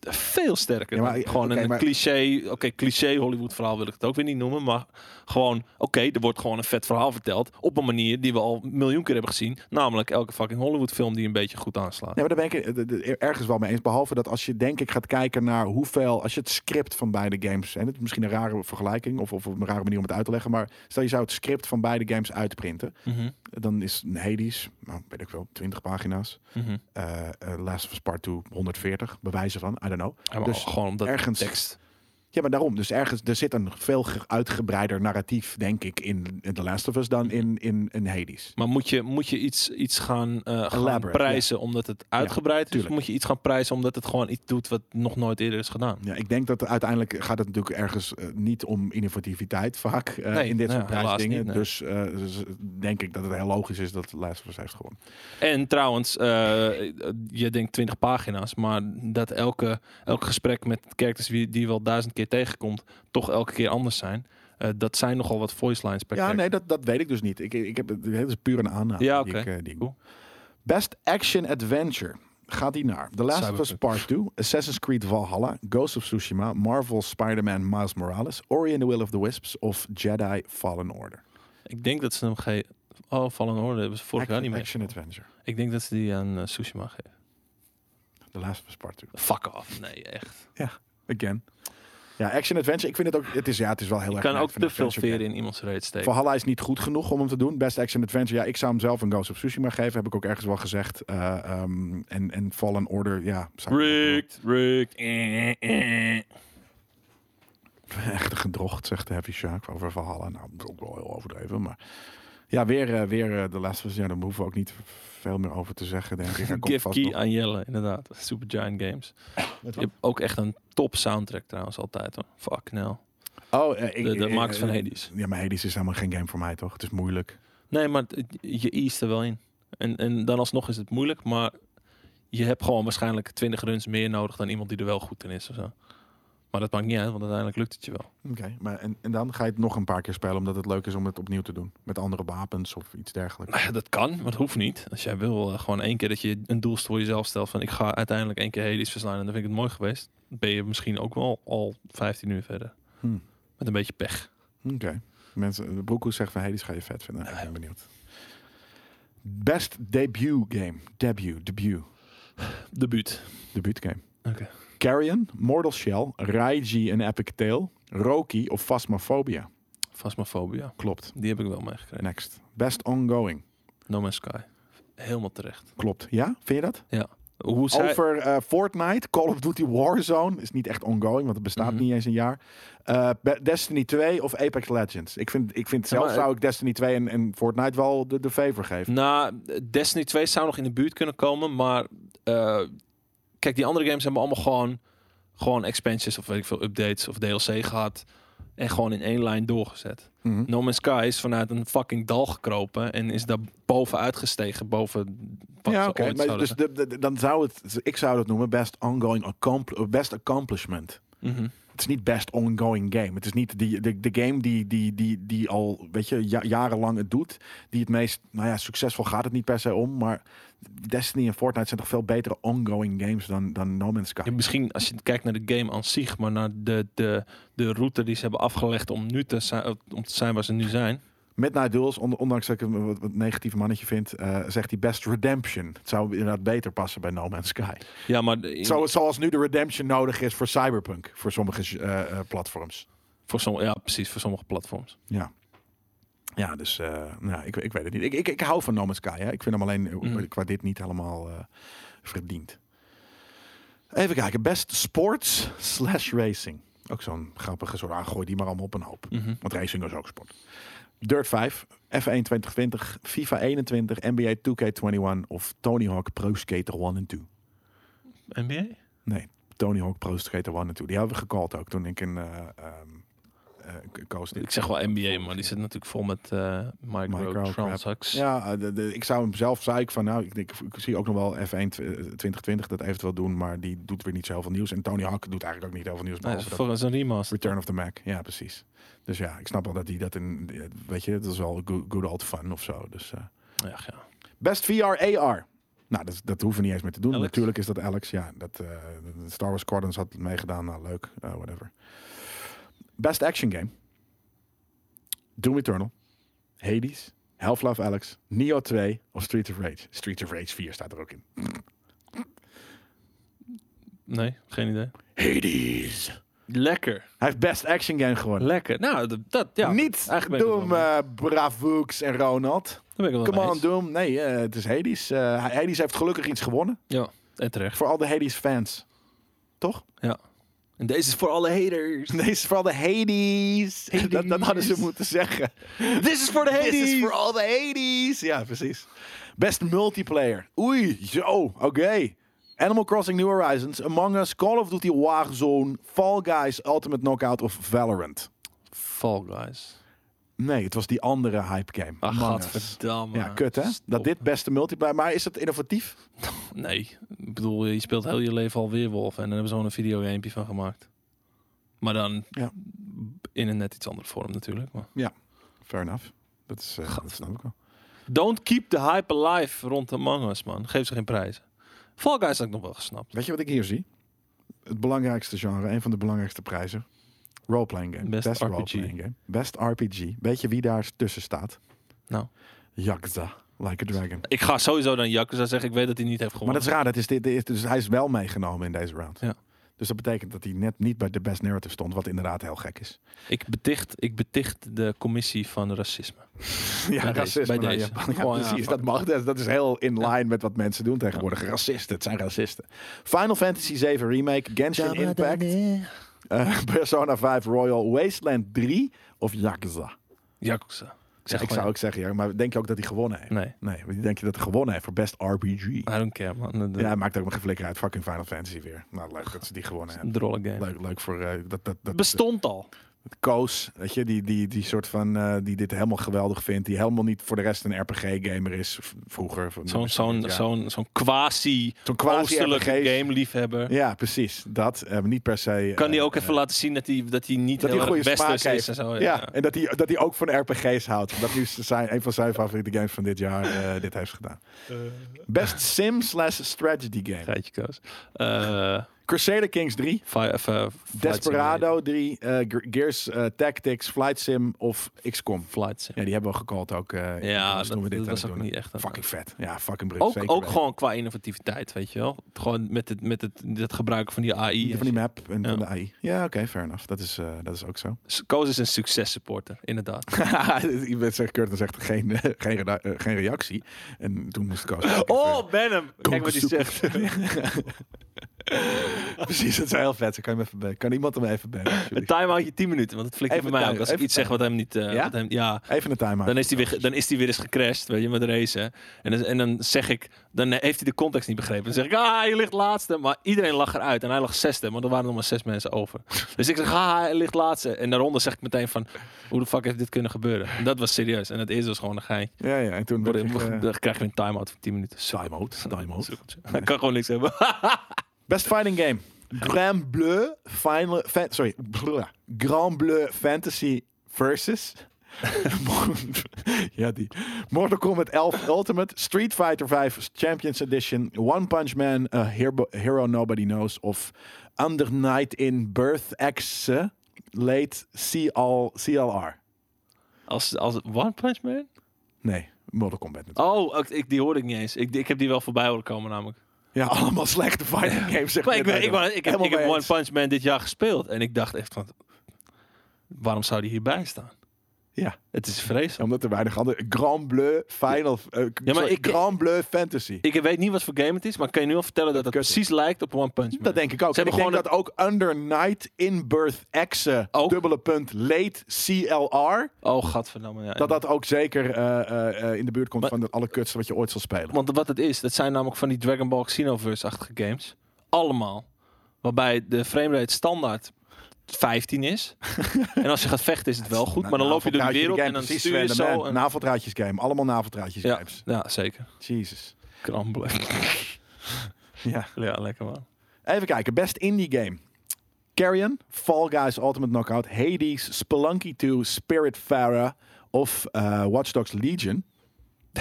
Speaker 2: veel sterker.
Speaker 1: Ja, maar-
Speaker 2: dan gewoon
Speaker 1: oké,
Speaker 2: een
Speaker 1: maar-
Speaker 2: cliché, oké, cliché Hollywood verhaal wil ik het ook weer niet noemen, maar gewoon, oké, er wordt gewoon een vet verhaal verteld op een manier die we al een miljoen keer hebben gezien, namelijk elke fucking Hollywood film die een beetje goed aanslaat.
Speaker 1: Nee, maar daar ben ik eh, de- de- ergens wel mee eens. Behalve dat als je denk ik gaat kijken naar hoeveel... Als je het script van beide games... En het is misschien een rare vergelijking of, of een rare manier om het uit te leggen. Maar stel je zou het script van beide games uitprinten.
Speaker 2: Mhm,
Speaker 1: Dan is een Hades, nou, weet ik wel, 20 pagina's.
Speaker 2: mhm.
Speaker 1: Eh, eh, Last of Us Part 2, 140, bewijzen van, I don't know.
Speaker 2: Ja, maar
Speaker 1: Dus
Speaker 2: gewoon omdat
Speaker 1: ergens-
Speaker 2: tekst.
Speaker 1: Ja, maar daarom. Dus ergens, er zit een veel ge- uitgebreider narratief, denk ik, in, in The Last of Us dan in, in, in Hades.
Speaker 2: Maar moet je, moet je iets, iets gaan, eh, gaan
Speaker 1: Elaborate,
Speaker 2: prijzen omdat het uitgebreid is? Of
Speaker 1: tuurlijk.
Speaker 2: moet je iets gaan prijzen omdat het gewoon iets doet wat nog nooit eerder is gedaan?
Speaker 1: Ja, ik denk dat er- uiteindelijk gaat het natuurlijk ergens eh, niet om innovativiteit vaak eh,
Speaker 2: Nee,
Speaker 1: in dit
Speaker 2: nou
Speaker 1: soort
Speaker 2: ja, helaas
Speaker 1: prijsdingen.
Speaker 2: niet, nee.
Speaker 1: Dus eh, dus denk ik dat het heel logisch is dat The Last of Us heeft gewonnen.
Speaker 2: En trouwens, eh, je denkt 20 pagina's, maar dat elke, elk gesprek met characters die, die je wel duizend keer tegenkomt, toch elke keer anders zijn. eh, dat zijn nogal wat voice lines per
Speaker 1: Ja,
Speaker 2: character.
Speaker 1: nee, dat, dat weet ik dus niet. Ik, ik heb, het is puur een aanname.
Speaker 2: Ja,
Speaker 1: die
Speaker 2: oké.
Speaker 1: ik, eh, die ik-
Speaker 2: Cool.
Speaker 1: Best Action Adventure. Gaat die naar The Last of Us
Speaker 2: Cyberpunk.
Speaker 1: Part 2, Assassin's Creed Valhalla, Ghost of Tsushima, Marvel Spider-Man Miles Morales, Ori and the Will of the Wisps of Jedi Fallen Order.
Speaker 2: Ik denk dat ze hem geen... Oh, Fallen Order hebben ze vorig jaar
Speaker 1: action,
Speaker 2: niet meer.
Speaker 1: action Adventure.
Speaker 2: Ik denk dat ze die aan eh, Tsushima geven.
Speaker 1: The Last of Us Part 2.
Speaker 2: Fuck off. Nee, echt.
Speaker 1: Again. Ja, Action Adventure. Ik vind het ook... Het is, ja, het is wel heel
Speaker 2: Je
Speaker 1: erg...
Speaker 2: kan
Speaker 1: een
Speaker 2: ook
Speaker 1: action
Speaker 2: te veel
Speaker 1: adventure
Speaker 2: veren
Speaker 1: game.
Speaker 2: in iemands reet steken.
Speaker 1: Valhalla is niet goed genoeg om hem te doen. Best Action Adventure. Ja, ik zou hem zelf een Ghost of Tsushima geven. Heb ik ook ergens wel gezegd. Eh, ehm, en, en Fallen Order, ja. zou ik-
Speaker 2: Rigged, rigged. eh, eh.
Speaker 1: Echt een gedrocht, zegt de Heavy Shark over Valhalla. Nou, dat is ook wel heel overdreven, maar... Ja, weer, eh, weer eh, de laatste... Ja, daar hoeven we ook niet veel meer over te zeggen, denk ik. Hij komt
Speaker 2: Give
Speaker 1: vast
Speaker 2: key
Speaker 1: nog-
Speaker 2: aan Jelle, inderdaad. Super Giant Games. Je hebt ook echt een top soundtrack trouwens altijd hoor. Fuck nou.
Speaker 1: Oh, eh, ik,
Speaker 2: De, de
Speaker 1: eh,
Speaker 2: makers van
Speaker 1: eh,
Speaker 2: Hades.
Speaker 1: Ja, maar Hades is helemaal geen game voor mij, toch? Het is moeilijk.
Speaker 2: Nee, maar het- je east er wel in. En, en dan alsnog is het moeilijk, maar je hebt gewoon waarschijnlijk 20 runs meer nodig dan iemand die er wel goed in is of zo. Maar dat maakt niet uit, want uiteindelijk lukt het je wel.
Speaker 1: Oké, maar en, en dan ga je het nog een paar keer spelen omdat het leuk is om het opnieuw te doen. Met andere wapens of iets dergelijks.
Speaker 2: Nou ja, dat kan, maar dat hoeft niet. Als jij wil, eh, gewoon één keer dat je een doel voor jezelf stelt van ik ga uiteindelijk één keer Hades verslaan en dan vind ik het mooi geweest. Ben je misschien ook wel al 15 uur verder.
Speaker 1: Hmm.
Speaker 2: Met een beetje pech.
Speaker 1: Oké. Mensen, Broekhoes zegt van, hey, die ga je vet vinden. Ik ben benieuwd. Best debut game. Debut, debut.
Speaker 2: De buurt.
Speaker 1: Debuut game.
Speaker 2: Oké.
Speaker 1: Carrion, Mortal Shell, Raiji en Epic Tale, Roki of Phasmophobia.
Speaker 2: Phasmophobia.
Speaker 1: Klopt.
Speaker 2: Die heb ik wel meegekregen.
Speaker 1: Next. Best ongoing.
Speaker 2: No Man's Sky. Helemaal terecht.
Speaker 1: Klopt. Ja, vind je dat?
Speaker 2: Hoe zij...
Speaker 1: Over eh, Fortnite, Call of Duty Warzone is niet echt ongoing, want het bestaat
Speaker 2: Mhm.
Speaker 1: niet eens een jaar. Eh, Be- Destiny 2 of Apex Legends. Ik vind, ik vind
Speaker 2: Ja,
Speaker 1: zelf
Speaker 2: maar-
Speaker 1: zou ik Destiny 2 en, en Fortnite wel de, de favor geven.
Speaker 2: Nou, Destiny 2 zou nog in de buurt kunnen komen, maar eh, kijk, die andere games hebben allemaal gewoon, gewoon expansions of weet ik veel, updates of DLC gehad en gewoon in één lijn doorgezet.
Speaker 1: Mhm.
Speaker 2: No Man's Sky is vanuit een fucking dal gekropen en is daar bovenuit gestegen, boven wat
Speaker 1: Ja,
Speaker 2: ze
Speaker 1: oké.
Speaker 2: ooit
Speaker 1: maar
Speaker 2: zouden
Speaker 1: dus de, de- de- dan zou het, ik zou het noemen best ongoing accompl- eh, best accomplishment.
Speaker 2: zijn. Mhm.
Speaker 1: Het is niet best ongoing game. Het is niet die, de, de game die, die, die, die al weet je, ja- jarenlang het doet. Die het meest, nou ja, succesvol gaat het niet per se om. Maar Destiny en Fortnite zijn toch veel betere ongoing games dan, dan No Man's Sky.
Speaker 2: Ja, misschien als je kijkt naar de game aan zich, maar naar de, de, de route die ze hebben afgelegd om nu te zijn, om te zijn waar ze nu zijn.
Speaker 1: Midnight Duels, on- ondanks dat ik hem wat, wat negatief mannetje vind, eh, zegt hij best Redemption. Het zou inderdaad beter passen bij No Man's Sky.
Speaker 2: Ja, maar de-
Speaker 1: Zo, zoals nu de Redemption nodig is voor Cyberpunk, voor sommige eh, eh, platforms.
Speaker 2: voor sommige, ja, precies, voor sommige platforms.
Speaker 1: Ja. Ja, dus eh, nou, ik, ik weet het niet. Ik, ik, ik hou van No Man's Sky. Hè. Ik vind hem alleen eh,
Speaker 2: Mm.
Speaker 1: qua dit niet helemaal eh, verdiend. Even kijken. Best sports slash racing. Ook zo'n grappige soort aangooi die maar allemaal op een hoop.
Speaker 2: Mhm.
Speaker 1: Want racing is ook sport. Dirt 5, F1 2020, FIFA 21, NBA 2K21 of Tony Hawk Pro Skater 1 en 2.
Speaker 2: NBA?
Speaker 1: Nee, Tony Hawk Pro Skater 1 en 2. Die hebben we gecallt ook toen ik een eh ehm eh, koos. dit.
Speaker 2: Ik zeg wel NBA, maar die zit natuurlijk vol met eh microtransacts.
Speaker 1: Ja, eh, de, de- ik zou hem zelf zei ik van nou, ik, ik, ik zie ook nog wel F1 tw- eh, 2020 dat eventueel doen, maar die doet weer niet zo heel veel nieuws. En Tony Hawk doet eigenlijk ook niet heel veel nieuws.
Speaker 2: Nee,
Speaker 1: behalve
Speaker 2: dat is
Speaker 1: dat
Speaker 2: voor een remaster.
Speaker 1: Return of the Mac, ja precies. Dus ja, ik snap wel dat die dat in, eh, weet je, dat is wel good, good old fun of zo. Dus eh.
Speaker 2: Ja, ja.
Speaker 1: best VR AR. Nou, dat, dat hoeven we niet eens meer te doen.
Speaker 2: Alex.
Speaker 1: Natuurlijk is dat Alex. Ja, dat eh, Star Wars Squadrons had meegedaan. Nou, leuk, eh, whatever. Best action game. Doom Eternal, Hades, Half-Life Alex, Neo 2 of Streets of Rage. Streets of Rage 4 staat er ook in.
Speaker 2: Nee, geen idee.
Speaker 1: Hades.
Speaker 2: Lekker.
Speaker 1: Hij heeft best action game gewonnen.
Speaker 2: Lekker. Nou, d- dat ja.
Speaker 1: Niet
Speaker 2: eigenlijk ben ik
Speaker 1: Doom,
Speaker 2: het wel mee.
Speaker 1: eh Bravoux en Ronald.
Speaker 2: Daar ben ik wel
Speaker 1: Come
Speaker 2: mee
Speaker 1: on,
Speaker 2: eens.
Speaker 1: Doom. Nee, eh, het is Hades. Eh, Hades heeft gelukkig iets gewonnen.
Speaker 2: En terecht.
Speaker 1: Voor al de Hades fans. Toch?
Speaker 2: En deze is voor alle haters.
Speaker 1: Nee, is vooral de Hades.
Speaker 2: Hades.
Speaker 1: Dat, dat hadden ze moeten zeggen.
Speaker 2: This is voor de
Speaker 1: This is for
Speaker 2: haters.
Speaker 1: all the Hades. Ja, precies. Best multiplayer. Oei, zo, oké. Animal Crossing New Horizons, Among Us, Call of Duty Warzone, Fall Guys, Ultimate Knockout of Valorant.
Speaker 2: Fall Guys.
Speaker 1: Nee, het was die andere hype game.
Speaker 2: Ach,
Speaker 1: Among Us.
Speaker 2: godverdamme.
Speaker 1: Ja, kut hè?
Speaker 2: Ah, Stop.
Speaker 1: Dat dit beste multiplayer... Maar is het innovatief?
Speaker 2: Nee. Ik bedoel, je speelt heel je leven al Weerwolf. En dan hebben ze gewoon een videogamepje van gemaakt. Maar dan
Speaker 1: Ja.
Speaker 2: in een net iets andere vorm natuurlijk. Maar.
Speaker 1: Fair enough. Dat, is, eh, dat snap ik wel.
Speaker 2: Don't keep the hype alive rond Among Us, man. Geef ze geen prijzen. Fall Guys had ik nog wel gesnapt.
Speaker 1: Weet je wat ik hier zie? Het belangrijkste genre, een van de belangrijkste prijzen. Roleplaying game.
Speaker 2: Best RPG.
Speaker 1: roleplaying game. Best RPG. Weet je wie daar tussen staat?
Speaker 2: Nou.
Speaker 1: Yakuza, Like a Dragon.
Speaker 2: Ik ga sowieso dan Yakuza zeggen. Ik weet dat hij niet heeft
Speaker 1: Maar
Speaker 2: gewonnen.
Speaker 1: dat is raar, dat is dit, dit is, dus hij is wel meegenomen in deze round.
Speaker 2: Ja.
Speaker 1: Dus dat betekent dat hij net niet bij de best narrative stond, wat inderdaad heel gek is.
Speaker 2: Ik, beticht, ik beticht de commissie van racisme.
Speaker 1: ja,
Speaker 2: deze, bij
Speaker 1: naar
Speaker 2: deze.
Speaker 1: Japan. Ja,
Speaker 2: Gewoon, ja,
Speaker 1: precies,
Speaker 2: fuck.
Speaker 1: dat mag. Dat, dat is heel in line met wat mensen doen tegenwoordig. Racisten, het zijn racisten. Final Fantasy 7 Remake, Genshin Impact, eh, Persona 5 Royal, Wasteland 3 of Yakuza?
Speaker 2: Yakuza. Ik zeg
Speaker 1: ik
Speaker 2: gewoon
Speaker 1: zou ook zeggen, ja, maar denk je ook dat hij gewonnen heeft?
Speaker 2: Nee, Ah,
Speaker 1: Nee, wie denk je dat hij gewonnen heeft voor best RPG?
Speaker 2: I don't care, man. De,
Speaker 1: Ja, maakt ook maar geen flikker uit. Fucking Final Fantasy weer. Nou, leuk dat ze die gewonnen hebben.
Speaker 2: de rolle game.
Speaker 1: Leuk, leuk voor eh, dat, dat, dat,
Speaker 2: Bestond al.
Speaker 1: Koos, weet je, die, die, die soort van, eh, die dit helemaal geweldig vindt. Die helemaal niet voor de rest een RPG-gamer is v- vroeger. van-
Speaker 2: Zo'n zo'n
Speaker 1: ja.
Speaker 2: zo'n zo'n quasi
Speaker 1: Zo'n
Speaker 2: oostelijke
Speaker 1: quasi-RPG's.
Speaker 2: game liefhebber.
Speaker 1: Ja, precies. Dat, eh, niet per se...
Speaker 2: Kan die
Speaker 1: eh,
Speaker 2: ook even laten zien dat hij dat hij niet
Speaker 1: dat hij
Speaker 2: heel
Speaker 1: een
Speaker 2: erg
Speaker 1: goede smaak
Speaker 2: westers is
Speaker 1: heeft.
Speaker 2: en zo.
Speaker 1: ja.
Speaker 2: Oh, Ja.
Speaker 1: en dat hij, dat hij ook van RPG's houdt. Dat is zijn, een van zijn favoriete games van dit jaar eh, dit heeft gedaan. Best sim slash strategy game.
Speaker 2: Geitje koos. Eh,
Speaker 1: Crusader Kings 3.
Speaker 2: fi- of, eh, Flight Simulator.
Speaker 1: Desperado 3. eh, Ge- Gears eh, Tactics. Flight Sim of XCOM.
Speaker 2: Flight Sim.
Speaker 1: Ja, die hebben we gecallt ook. eh, in
Speaker 2: Ja,
Speaker 1: toen we dit
Speaker 2: dat, dat
Speaker 1: aan
Speaker 2: was
Speaker 1: het
Speaker 2: ook
Speaker 1: doen.
Speaker 2: niet echt. een-
Speaker 1: Fucking vet. Ja, fucking brut.
Speaker 2: Ook,
Speaker 1: zeker
Speaker 2: ook
Speaker 1: weten.
Speaker 2: gewoon qua innovativiteit, weet je wel. Gewoon met het, met het, het gebruiken van die AI.
Speaker 1: Van die map en
Speaker 2: Ja.
Speaker 1: van de AI. Ja, oké, fair enough. Dat is, eh, dat is ook zo.
Speaker 2: Koos is een succes supporter, inderdaad.
Speaker 1: Ik ben zegt, Curtin zegt geen, eh, geen, reda- eh, geen reactie. En toen moest ik ook even-
Speaker 2: Oh, Benham! Kijk wat hij
Speaker 1: Kokensoep.
Speaker 2: zegt.
Speaker 1: Precies, dat is heel vet. Zo Kan, je hem even bellen. kan iemand hem even bellen?
Speaker 2: Een
Speaker 1: alsjeblieft?
Speaker 2: time-outje 10 minuten, want dat flikt
Speaker 1: Even
Speaker 2: bij mij
Speaker 1: time,
Speaker 2: ook. Als ik
Speaker 1: even
Speaker 2: iets zeg wat hem niet... eh,
Speaker 1: Ja?
Speaker 2: wat hem, ja
Speaker 1: Even een timeout.
Speaker 2: dan is, hij weer, dan is hij weer eens gecrashed, weet je, met racen. En dan, en dan zeg ik, dan heeft hij de context niet begrepen. Dan zeg ik, ah, je ligt laatste. Maar iedereen lag eruit en hij lag zesde, want er waren nog maar zes mensen over. Dus ik zeg, ah, hij ligt laatste. En daaronder zeg ik meteen van, hoe de fuck heeft dit kunnen gebeuren? En dat was serieus. En het eerste was gewoon een gein.
Speaker 1: Ja, ja. En toen werd ik, eh,
Speaker 2: Dan krijg je een time-out van 10 minuten. Zo.
Speaker 1: timeout. Timeout.
Speaker 2: Hij kan gewoon niks hebben.
Speaker 1: Best fighting game. Grand Bleu Final... Fa- sorry. Blah. Grand Bleu Fantasy Versus. ja, die. Mortal Kombat 11 Ultimate. Street Fighter 5 Champions Edition. One Punch Man. A Herbo- Hero Nobody Knows. Of Under Night in Birth X. eh, Late CL, CLR.
Speaker 2: Als, als One Punch Man?
Speaker 1: Nee, Mortal Kombat natuurlijk.
Speaker 2: Oh, ik- ik, die hoorde ik niet eens. Ik, ik heb die wel voorbij horen komen namelijk.
Speaker 1: Ja, allemaal slechte fighting games. Zeg
Speaker 2: Maar ik, ben- ik, ben- ik, heb, ik heb One
Speaker 1: Helemaal
Speaker 2: Punch Man dit jaar gespeeld. En ik dacht echt van... Waarom zou die hierbij staan?
Speaker 1: mee eens. Ja,
Speaker 2: Het is vreselijk.
Speaker 1: omdat er weinig andere... Grand Bleu Final... eh,
Speaker 2: maar
Speaker 1: sorry,
Speaker 2: ik-
Speaker 1: Grand Bleu Fantasy.
Speaker 2: Ik weet niet wat voor game het is, maar ik kan je nu al vertellen dat het
Speaker 1: Kut.
Speaker 2: precies lijkt op One Punch Man.
Speaker 1: Dat denk ik ook.
Speaker 2: Ze
Speaker 1: En ik
Speaker 2: hebben
Speaker 1: denk
Speaker 2: gewoon
Speaker 1: dat ook Under Night in Birth Exe,
Speaker 2: Ook.
Speaker 1: dubbele punt, late CLR,
Speaker 2: Oh, gadverdamme. Ja.
Speaker 1: dat dat ook zeker eh, eh, eh, in de buurt komt
Speaker 2: Maar-
Speaker 1: van het allerkutste wat je ooit zal spelen.
Speaker 2: Want wat het is, dat zijn namelijk van die Dragon Ball Xenoverse-achtige games. Allemaal. Waarbij de framerate standaard 15 is. en als je gaat vechten is het wel goed.
Speaker 1: Na-
Speaker 2: Maar dan loop je door de
Speaker 1: naveldraadje
Speaker 2: wereld
Speaker 1: game,
Speaker 2: en dan
Speaker 1: Nou, precies, Nou. Sven
Speaker 2: stuur je
Speaker 1: de
Speaker 2: zo...
Speaker 1: Man.
Speaker 2: en-
Speaker 1: Naveldraadjes game, allemaal naveldraadjes
Speaker 2: ja,
Speaker 1: games.
Speaker 2: ja, zeker.
Speaker 1: Jezus.
Speaker 2: Krampelen.
Speaker 1: Ja.
Speaker 2: ja, lekker man.
Speaker 1: Even kijken, best indie game. Carrion, Fall Guys Ultimate Knockout, Hades, Spelunky 2, Spirit of eh, Watch Dogs Legion.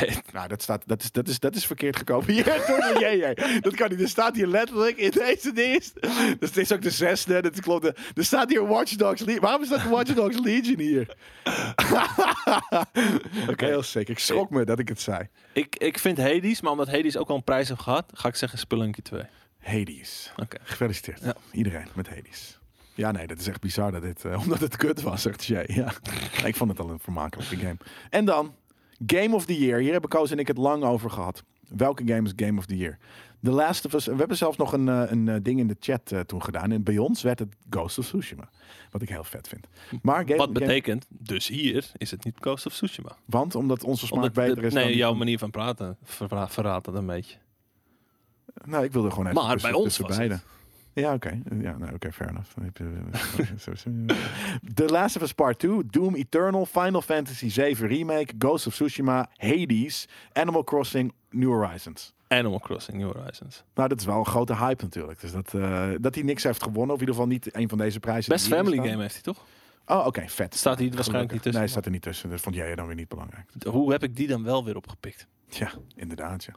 Speaker 2: Nee,
Speaker 1: Nou, dat, staat, dat, is, dat, is, dat is verkeerd gekopieerd. door de JJ. Dat kan niet. Er staat hier letterlijk in deze dienst. Dus dit is ook de zesde. Dat klopt. Er staat hier Watch Dogs Legion. Waarom staat Watch Dogs Legion hier? Oké, heel sick. Ik schrok me dat ik het zei.
Speaker 2: Ik, ik vind Hades, maar omdat Hades ook al een prijs heeft gehad, ga ik zeggen Spelunky 2. Oké.
Speaker 1: Hades. Gefeliciteerd. Iedereen met Hades. Ja, nee, dat is echt bizar dat dit... eh, omdat het kut was, zegt Jay. Ja. Nee, ik vond het al een vermakelijke game. En dan, Game of the Year. Hier hebben Koos en ik het lang over gehad. Welke game is Game of the Year? The Last of Us. We hebben zelfs nog een, eh, een eh, ding in de chat eh, toen gedaan. En bij ons werd het Ghost of Tsushima. Wat ik heel vet vind. Maar game,
Speaker 2: Wat
Speaker 1: game-
Speaker 2: betekent, dus hier is het niet Ghost of Tsushima.
Speaker 1: want omdat onze smaak
Speaker 2: Omdat
Speaker 1: beter
Speaker 2: de-
Speaker 1: is dan...
Speaker 2: nee,
Speaker 1: die
Speaker 2: jouw
Speaker 1: van-
Speaker 2: manier van praten verra- verraadt dat een beetje.
Speaker 1: Nou, ik wilde gewoon even
Speaker 2: Maar bij ons was
Speaker 1: beide. Ja, oké. Ja, nou, oké, fair enough. Dan heb eh, je- The Last of Us Part 2, Doom Eternal, Final Fantasy 7 Remake, Ghost of Tsushima, Hades, Animal Crossing, New Horizons.
Speaker 2: Animal Crossing New Horizons.
Speaker 1: Nou, dat is wel een grote hype natuurlijk. Dus dat, eh, dat hij niks heeft gewonnen, of in ieder geval niet een van deze prijzen.
Speaker 2: Best
Speaker 1: die hierin
Speaker 2: Family
Speaker 1: staan.
Speaker 2: Game heeft hij toch?
Speaker 1: Oh, oké, vet.
Speaker 2: Staat hij waarschijnlijk niet tussen.
Speaker 1: Nee, staat er niet tussen. Dat vond jij dan weer niet belangrijk.
Speaker 2: Hoe heb ik die dan wel weer opgepikt?
Speaker 1: Ja, inderdaad, ja.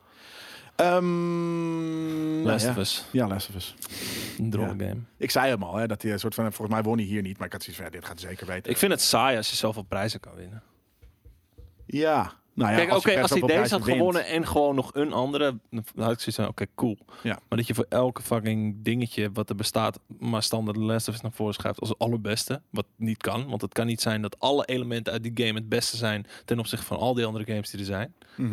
Speaker 1: Ehm, nou
Speaker 2: Last
Speaker 1: ja.
Speaker 2: of Us.
Speaker 1: Ja, Last of Us.
Speaker 2: Een drolle game.
Speaker 1: Ik zei hem al, hè, dat hij een soort van, volgens mij won hij hier niet, maar ik had zoiets van, ja, dit gaat hij zeker weten.
Speaker 2: Ik vind het saai als je zoveel prijzen kan winnen.
Speaker 1: ja, nou ja,
Speaker 2: Kijk, oké,
Speaker 1: per
Speaker 2: als hij
Speaker 1: zoveel
Speaker 2: deze had
Speaker 1: prijzen wint.
Speaker 2: gewonnen en gewoon nog een andere, dan had ik zoiets van, oké, cool.
Speaker 1: Ja.
Speaker 2: Maar dat je voor elke fucking dingetje wat er bestaat, maar standaard de Last of Us naar voren schuift als het allerbeste, wat niet kan. Want het kan niet zijn dat alle elementen uit die game het beste zijn ten opzichte van al die andere games die er zijn.
Speaker 1: Mhm.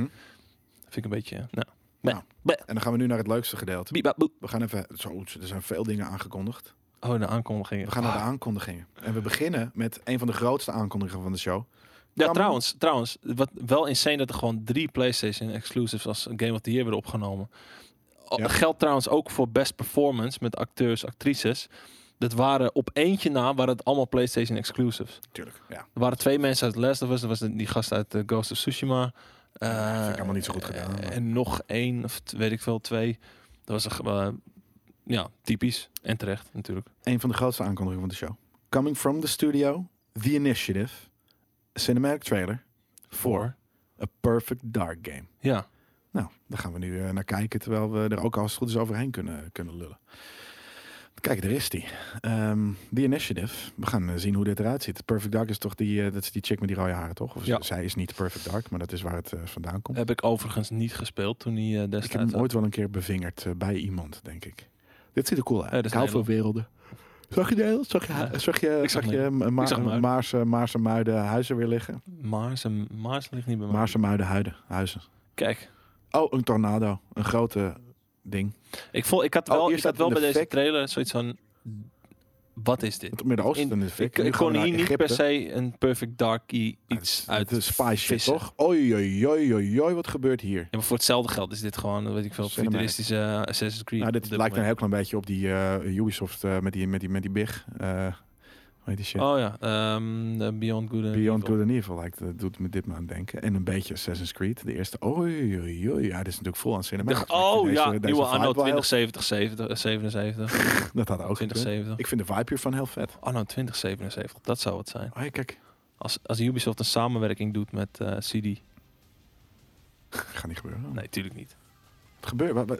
Speaker 2: Vind ik een beetje, eh, nou,
Speaker 1: Nou. En dan gaan we nu naar het leukste gedeelte.
Speaker 2: biep, bap, boep.
Speaker 1: We gaan even, zo, er zijn veel dingen aangekondigd.
Speaker 2: Oh, de aankondigingen.
Speaker 1: We gaan naar de aankondigingen. En we beginnen met een van de grootste aankondigingen van de show.
Speaker 2: Ja,
Speaker 1: Kan-
Speaker 2: trouwens, trouwens, wat wel insane dat er gewoon drie PlayStation exclusives als Game of the Year werden opgenomen. O-
Speaker 1: Ja.
Speaker 2: Geldt trouwens ook voor best performance met acteurs, actrices. Dat waren op eentje na waren het allemaal PlayStation exclusives.
Speaker 1: Tuurlijk. Ja.
Speaker 2: Er waren twee mensen uit Last of Us. Er was die gast uit eh, Ghost of Tsushima. Eh,
Speaker 1: Ja, vind ik allemaal niet zo goed gedaan,
Speaker 2: eh,
Speaker 1: maar-
Speaker 2: En nog één, of t- weet ik veel, twee. Dat was een, eh, ja, typisch. En terecht, natuurlijk.
Speaker 1: Een van de grootste aankondigingen van de show. Coming from the studio, The Initiative, cinematic trailer voor A Perfect Dark Game.
Speaker 2: Ja.
Speaker 1: Nou, daar gaan we nu eh, naar kijken, terwijl we er ook als het goed is overheen kunnen, kunnen lullen. Kijk, daar is die. Ehm The Initiative. We gaan eh, zien hoe dit eruit ziet. Perfect Dark is toch die, eh, dat is die chick met die rode haren, toch? Of
Speaker 2: Ja.
Speaker 1: Zij is niet Perfect Dark, maar dat is waar het eh, vandaan komt.
Speaker 2: Heb ik overigens niet gespeeld toen hij eh
Speaker 1: ik heb
Speaker 2: destijds...
Speaker 1: hem ooit wel een keer bevingerd eh, bij iemand, denk ik. Dit ziet er cool uit.
Speaker 2: Ja, Eh, dat
Speaker 1: ik
Speaker 2: is
Speaker 1: hou van werelden. Zag je Nederland? Zag je,
Speaker 2: Ja.
Speaker 1: zag je,
Speaker 2: Ik zag
Speaker 1: zag je eh, Ma-
Speaker 2: zag Muiden.
Speaker 1: Maarse, Maarse Muiden huizen weer liggen?
Speaker 2: Maars, en Maars ligt niet bij mij.
Speaker 1: Maarse Muiden huiden, huizen.
Speaker 2: Kijk,
Speaker 1: Oh, een tornado. Een grote ding.
Speaker 2: ik, voel, ik had
Speaker 1: Oh,
Speaker 2: wel,
Speaker 1: hier
Speaker 2: ik
Speaker 1: staat
Speaker 2: had wel
Speaker 1: een
Speaker 2: bij deze
Speaker 1: effect.
Speaker 2: trailer zoiets van... Wat is dit?
Speaker 1: Het Midden-Oosten
Speaker 2: In-
Speaker 1: is het
Speaker 2: Ik,
Speaker 1: En nu
Speaker 2: ik
Speaker 1: gaan we
Speaker 2: kon
Speaker 1: naar
Speaker 2: hier niet per
Speaker 1: Egypte.
Speaker 2: se een perfect dark i-
Speaker 1: Ja,
Speaker 2: iets
Speaker 1: het is-
Speaker 2: uit
Speaker 1: het is spice shit,
Speaker 2: vissen.
Speaker 1: toch? Oei, oei, oei, oei, oei, wat gebeurt hier?
Speaker 2: Ja, maar voor hetzelfde geld is dit gewoon, weet ik veel,
Speaker 1: Cinematic.
Speaker 2: futuristische eh, Assassin's Creed.
Speaker 1: Nou,
Speaker 2: op
Speaker 1: dit lijkt een
Speaker 2: moment.
Speaker 1: heel klein beetje op die eh, Ubisoft eh, met, die, met, die, met die big. eh hoe heet die shit?
Speaker 2: Oh ja, ehm, eh, Beyond Good and
Speaker 1: Beyond
Speaker 2: Evil.
Speaker 1: Good and Evil lijkt, eh, doet me dit me aan denken. En een beetje Assassin's Creed, de eerste. Oei, oei, oei. Ja, dit is natuurlijk vol aan
Speaker 2: Ik
Speaker 1: cinema.
Speaker 2: dacht, oh ja, nieuwe anno
Speaker 1: Dat
Speaker 2: 2070, 70, 77,
Speaker 1: had ook gekund.
Speaker 2: 2070.
Speaker 1: Ik vind de vibe hiervan heel vet.
Speaker 2: Anno 2077, dat zou het zijn.
Speaker 1: Oh, ja, kijk,
Speaker 2: Als, als Ubisoft een samenwerking doet met eh, CD.
Speaker 1: gaat niet gebeuren.
Speaker 2: Nee, tuurlijk niet.
Speaker 1: Wat gebeurt? Wat, wat,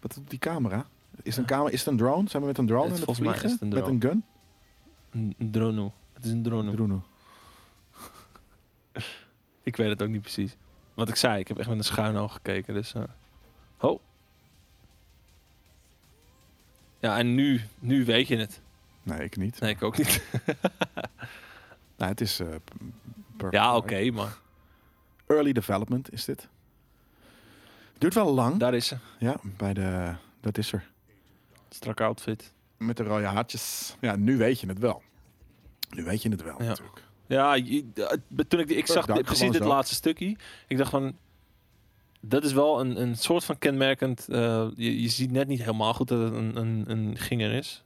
Speaker 1: wat doet die camera? Is het een, camera, is het een drone? Zijn we met een drone
Speaker 2: Het-
Speaker 1: aan het
Speaker 2: volgens mij is
Speaker 1: vliegen?
Speaker 2: het een
Speaker 1: Met een gun?
Speaker 2: Een een drone. Het is een drone.
Speaker 1: Drone.
Speaker 2: Ik weet het ook niet precies. Wat ik zei, ik heb echt met een schuin oog gekeken. Dus, eh, Ho. Ja, en nu, nu weet je het.
Speaker 1: Nee, ik niet.
Speaker 2: Nee, ik ook niet.
Speaker 1: Nou, het is eh, p- perfect.
Speaker 2: Ja, oké, maar
Speaker 1: Early development is dit. Duurt wel lang.
Speaker 2: daar is ze.
Speaker 1: ja, bij de, dat is er.
Speaker 2: Strak outfit.
Speaker 1: Met de rode haartjes. Ja, nu weet je het wel. Nu weet je het wel
Speaker 2: Ja.
Speaker 1: natuurlijk.
Speaker 2: Ja, je- eh, toen ik, die- ik
Speaker 1: Perfect
Speaker 2: zag
Speaker 1: dak,
Speaker 2: dit- precies
Speaker 1: Oh, gewoon
Speaker 2: dit
Speaker 1: zo.
Speaker 2: laatste stukje. Ik dacht van, dat is wel een, een soort van kenmerkend. eh, je, je ziet net niet helemaal goed dat het een, een, een ginger is.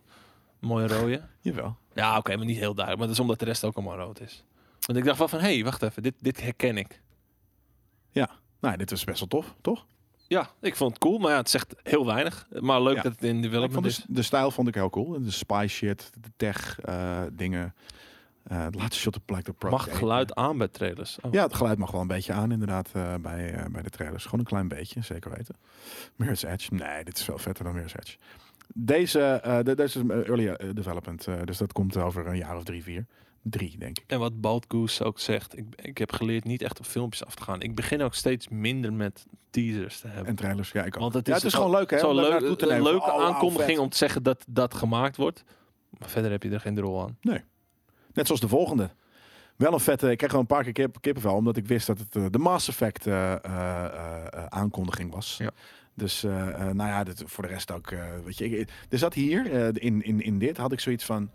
Speaker 2: Een mooie rode.
Speaker 1: Jawel.
Speaker 2: Ja, oké, maar niet heel duidelijk. Maar dat is omdat de rest ook allemaal rood is. Want ik dacht wel van, hé, hey, wacht even, dit, dit herken ik.
Speaker 1: Nou, dit was best wel tof, toch?
Speaker 2: Ja, ik vond het cool, maar ja, het zegt heel weinig. Maar leuk
Speaker 1: Ja.
Speaker 2: dat het in
Speaker 1: Ik vond
Speaker 2: development
Speaker 1: de,
Speaker 2: is.
Speaker 1: s- de stijl vond ik heel cool. De spy shit, de tech eh, dingen. Eh het laatste shot blijkt op Project
Speaker 2: Mag het
Speaker 1: Ape.
Speaker 2: geluid aan bij trailers? Oh.
Speaker 1: Ja, het geluid mag wel een beetje aan inderdaad eh, bij, eh, bij de trailers. Gewoon een klein beetje, zeker weten. Mirror's Edge. Nee, dit is veel vetter dan Mirror's Edge. Deze, eh, de- deze is een early eh, development, eh, dus dat komt over een jaar of drie, vier. Drie, denk ik.
Speaker 2: En wat Bald Goose ook zegt, ik, ik heb geleerd niet echt op filmpjes af te gaan. Ik begin ook steeds minder met teasers te hebben.
Speaker 1: En trailers, ja, ik ook.
Speaker 2: Want het
Speaker 1: ja,
Speaker 2: is dus
Speaker 1: het is
Speaker 2: al-
Speaker 1: gewoon leuk, hè?
Speaker 2: Zo'n
Speaker 1: om daar
Speaker 2: leuk,
Speaker 1: naartoe te
Speaker 2: een
Speaker 1: nemen.
Speaker 2: leuke
Speaker 1: Oh, wauw,
Speaker 2: aankondiging
Speaker 1: vet.
Speaker 2: om te zeggen dat dat gemaakt wordt. Maar verder heb je er geen rol aan.
Speaker 1: Net zoals de volgende. Wel een vette, ik kreeg gewoon een paar keer kip, kippenvel, omdat ik wist dat het eh, de Mass Effect eh, eh, eh, eh, aankondiging was.
Speaker 2: Ja.
Speaker 1: Dus eh, eh, nou ja, dit, voor de rest ook, eh, weet je. Ik, er zat hier, eh, in, in, in dit, had ik zoiets van...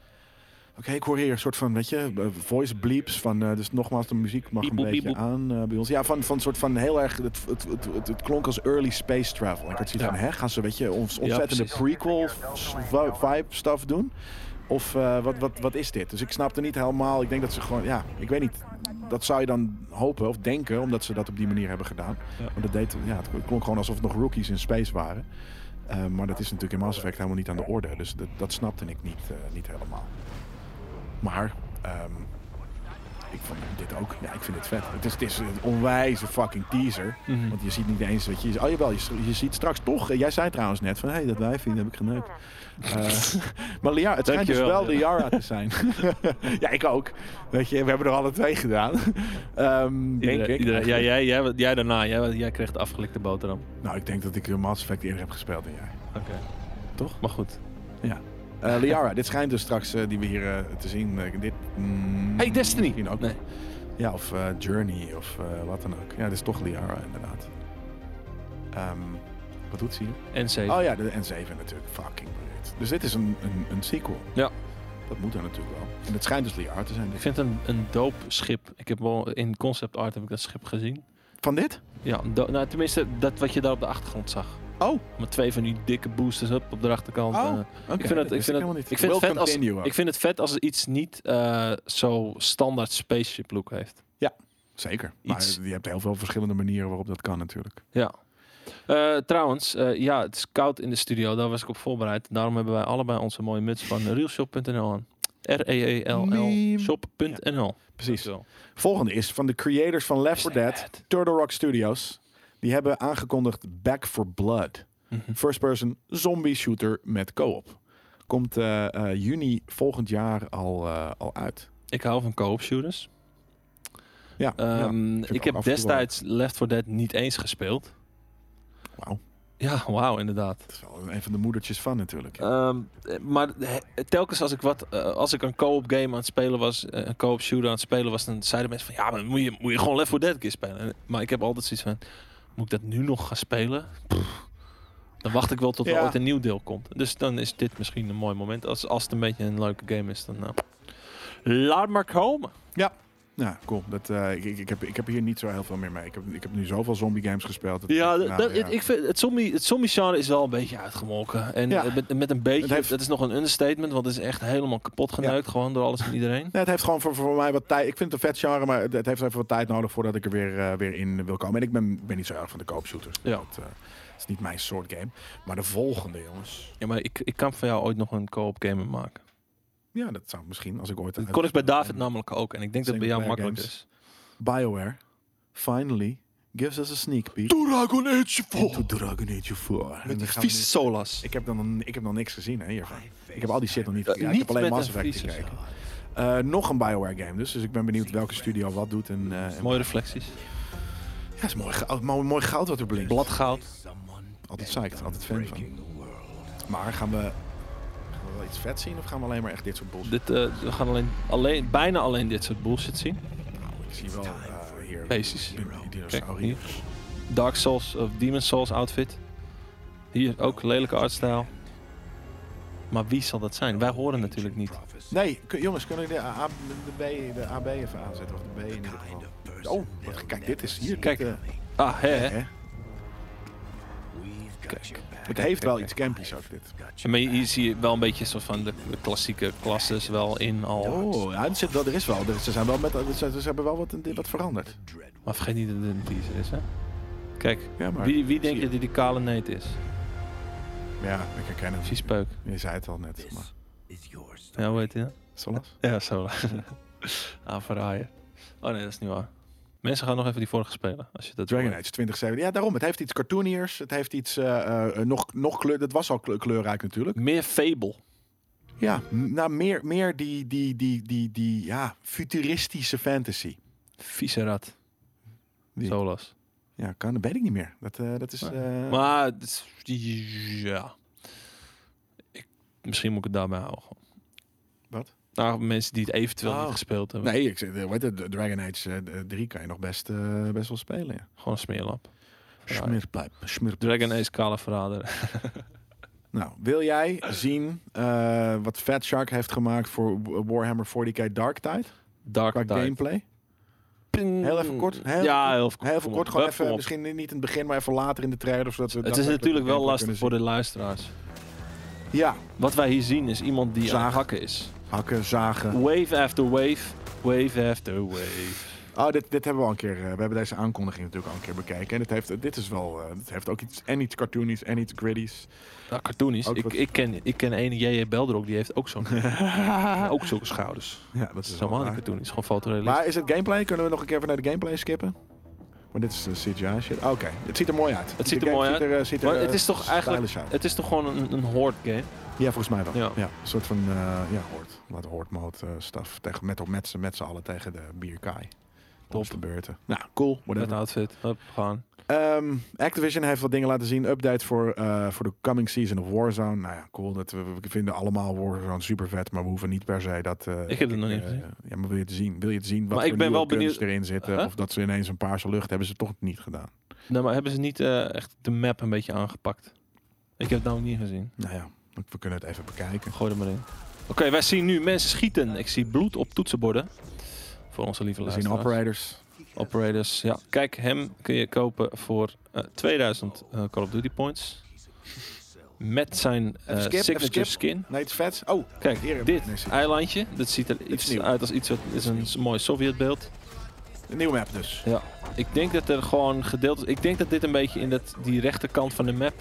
Speaker 1: Oké, ik hoor hier een soort van, weet je, eh, voice bleeps van... eh, dus nogmaals, de muziek mag een
Speaker 2: Piep,
Speaker 1: beetje
Speaker 2: piep.
Speaker 1: aan eh, bij ons. Ja, van, van soort van heel erg, het, het, het, het, het klonk als early space travel. Ik had zoiets
Speaker 2: Ja.
Speaker 1: van, hè, gaan ze, weet je, ons ontzettende
Speaker 2: precies.
Speaker 1: prequel s- vi- vibe stuff doen? Of eh, wat, wat, wat is dit? Dus ik snapte niet helemaal. Ik denk dat ze gewoon, ja, ik weet niet. Dat zou je dan hopen of denken, omdat ze dat op die manier hebben gedaan.
Speaker 2: Ja.
Speaker 1: Maar dat deed, ja, het klonk gewoon alsof het nog rookies in space waren. Eh, maar dat is natuurlijk in Mass Effect helemaal niet aan de orde. Dus dat, dat snapte ik niet, eh, niet helemaal. Maar ehm, ik vond dit ook, ja, ik vind het vet. Het is, het is een onwijze fucking teaser.
Speaker 2: Mhm.
Speaker 1: Want je ziet niet eens, weet je, oh jawel, je, je ziet straks toch, eh, jij zei trouwens net van, hé, hey, dat wijfje dat heb ik geneukt. Eh, maar Liara, het schijnt dus
Speaker 2: Dankjewel,
Speaker 1: wel Liara te zijn. ja, ik ook. Weet je, we hebben er alle twee gedaan. Ehm, denk
Speaker 2: Iedereen-
Speaker 1: ik.
Speaker 2: iedereen- ja, jij, jij, jij daarna, jij, jij kreeg de afgelikte boterham.
Speaker 1: Nou, ik denk dat ik Mass Effect eerder heb gespeeld dan jij.
Speaker 2: Oké.
Speaker 1: Toch?
Speaker 2: Maar goed.
Speaker 1: Ja. Eh, Liara, dit schijnt dus straks eh, die we hier eh, te zien. eh, dit, mm,
Speaker 2: Hey, Destiny!
Speaker 1: Misschien ook.
Speaker 2: Nee.
Speaker 1: Ja, of eh, Journey of eh, wat dan ook. Ja, dit is toch Liara inderdaad. Ehm, wat doet ze hier?
Speaker 2: En zeven.
Speaker 1: Oh ja, de N7 natuurlijk. Fucking weird. Dus dit is een, een, een sequel.
Speaker 2: Ja.
Speaker 1: Dat moet er natuurlijk wel. En het schijnt dus Liara te zijn.
Speaker 2: Ik vind het een, een doop schip. Ik heb wel in concept art heb ik dat schip gezien.
Speaker 1: Van dit?
Speaker 2: Ja, een do- nou, tenminste dat wat je daar op de achtergrond zag.
Speaker 1: Oh,
Speaker 2: Met twee van die dikke boosters up op de achterkant.
Speaker 1: Oh,
Speaker 2: eh.
Speaker 1: oké.
Speaker 2: ik vind het,
Speaker 1: wist
Speaker 2: ik vind het,
Speaker 1: helemaal niet.
Speaker 2: ik vind het
Speaker 1: We'll
Speaker 2: vet als,
Speaker 1: continue ook.
Speaker 2: ik vind het vet als iets niet eh, zo standaard spaceship look heeft.
Speaker 1: Zeker. Maar
Speaker 2: Iets.
Speaker 1: je hebt heel veel verschillende manieren waarop dat kan natuurlijk.
Speaker 2: Ja. Eh, trouwens, eh, ja, het is koud in de studio. Daar was ik op voorbereid. Daarom hebben wij allebei onze mooie muts van realshop.nl aan. E
Speaker 1: Meme.
Speaker 2: R-E-E-L-L shop.nl.
Speaker 1: Precies.
Speaker 2: Zo.
Speaker 1: Volgende is van de creators van Left 4 Dead, Turtle Rock Studios. Die hebben aangekondigd Back for Blood.
Speaker 2: Mhm.
Speaker 1: First-person zombie shooter met co-op. Komt eh, eh, juni volgend jaar al, eh, al uit.
Speaker 2: Ik hou van co-op shooters.
Speaker 1: Ja, ja.
Speaker 2: Ehm,
Speaker 1: ik
Speaker 2: ik
Speaker 1: ook
Speaker 2: heb
Speaker 1: af en toe wel.
Speaker 2: destijds Left 4 Dead niet eens gespeeld.
Speaker 1: Wauw.
Speaker 2: Ja, wauw, inderdaad.
Speaker 1: Dat is wel een van de moedertjes van natuurlijk.
Speaker 2: Ehm, eh, maar he- telkens als ik, wat, eh, als ik een co-op game aan het spelen was, eh, een co-op shooter aan het spelen was, dan zeiden mensen van ja, maar dan moet je, moet je gewoon Left 4 Dead een keer spelen. En- Maar ik heb altijd zoiets van, moet ik dat nu nog gaan spelen? Pff, dan wacht ik wel tot
Speaker 1: Ja.
Speaker 2: er ooit een nieuw deel komt. Dus dan is dit misschien een mooi moment. Als, als het een beetje een leuke game is, dan nou. Laat maar komen.
Speaker 1: Nou, cool. Dat, eh, ik- ik, ik, heb, ik heb hier niet zo heel veel meer mee. Ik heb, ik heb nu zoveel zombie games gespeeld. Dat,
Speaker 2: Ja,
Speaker 1: nou,
Speaker 2: dat, dat-
Speaker 1: ja.
Speaker 2: Ik vind, het zombie, het zombie genre is wel een beetje uitgemolken. En
Speaker 1: Ja.
Speaker 2: eh, met, met een beetje,
Speaker 1: Het heeft-
Speaker 2: dat is nog een understatement, want het is echt helemaal kapot geneukt gewoon door alles en iedereen.
Speaker 1: Nee, het heeft gewoon voor, voor mij wat tijd. Ik vind het een vet genre, maar het, het heeft even wat tijd nodig voordat ik er weer, eh, weer in wil komen. En ik ben, ben niet zo erg van de koopshooters.
Speaker 2: Ja.
Speaker 1: Dat eh, is niet mijn soort game. Maar de volgende, jongens.
Speaker 2: Ja, maar ik, ik kan van jou ooit nog een co-op game maken.
Speaker 1: Ja, dat zou misschien als ik ooit.
Speaker 2: Dat kon ik bij David namelijk ook. En ik denk dat het bij jou
Speaker 1: Singleplayer
Speaker 2: makkelijk
Speaker 1: BioWare
Speaker 2: is.
Speaker 1: finally gives us a sneak peek.
Speaker 2: Dragon Age
Speaker 1: Into Dragon Age 4. En
Speaker 2: Met
Speaker 1: dan
Speaker 2: die
Speaker 1: gaan we
Speaker 2: vieze
Speaker 1: nu-
Speaker 2: solas.
Speaker 1: Ik heb, dan, ik heb nog niks gezien hè, hiervan. Ik heb al die shit nog niet
Speaker 2: Eh,
Speaker 1: gekeken. Ja, ik
Speaker 2: niet
Speaker 1: heb alleen
Speaker 2: met
Speaker 1: Mass
Speaker 2: een
Speaker 1: Effect
Speaker 2: vieze
Speaker 1: gekeken. Eh, nog een Bioware game dus. Dus ik ben benieuwd welke studio wat doet. En, eh, en-
Speaker 2: Mooie reflecties.
Speaker 1: Ja, is mooi, goud, mooi, mooi goud wat er blinkt.
Speaker 2: Bladgoud.
Speaker 1: Altijd psyched, altijd fan van. Maar gaan we, gaan we wel iets vet zien of gaan we alleen maar echt dit soort bullshit?
Speaker 2: Dit, eh, we gaan alleen, alleen, bijna alleen dit soort bullshit zien.
Speaker 1: Nou, ik zie wel eh, hier
Speaker 2: Basis.
Speaker 1: die- die
Speaker 2: Kijk,
Speaker 1: dinosaurier.
Speaker 2: hier. Dark Souls of Demon Souls outfit. Hier ook lelijke artstijl. Maar wie zal dat zijn? Wij horen natuurlijk niet.
Speaker 1: Nee, kun- jongens, kunnen jullie de, A, de, B, de AB even aanzetten? Of de B in ieder geval. Oh, wat- kijk, dit is hier.
Speaker 2: Kijk.
Speaker 1: dit, eh,
Speaker 2: Ah, hè, hè.
Speaker 1: hè? Het heeft wel iets campies ook, dit.
Speaker 2: Ja, Maar hier zie je wel een beetje soort van de, de klassieke klasses wel in al.
Speaker 1: Oh, ja, er, zit wel, er is wel. er- ze, zijn wel met, ze, ze hebben wel wat, wat veranderd.
Speaker 2: Maar vergeet niet dat het een teaser is, hè? Kijk,
Speaker 1: Ja, maar-
Speaker 2: wie, wie denk
Speaker 1: zie
Speaker 2: je dat die kale neet is?
Speaker 1: Ja, ik herken hem.
Speaker 2: Precies peuk.
Speaker 1: Je zei het al net. Maar.
Speaker 2: Ja, hoe heet die? dan?
Speaker 1: Solas?
Speaker 2: Ja, zo. Aanverraaien. Oh nee, dat is niet waar. Mensen gaan nog even die vorige spelen. Als je dat
Speaker 1: Dragon
Speaker 2: hoort.
Speaker 1: Age 2017. Ja, daarom. Het heeft iets cartooniers. Het heeft iets eh, eh, nog, nog kleur. Dat was al kle- kleurrijk natuurlijk.
Speaker 2: Meer Fable.
Speaker 1: Ja, m- nou meer, meer die, die, die, die, die ja, futuristische fantasy.
Speaker 2: Vieze rat.
Speaker 1: Wie?
Speaker 2: Zolas.
Speaker 1: Ja, kan, dat weet ik niet meer. Dat, eh, dat is...
Speaker 2: Maar-
Speaker 1: eh,
Speaker 2: Maar, het is- ja. Ik, misschien moet ik het daarbij houden. gewoon.
Speaker 1: Wat?
Speaker 2: Nou, mensen die het eventueel
Speaker 1: Oh.
Speaker 2: niet gespeeld hebben.
Speaker 1: Nee, ik, zeg, eh, weet het, Dragon Age eh, 3 kan je nog best, eh, best wel spelen. Ja.
Speaker 2: Gewoon een smeerlap. Verraaien.
Speaker 1: Smirpijp. smirpijp.
Speaker 2: Dragon Age Kale Verrader.
Speaker 1: Nou, wil jij zien eh, wat Fat Shark heeft gemaakt voor Warhammer 40k Dark Tide?
Speaker 2: Dark
Speaker 1: Qua
Speaker 2: Tide.
Speaker 1: gameplay? Heel even kort. Heel
Speaker 2: ja, heel even kort.
Speaker 1: Heel
Speaker 2: kom
Speaker 1: veel
Speaker 2: op.
Speaker 1: kort, gewoon
Speaker 2: Hup, kom
Speaker 1: even,
Speaker 2: op.
Speaker 1: misschien niet in het begin, maar even later in de trailer. Zodat we
Speaker 2: Het is natuurlijk wel lastig voor
Speaker 1: de...
Speaker 2: de luisteraars.
Speaker 1: Ja,
Speaker 2: Wat wij hier zien is iemand die aan
Speaker 1: Zagen.
Speaker 2: het hakken is.
Speaker 1: hakken, zagen.
Speaker 2: Wave after wave, wave after wave.
Speaker 1: Oh, dit, dit hebben we al een keer, eh, we hebben deze aankondiging natuurlijk al een keer bekeken. En het heeft, dit is wel, eh, het heeft ook iets, en iets cartoonies en iets gritties.
Speaker 2: Nou, cartoonies.
Speaker 1: Ook
Speaker 2: Ik,
Speaker 1: wat-
Speaker 2: ik, ken, ik ken een J.J. Beldrok, die heeft ook zo'n ah, ook zulke schouders.
Speaker 1: Ja, dat
Speaker 2: Dat
Speaker 1: is wel
Speaker 2: is helemaal niet
Speaker 1: waar.
Speaker 2: cartoonies, gewoon fotorealistisch.
Speaker 1: Maar is het gameplay? Kunnen we nog een keer even naar de gameplay skippen? Maar dit is eh, de CGI shit. Ah, Oké, het ziet er mooi uit.
Speaker 2: Het ziet
Speaker 1: De
Speaker 2: er
Speaker 1: game
Speaker 2: mooi
Speaker 1: Ziet er, eh, ziet er,
Speaker 2: Maar het
Speaker 1: eh,
Speaker 2: is toch eigenlijk-
Speaker 1: stylish uit.
Speaker 2: Het is toch gewoon een, een horde game?
Speaker 1: Ja, volgens mij wel. Ja.
Speaker 2: Ja.
Speaker 1: een soort van, eh ja, hoort. Laat hoort mode eh, staf. Tegen, met, met, z'n- met z'n allen tegen de bierkaai.
Speaker 2: Top.
Speaker 1: Op de beurten. Nou, cool.
Speaker 2: Met een
Speaker 1: Whatever.
Speaker 2: outfit. Hup, gaan.
Speaker 1: Ehm, Activision heeft wat dingen laten zien. Update voor, eh, voor de coming season of Warzone. Nou ja, cool. Dat, we, we vinden allemaal Warzone super vet, maar we hoeven niet per se dat... eh,
Speaker 2: Ik heb het nog niet
Speaker 1: eh,
Speaker 2: gezien.
Speaker 1: ja, maar wil je het zien? Wil je het zien wat
Speaker 2: Maar
Speaker 1: voor
Speaker 2: ik ben
Speaker 1: nieuwe
Speaker 2: wel
Speaker 1: guns
Speaker 2: benieuwd-
Speaker 1: erin zitten?
Speaker 2: Huh?
Speaker 1: Of dat ze ineens een paarse lucht hebben ze toch niet gedaan.
Speaker 2: Nou, maar hebben ze niet eh, echt de map een beetje aangepakt? Ik heb het nou niet gezien.
Speaker 1: Nou ja, we kunnen het even bekijken.
Speaker 2: Gooi er maar in. Oké, wij zien nu mensen schieten. Ik zie bloed op toetsenborden. Voor onze lieve
Speaker 1: We zien
Speaker 2: luisteraars.
Speaker 1: operators.
Speaker 2: Operators, ja. Kijk, hem kun je kopen voor eh, 2000 eh, Call of Duty points. Met zijn eh,
Speaker 1: skip, even skip.
Speaker 2: signature skin.
Speaker 1: Nee, het is vet. Oh,
Speaker 2: Kijk,
Speaker 1: Hier,
Speaker 2: dit
Speaker 1: nee, zie-
Speaker 2: eilandje, dat ziet er iets
Speaker 1: nieuw.
Speaker 2: uit als iets wat is een s- mooi Sovjetbeeld.
Speaker 1: een nieuwe map dus.
Speaker 2: Ja. Ik denk dat er gewoon gedeeld is. Ik denk dat dit een beetje in dat, die rechterkant van de map,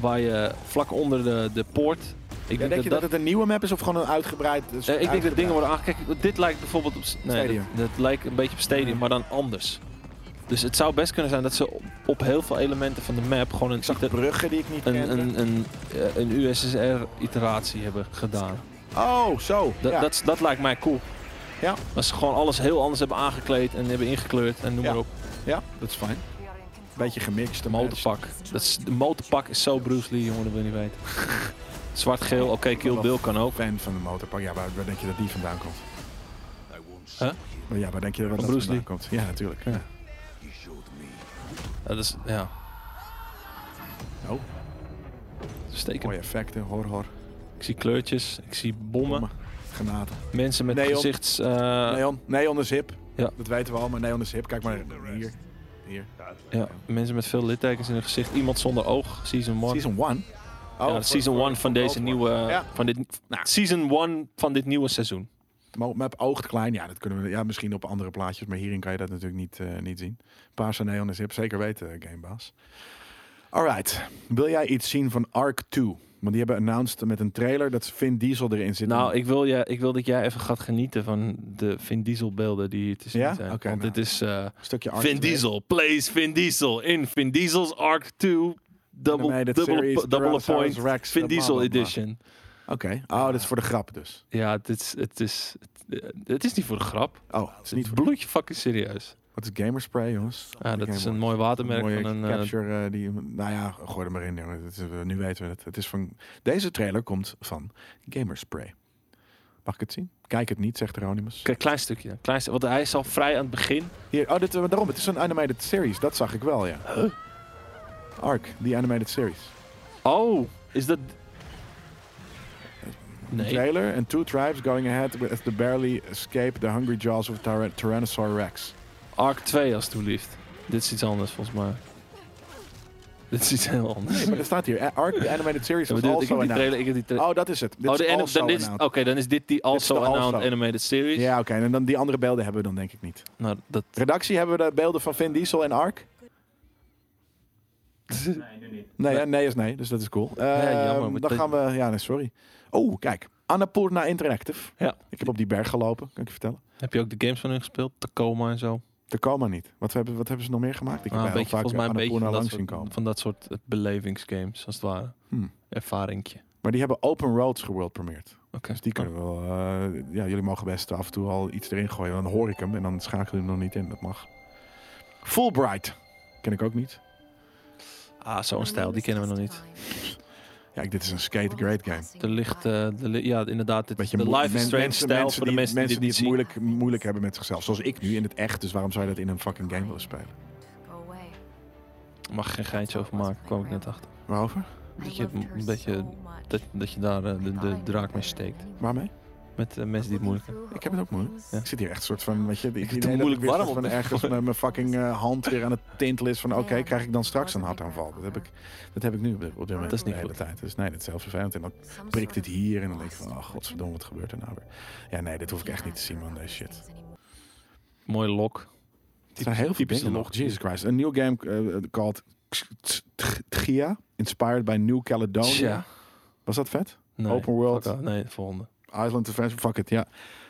Speaker 2: waar je vlak onder de, de poort. Ik
Speaker 1: Ja, denk je dat, het een nieuwe map is of gewoon een uitgebreid? dus
Speaker 2: Nee, Eh, ik denk dat
Speaker 1: uitgebreid-
Speaker 2: dingen worden aangekeken. Dit lijkt bijvoorbeeld op. s- Nee,
Speaker 1: Stadium.
Speaker 2: dat, dat lijkt een beetje op Stadium, maar dan anders. Dus het zou best kunnen zijn dat ze op, op heel veel elementen van de map gewoon een,
Speaker 1: Ik zag de
Speaker 2: iter-
Speaker 1: bruggen die ik niet
Speaker 2: een,
Speaker 1: kende.
Speaker 2: een, een, eh, een USSR-iteratie hebben gedaan.
Speaker 1: Oh, zo.
Speaker 2: Dat,
Speaker 1: ja.
Speaker 2: dat, is- dat lijkt mij cool.
Speaker 1: Ja.
Speaker 2: Dat ze gewoon alles heel anders hebben aangekleed en hebben ingekleurd en noem
Speaker 1: Ja.
Speaker 2: maar op.
Speaker 1: ja, dat is fijn. Beetje gemixt.
Speaker 2: De
Speaker 1: maar-
Speaker 2: motorpak. Dat is, de motorpak is zo Bruce Lee, jongen, dat wil je niet weten. Zwart-geel, oké, Kill Bill kan ook.
Speaker 1: fan van de motorpak. Ja, waar, waar denk je dat die vandaan komt?
Speaker 2: Huh?
Speaker 1: Maar Ja, waar denk je dat dat
Speaker 2: Bruce
Speaker 1: vandaan
Speaker 2: Lee.
Speaker 1: komt? Ja, natuurlijk.
Speaker 2: Ja. Dat is, ja,
Speaker 1: Oh,
Speaker 2: steken.
Speaker 1: mooie effecten. Hoor, hoor.
Speaker 2: Ik zie kleurtjes, ik zie bommen.
Speaker 1: Bommen. Granaten.
Speaker 2: Mensen met
Speaker 1: Neon.
Speaker 2: gezichts... eh,
Speaker 1: Neon. Neon is hip.
Speaker 2: Ja.
Speaker 1: Dat weten we al, maar Neon is hip. Kijk maar hier. Hier.
Speaker 2: ja, mensen met veel littekens in hun gezicht. Iemand zonder oog. Season 1.
Speaker 1: Season Oh, 1.
Speaker 2: Ja, season 1 van deze nieuwe...
Speaker 1: Ja.
Speaker 2: Van dit,
Speaker 1: Nou.
Speaker 2: Season 1 van dit nieuwe seizoen.
Speaker 1: Mo- Map oogt klein. Ja, dat kunnen we ja, misschien op andere plaatjes, maar hierin kan je dat natuurlijk niet, eh, niet zien. Paarse neon is hip, zeker weten, eh, Gamebaas. Alright, wil jij iets zien van Ark 2? Want die hebben announced met een trailer dat Vin Diesel erin zit.
Speaker 2: Nou, ik wil, je, ik wil dat jij even gaat genieten van de Vin Diesel beelden die hier te zien
Speaker 1: Ja?
Speaker 2: zijn.
Speaker 1: Oké,
Speaker 2: Want
Speaker 1: nou.
Speaker 2: dit is... eh,
Speaker 1: een stukje Ark
Speaker 2: Vin
Speaker 1: 2.
Speaker 2: Diesel plays Vin Diesel in Vin Diesel's Arc 2 double,
Speaker 1: Animated
Speaker 2: double,
Speaker 1: series,
Speaker 2: double
Speaker 1: Tyrannosaurus
Speaker 2: point
Speaker 1: Rex,
Speaker 2: Vin
Speaker 1: bla,
Speaker 2: Diesel
Speaker 1: bla, bla.
Speaker 2: edition.
Speaker 1: Oké, oh, dat is voor de grap dus.
Speaker 2: Ja, het is, het, is, het is niet voor de grap.
Speaker 1: Oh, het is niet
Speaker 2: Niet
Speaker 1: voor...
Speaker 2: bloedje fucking serieus.
Speaker 1: Wat is Gamerspray, jongens?
Speaker 2: Ja, dat
Speaker 1: Game
Speaker 2: is
Speaker 1: Boy.
Speaker 2: een mooi watermerk
Speaker 1: mooie
Speaker 2: van een... eh,
Speaker 1: capture eh, die... Nou ja, gooi er maar in, jongen. Het is, eh, nu weten we het. het is van, deze trailer komt van Gamerspray. Mag ik het zien? Kijk het niet, zegt Ronimus.
Speaker 2: Kijk, klein stukje. Klein stu- want hij is al vrij aan het begin.
Speaker 1: Hier, oh, dit, eh, daarom, het is een animated series. Dat zag ik wel, ja. Ark, die animated series.
Speaker 2: Oh, is dat... Nee.
Speaker 1: Trailer and two tribes going ahead with the barely escape the hungry jaws of Tyra- Tyrannosaur Rex.
Speaker 2: Arc 2 als toelieft. Dit is iets anders volgens mij. Dit is iets heel anders.
Speaker 1: Nee, maar er staat hier. eh, Ark, the animated series
Speaker 2: Ja,
Speaker 1: was
Speaker 2: maar dit- ik
Speaker 1: also announced.
Speaker 2: heb die trailer... Ik heb die tra-
Speaker 1: Oh, dat is het. Dit
Speaker 2: oh,
Speaker 1: is
Speaker 2: de anim-
Speaker 1: also
Speaker 2: dan dit is-
Speaker 1: announced.
Speaker 2: Oké, dan is dit die also
Speaker 1: de also.
Speaker 2: announced animated series.
Speaker 1: Ja, oké. En dan die andere beelden hebben we dan denk ik niet.
Speaker 2: Nou, dat...
Speaker 1: Redactie, hebben we de beelden van Vin Diesel en Ark? Nee, hè? nee is nee, dus dat is cool.
Speaker 2: Ja, jammer,
Speaker 1: Ehm, dan
Speaker 2: maar dat-
Speaker 1: gaan we... Ja, nee, sorry. Oh, kijk. Annapurna Interactive.
Speaker 2: Ja.
Speaker 1: Ik heb op die berg gelopen, kan ik je vertellen.
Speaker 2: Heb je ook de games van hun gespeeld? Tacoma en zo?
Speaker 1: Tacoma niet. Wat hebben, wat hebben ze nog meer gemaakt? Ik
Speaker 2: Ah,
Speaker 1: heb
Speaker 2: een
Speaker 1: heel
Speaker 2: beetje,
Speaker 1: vaak eh,
Speaker 2: volgens mij een beetje
Speaker 1: Annapurna
Speaker 2: van dat,
Speaker 1: langs zien
Speaker 2: soort,
Speaker 1: komen.
Speaker 2: van dat soort eh, belevingsgames, als het ware.
Speaker 1: Hmm.
Speaker 2: Ervaringje.
Speaker 1: Maar die hebben Open Roads geworld premiered.
Speaker 2: Oké.
Speaker 1: Dus die kunnen wel... eh, ja, jullie mogen best af en toe al iets erin gooien. Dan hoor ik hem en dan schakel je hem nog niet in. Dat mag. Fulbright. Ken ik ook niet.
Speaker 2: Ah, zo'n stijl, die kennen we nog niet.
Speaker 1: Ja, ik- dit is een skate great game.
Speaker 2: Er ligt, eh, de li- ja, inderdaad, dit,
Speaker 1: Beetje
Speaker 2: de
Speaker 1: moe-
Speaker 2: live is
Speaker 1: men-
Speaker 2: strange stijl voor de
Speaker 1: die,
Speaker 2: mensen, die,
Speaker 1: mensen die het
Speaker 2: dit niet
Speaker 1: moeilijk, moeilijk hebben met zichzelf. Zoals ik nu in het echt. Dus waarom zou je dat in een fucking game willen spelen?
Speaker 2: zien. Mag geen geintje eh, over maken, kwam ik net achter.
Speaker 1: Waarover?
Speaker 2: Dat je, een beetje, dat, dat je daar eh, de, de draak mee steekt.
Speaker 1: Waarmee?
Speaker 2: Met eh, mensen die het moeilijk hebben.
Speaker 1: Ik heb het ook moeilijk.
Speaker 2: Ja.
Speaker 1: Ik zit hier echt een soort van, weet je, ik
Speaker 2: het moeilijk warm op
Speaker 1: van
Speaker 2: dit
Speaker 1: ergens met mijn fucking eh, hand weer aan het tintelen is van, oké, krijg ik dan straks een hartaanval? Dat heb ik, dat heb ik nu op dit op dit moment
Speaker 2: Dat is niet
Speaker 1: de hele
Speaker 2: goed.
Speaker 1: tijd. Dus nee, dat is heel vervelend. En dan prikt het hier en dan denk ik van, oh godverdomme, wat gebeurt er nou weer? Ja, nee, dit hoef ik echt niet te zien, man, deze shit.
Speaker 2: Mooie lok.
Speaker 1: Het zijn heel veel
Speaker 2: typische
Speaker 1: dingen nog.
Speaker 2: log.
Speaker 1: Jesus Christ. Een nieuw game eh, called Tgia, inspired by New Caledonia.
Speaker 2: Tja.
Speaker 1: Was dat vet?
Speaker 2: Nee,
Speaker 1: Open world.
Speaker 2: fuck out. Nee, volgende.
Speaker 1: Island Adventure, fuck it, ja.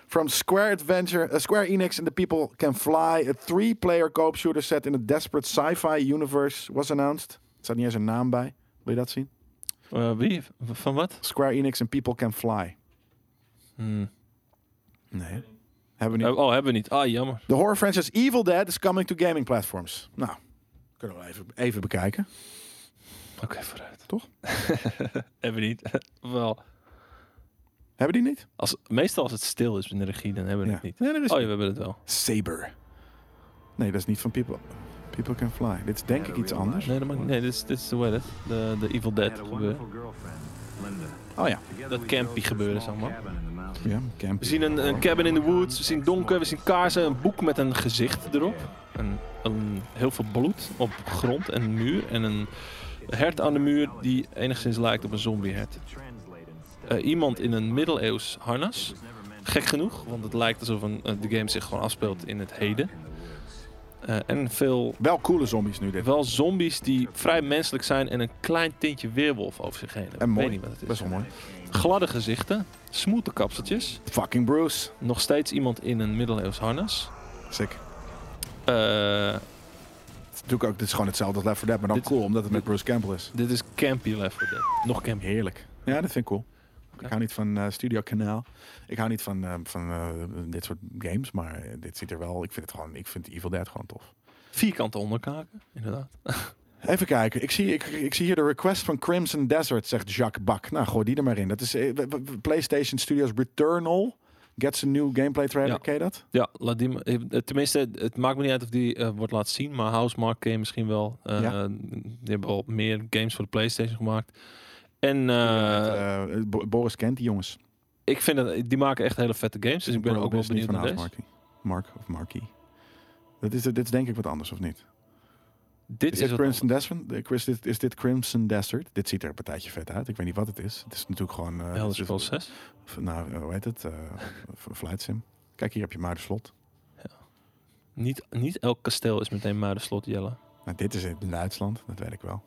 Speaker 1: From Square Adventure, uh, Square Enix and the People Can Fly, a three-player co-op shooter set in a desperate sci-fi universe was announced. Er staat niet eens een naam bij. Wil je dat zien?
Speaker 2: Eh, wie? V- Van wat?
Speaker 1: Square Enix and People Can Fly.
Speaker 2: Hmm.
Speaker 1: Nee. Hebben we niet.
Speaker 2: Eh, Oh, hebben we niet. Ah, jammer.
Speaker 1: De horror franchise Evil Dead is coming to gaming platforms. Nou, kunnen we even, even bekijken.
Speaker 2: Oké, vooruit.
Speaker 1: Toch?
Speaker 2: hebben we niet. Wel.
Speaker 1: Hebben die niet?
Speaker 2: Als, meestal als het stil is in de regie, dan hebben we
Speaker 1: Ja.
Speaker 2: het niet.
Speaker 1: Nee, er is
Speaker 2: Oh ja, we hebben het wel.
Speaker 1: Saber. Nee, dat is niet van People, People Can Fly. Dit is denk ik iets anders.
Speaker 2: Nee, dat maakt, nee dit, is, dit is de, hoe heet het? de, de Evil Dead gebeuren.
Speaker 1: Oh ja.
Speaker 2: Dat campy gebeuren, zeg maar.
Speaker 1: Ja, Camp.
Speaker 2: We zien een, een cabin in the woods, we zien donker, we zien kaarsen, een boek met een gezicht erop. En, een, heel veel bloed op grond en muur en een hert aan de muur die enigszins lijkt op een zombiehert. Eh, iemand in een middeleeuws harnas. Gek genoeg, want het lijkt alsof een, eh, de game zich gewoon afspeelt in het heden. Eh, en veel
Speaker 1: Wel coole zombies nu dit.
Speaker 2: wel zombies die vrij menselijk zijn en een klein tintje weerwolf over zich heen hebben.
Speaker 1: En
Speaker 2: Ik
Speaker 1: mooi.
Speaker 2: weet niet wat het is.
Speaker 1: Best wel mooi.
Speaker 2: Gladde gezichten, smoete kapseltjes.
Speaker 1: Fucking Bruce.
Speaker 2: Nog steeds iemand in een middeleeuws harnas.
Speaker 1: Sick. Het
Speaker 2: Eh,
Speaker 1: is natuurlijk ook, dit is gewoon hetzelfde als Left 4 Dead, maar dan
Speaker 2: Dit-
Speaker 1: cool, omdat het met Bruce Campbell is.
Speaker 2: dit is campy Left 4 Dead. Nog campy.
Speaker 1: Heerlijk. Ja, dat vind ik cool. Ik hou niet van eh, Studio Kanaal. Ik hou niet van, eh, van eh, dit soort games, maar eh, dit ziet er wel. Ik vind het gewoon, ik vind Evil Dead gewoon tof.
Speaker 2: Vierkante onderkaken, inderdaad.
Speaker 1: Even kijken. Ik zie, ik, ik zie hier de request van Crimson Desert, zegt Jacques Bak. Nou, gooi die er maar in. Dat is eh, w- w- PlayStation Studios Returnal. Gets a new gameplay trailer.
Speaker 2: Ja.
Speaker 1: Ken je dat?
Speaker 2: Ja, laat die, maar- eh, tenminste, het maakt me niet uit of die eh, wordt laten zien, maar Housemark ken je misschien wel. Eh,
Speaker 1: Ja.
Speaker 2: Die hebben al meer games voor de PlayStation gemaakt. En eh,
Speaker 1: Eh, Bo- Boris kent die jongens.
Speaker 2: ik vind dat die maken echt hele vette games, dus ik ben ook wel
Speaker 1: Boris is
Speaker 2: benieuwd
Speaker 1: niet
Speaker 2: naar
Speaker 1: van
Speaker 2: deze.
Speaker 1: House Markie. Mark of Markie. Dat is, dit is denk ik wat anders, of niet? Is
Speaker 2: Dit is,
Speaker 1: dit,
Speaker 2: wat-
Speaker 1: Crimson Desert? Eh, Chris, dit, is dit Crimson Desert? Dit ziet er een partijtje vet uit. Ik weet niet wat het is. Het is natuurlijk gewoon... eh,
Speaker 2: Elder
Speaker 1: het is-
Speaker 2: Scrolls 6.
Speaker 1: v- nou, eh, hoe heet het? Eh, v- Flight Sim. Kijk, hier heb je Muiderslot.
Speaker 2: Niet, niet elk kasteel is meteen Muiderslot Jelle.
Speaker 1: Nou, dit is in Duitsland. Dat weet ik wel.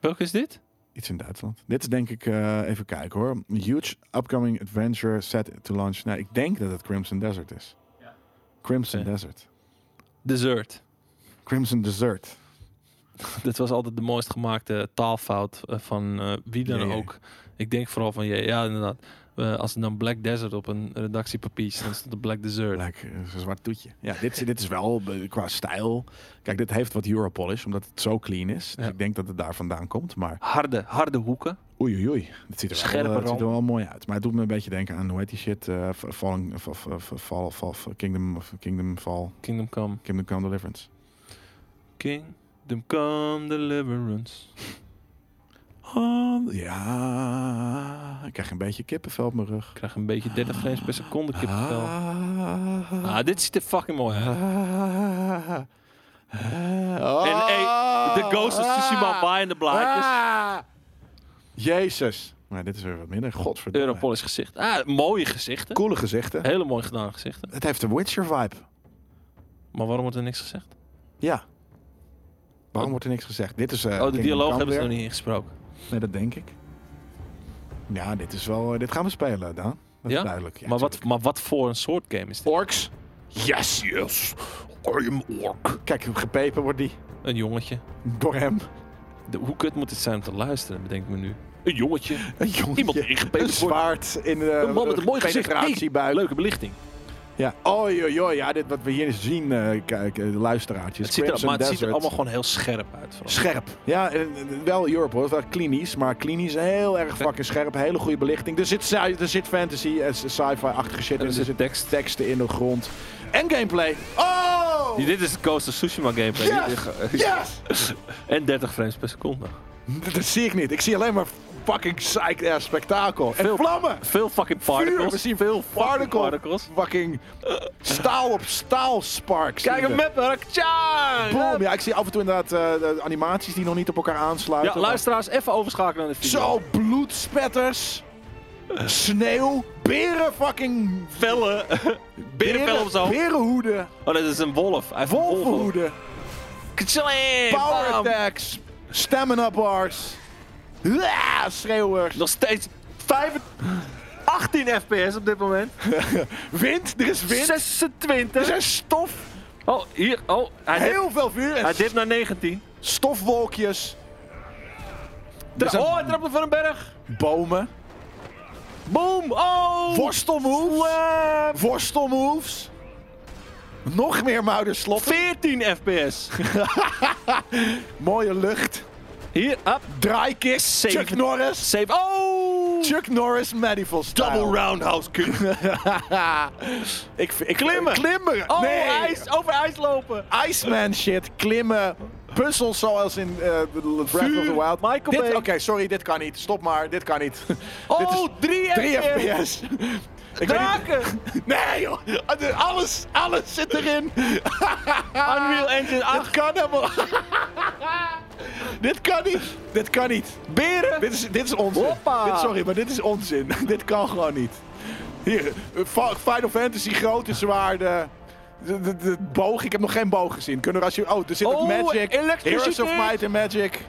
Speaker 2: Welke is dit?
Speaker 1: Iets in Duitsland. Dit is denk ik... eh, even kijken hoor. Huge upcoming adventure set to launch. Nou, ik denk dat het Crimson Desert is. Crimson
Speaker 2: Oké.
Speaker 1: Desert.
Speaker 2: Dessert.
Speaker 1: Crimson Desert.
Speaker 2: Dit was altijd de mooist gemaakte taalfout eh, van eh, wie dan
Speaker 1: Jee, jee.
Speaker 2: ook. Ik denk vooral van, ja, ja inderdaad. Eh, als er dan Black Desert op een redactiepapier staat, dan stond er Black Desert.
Speaker 1: Lekker, eh, zo'n zwart toetje. Ja, dit, dit is wel eh, qua stijl. Kijk, dit heeft wat Europolish, omdat het zo clean is. Dus
Speaker 2: Ja.
Speaker 1: ik denk dat het daar vandaan komt. Maar
Speaker 2: Harde, harde hoeken.
Speaker 1: Oei, oei, oei. Het ziet, er
Speaker 2: Scherpe
Speaker 1: wel, eh, het ziet
Speaker 2: rand.
Speaker 1: er wel mooi uit. Maar het doet me een beetje denken aan, hoe heet die shit? eh, F- Falling, of, of, of- fall, of, of- Kingdom, of Kingdom Fall,
Speaker 2: Kingdom Come.
Speaker 1: Kingdom Come Deliverance.
Speaker 2: Kingdom Come Deliverance.
Speaker 1: Oh, ja, ik krijg een beetje kippenvel op mijn rug.
Speaker 2: Ik krijg een beetje 30 frames per seconde kippenvel. Ah,
Speaker 1: Ah,
Speaker 2: dit ziet er fucking mooi uit.
Speaker 1: ah, ah.
Speaker 2: En hey,
Speaker 1: Oh.
Speaker 2: de Ghost of Tsushima waaiende blaadjes.
Speaker 1: Ah. Jezus. Maar dit is weer wat minder. Godverdomme.
Speaker 2: Europolis gezicht. Ah, mooie gezichten.
Speaker 1: Coole gezichten.
Speaker 2: Hele mooi gedaan gezichten.
Speaker 1: Het heeft een Witcher vibe.
Speaker 2: Maar waarom wordt er niks gezegd?
Speaker 1: Ja. Waarom wordt er niks gezegd? Dit is. eh,
Speaker 2: Oh, de
Speaker 1: Kingdom
Speaker 2: dialoog
Speaker 1: Come
Speaker 2: hebben ze
Speaker 1: weer.
Speaker 2: nog niet ingesproken.
Speaker 1: Nee, dat denk ik. Ja, dit is wel. eh, dit gaan we spelen, Daan. Dat is
Speaker 2: Ja?
Speaker 1: duidelijk. Ja,
Speaker 2: maar, wat,
Speaker 1: tuurlijk.
Speaker 2: maar wat voor een soort game is dit?
Speaker 1: Orks? Yes, yes. I am ork. Kijk, gepepen wordt die
Speaker 2: Een jongetje.
Speaker 1: door hem.
Speaker 2: De, hoe kut moet het zijn om te luisteren, bedenk ik me nu. Een jongetje.
Speaker 1: Een jongetje.
Speaker 2: Iemand die gepeperd
Speaker 1: Een
Speaker 2: wordt.
Speaker 1: zwaard in de.
Speaker 2: Een man met een mooi gezicht.
Speaker 1: penetratiebuik.
Speaker 2: Leuke belichting.
Speaker 1: Ja. Oei, oei, oei. Ja, dit wat we hier zien, eh kijk, eh, de luisteraartjes.
Speaker 2: Het ziet er,
Speaker 1: Crimson
Speaker 2: maar het ziet er
Speaker 1: Desert.
Speaker 2: allemaal gewoon heel scherp uit. vooral.
Speaker 1: Scherp. Ja, en, en, wel Europe hoor. Wel klinisch, maar klinisch heel erg fucking scherp. Hele goede belichting. Er zit, sci- er zit fantasy en sci- sci-fi-achtige shit in.
Speaker 2: Dus Er
Speaker 1: Er
Speaker 2: zit
Speaker 1: zit
Speaker 2: tekst.
Speaker 1: teksten in de grond. En gameplay. Oh!
Speaker 2: Dit is de Ghost of Tsushima gameplay.
Speaker 1: Yes! Yes!
Speaker 2: En 30 frames per seconde.
Speaker 1: Dat zie ik niet. Ik zie alleen maar fucking psyched ass spektakel. En
Speaker 2: Veel
Speaker 1: vlammen!
Speaker 2: Veel fucking
Speaker 1: Vuur! We
Speaker 2: particles.
Speaker 1: zien veel particle.
Speaker 2: particles.
Speaker 1: Fucking staal op staal sparks.
Speaker 2: Kijk
Speaker 1: Zie
Speaker 2: hem
Speaker 1: je.
Speaker 2: met me. Tja!
Speaker 1: Boom! Ja, ik zie af en toe inderdaad eh, de animaties die nog niet op elkaar aansluiten.
Speaker 2: Ja, luisteraars, even overschakelen naar de video.
Speaker 1: Zo, bloedspetters. Sneeuw. Beren fucking...
Speaker 2: Vellen. Berenvel op zo.
Speaker 1: Berenhoeden.
Speaker 2: Oh, dat is een wolf. Hij heeft een wolf.
Speaker 1: Wolvenhoeden.
Speaker 2: Ktsling,
Speaker 1: Power
Speaker 2: bam.
Speaker 1: attacks. Stamina bars. Ja, schreeuwers.
Speaker 2: Nog steeds 5, 18 fps op dit moment.
Speaker 1: Wind. Er is wind.
Speaker 2: 26.
Speaker 1: Er is stof.
Speaker 2: Oh, hier. Oh, hij dipt,
Speaker 1: Heel veel vuur.
Speaker 2: hij
Speaker 1: En
Speaker 2: dipt naar 19.
Speaker 1: stofwolkjes.
Speaker 2: Tra-
Speaker 1: Er zijn
Speaker 2: oh, hij trapt hem van een berg.
Speaker 1: bomen.
Speaker 2: Boom. Oh.
Speaker 1: Worstelmoves. Worstelmoves. Nog meer muidersloffen.
Speaker 2: 14 fps.
Speaker 1: Mooie lucht.
Speaker 2: Hier, up.
Speaker 1: Draaikick.
Speaker 2: Zeven-
Speaker 1: Chuck Norris.
Speaker 2: Save. Oh.
Speaker 1: Chuck Norris medieval style.
Speaker 2: Double roundhouse kick.
Speaker 1: ik, vind- ik,
Speaker 2: Klimmen.
Speaker 1: Klimmen.
Speaker 2: Oh,
Speaker 1: nee.
Speaker 2: ijs. Over ijs lopen.
Speaker 1: Iceman shit. Klimmen. Puzzels zoals in eh, Breath of the
Speaker 2: Vuur.
Speaker 1: Wild.
Speaker 2: Michael
Speaker 1: Dit-
Speaker 2: Bay.
Speaker 1: Oké, sorry. Dit kan niet. Stop maar. Dit kan niet. dit is
Speaker 2: Oh, 3
Speaker 1: 3
Speaker 2: fps.
Speaker 1: FPS. Ik weet niet-
Speaker 2: Draken.
Speaker 1: Nee joh. Alles, alles zit erin.
Speaker 2: Unreal Engine 8.
Speaker 1: Het kan helemaal. Dit kan niet. Dit kan niet. Beren. Dit is, dit is onzin.
Speaker 3: Hoppa.
Speaker 1: Dit, sorry, maar dit is onzin. dit kan gewoon niet. Hier, eh, Fa- Final Fantasy, grote zwaarden. De, de, de boog, ik heb nog geen boog gezien. Kunnen we als je. Oh, er zit ook
Speaker 3: Oh,
Speaker 1: Magic. Heroes of
Speaker 3: elektriciteit.
Speaker 1: Might and Magic.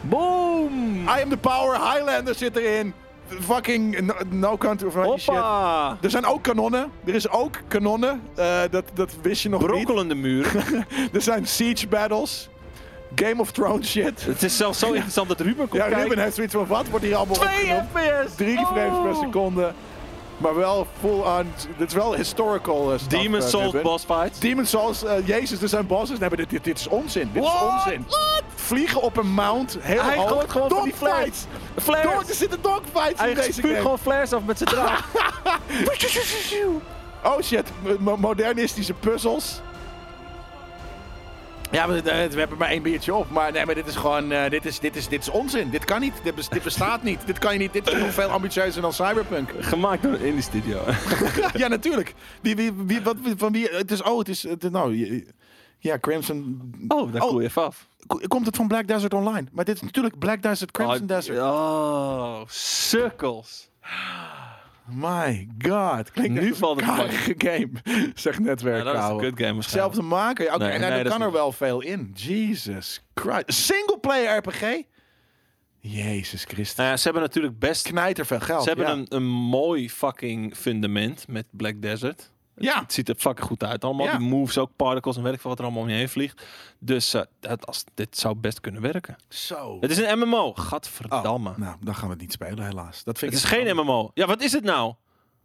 Speaker 3: Boom!
Speaker 1: I am the power. Highlander zit erin. Fucking no, no country of my shit.
Speaker 3: Hoppa!
Speaker 1: Er zijn ook kanonnen. Er is ook kanonnen. Eh, dat, dat wist je nog
Speaker 2: Brokkelende muren.
Speaker 1: niet. Er zijn siege battles. Game of Thrones shit.
Speaker 2: het is zelfs zo interessant dat Ruben komt
Speaker 1: Ja,
Speaker 2: kijken.
Speaker 1: Ruben heeft zoiets van, wat wordt hier allemaal
Speaker 3: 2
Speaker 1: opgenomen?
Speaker 3: FPS!
Speaker 1: Drie
Speaker 3: Oh.
Speaker 1: frames per seconde. Maar wel full on. Dit is wel historical eh, stuff,
Speaker 2: Demon
Speaker 1: eh,
Speaker 2: Souls
Speaker 1: Ruben.
Speaker 2: boss fights.
Speaker 1: Demon Souls, eh, jezus, er zijn bosses. Nee, maar dit, dit, dit is onzin. Dit is
Speaker 3: What?
Speaker 1: onzin. Vliegen op een mount, heel
Speaker 3: Hij
Speaker 1: hoog.
Speaker 3: gooit gewoon van die
Speaker 1: Dogfights!
Speaker 3: Flares!
Speaker 1: Dog- er zitten dogfights in
Speaker 3: Hij
Speaker 1: deze
Speaker 3: spuugt
Speaker 1: game.
Speaker 3: gewoon flares af met zijn draad.
Speaker 1: Oh shit, mo- modernistische puzzels. Ja, we, eh, we hebben maar één biertje op. Maar nee, maar dit is gewoon. eh, dit, is, dit, is, dit is onzin. Dit kan niet. Dit, bes- dit bestaat niet. Dit kan je niet. Dit is nog veel ambitieuzer dan Cyberpunk.
Speaker 2: Gemaakt door een indie studio.
Speaker 1: ja, natuurlijk. Wie, wie, wie, wat, van wie? Het is. Oh, het is. het- nou, je- ja, Crimson.
Speaker 2: Oh, daar koel je even af.
Speaker 1: ko- komt het van Black Desert Online? Maar dit is natuurlijk Black Desert Crimson
Speaker 2: Oh,
Speaker 1: Desert.
Speaker 2: Oh, sukkels.
Speaker 1: My god. Klinkt
Speaker 2: Nu
Speaker 1: echt als
Speaker 2: valt
Speaker 1: een
Speaker 2: het wel.
Speaker 1: karige game. Zegt netwerk.
Speaker 2: Ja, dat is een
Speaker 1: ouwe.
Speaker 2: good game waarschijnlijk.
Speaker 1: Zelfde maken. Oké,
Speaker 2: Nee,
Speaker 1: nou,
Speaker 2: nee,
Speaker 1: daar
Speaker 2: dat is
Speaker 1: kan er
Speaker 2: niet.
Speaker 1: wel veel in. Jesus Christ. Singleplayer RPG? Jezus Christus.
Speaker 2: Nou ja, ze hebben natuurlijk best...
Speaker 1: Knijt er veel geld.
Speaker 2: Ze hebben
Speaker 1: ja.
Speaker 2: een, een mooi fucking fundament met Black Desert.
Speaker 1: Ja.
Speaker 2: Het ziet er fucking goed uit allemaal.
Speaker 1: Ja.
Speaker 2: Die moves ook, particles en weet ik veel wat er allemaal om je heen vliegt. Dus eh, dat, als, dit zou best kunnen werken.
Speaker 1: Zo.
Speaker 2: Het is een MMO.
Speaker 1: Oh,
Speaker 2: Gadverdamme.
Speaker 1: Nou, dan gaan we het niet spelen helaas. Dat vind
Speaker 2: Het
Speaker 1: ik
Speaker 2: is geen MMO. Ja, wat is het nou?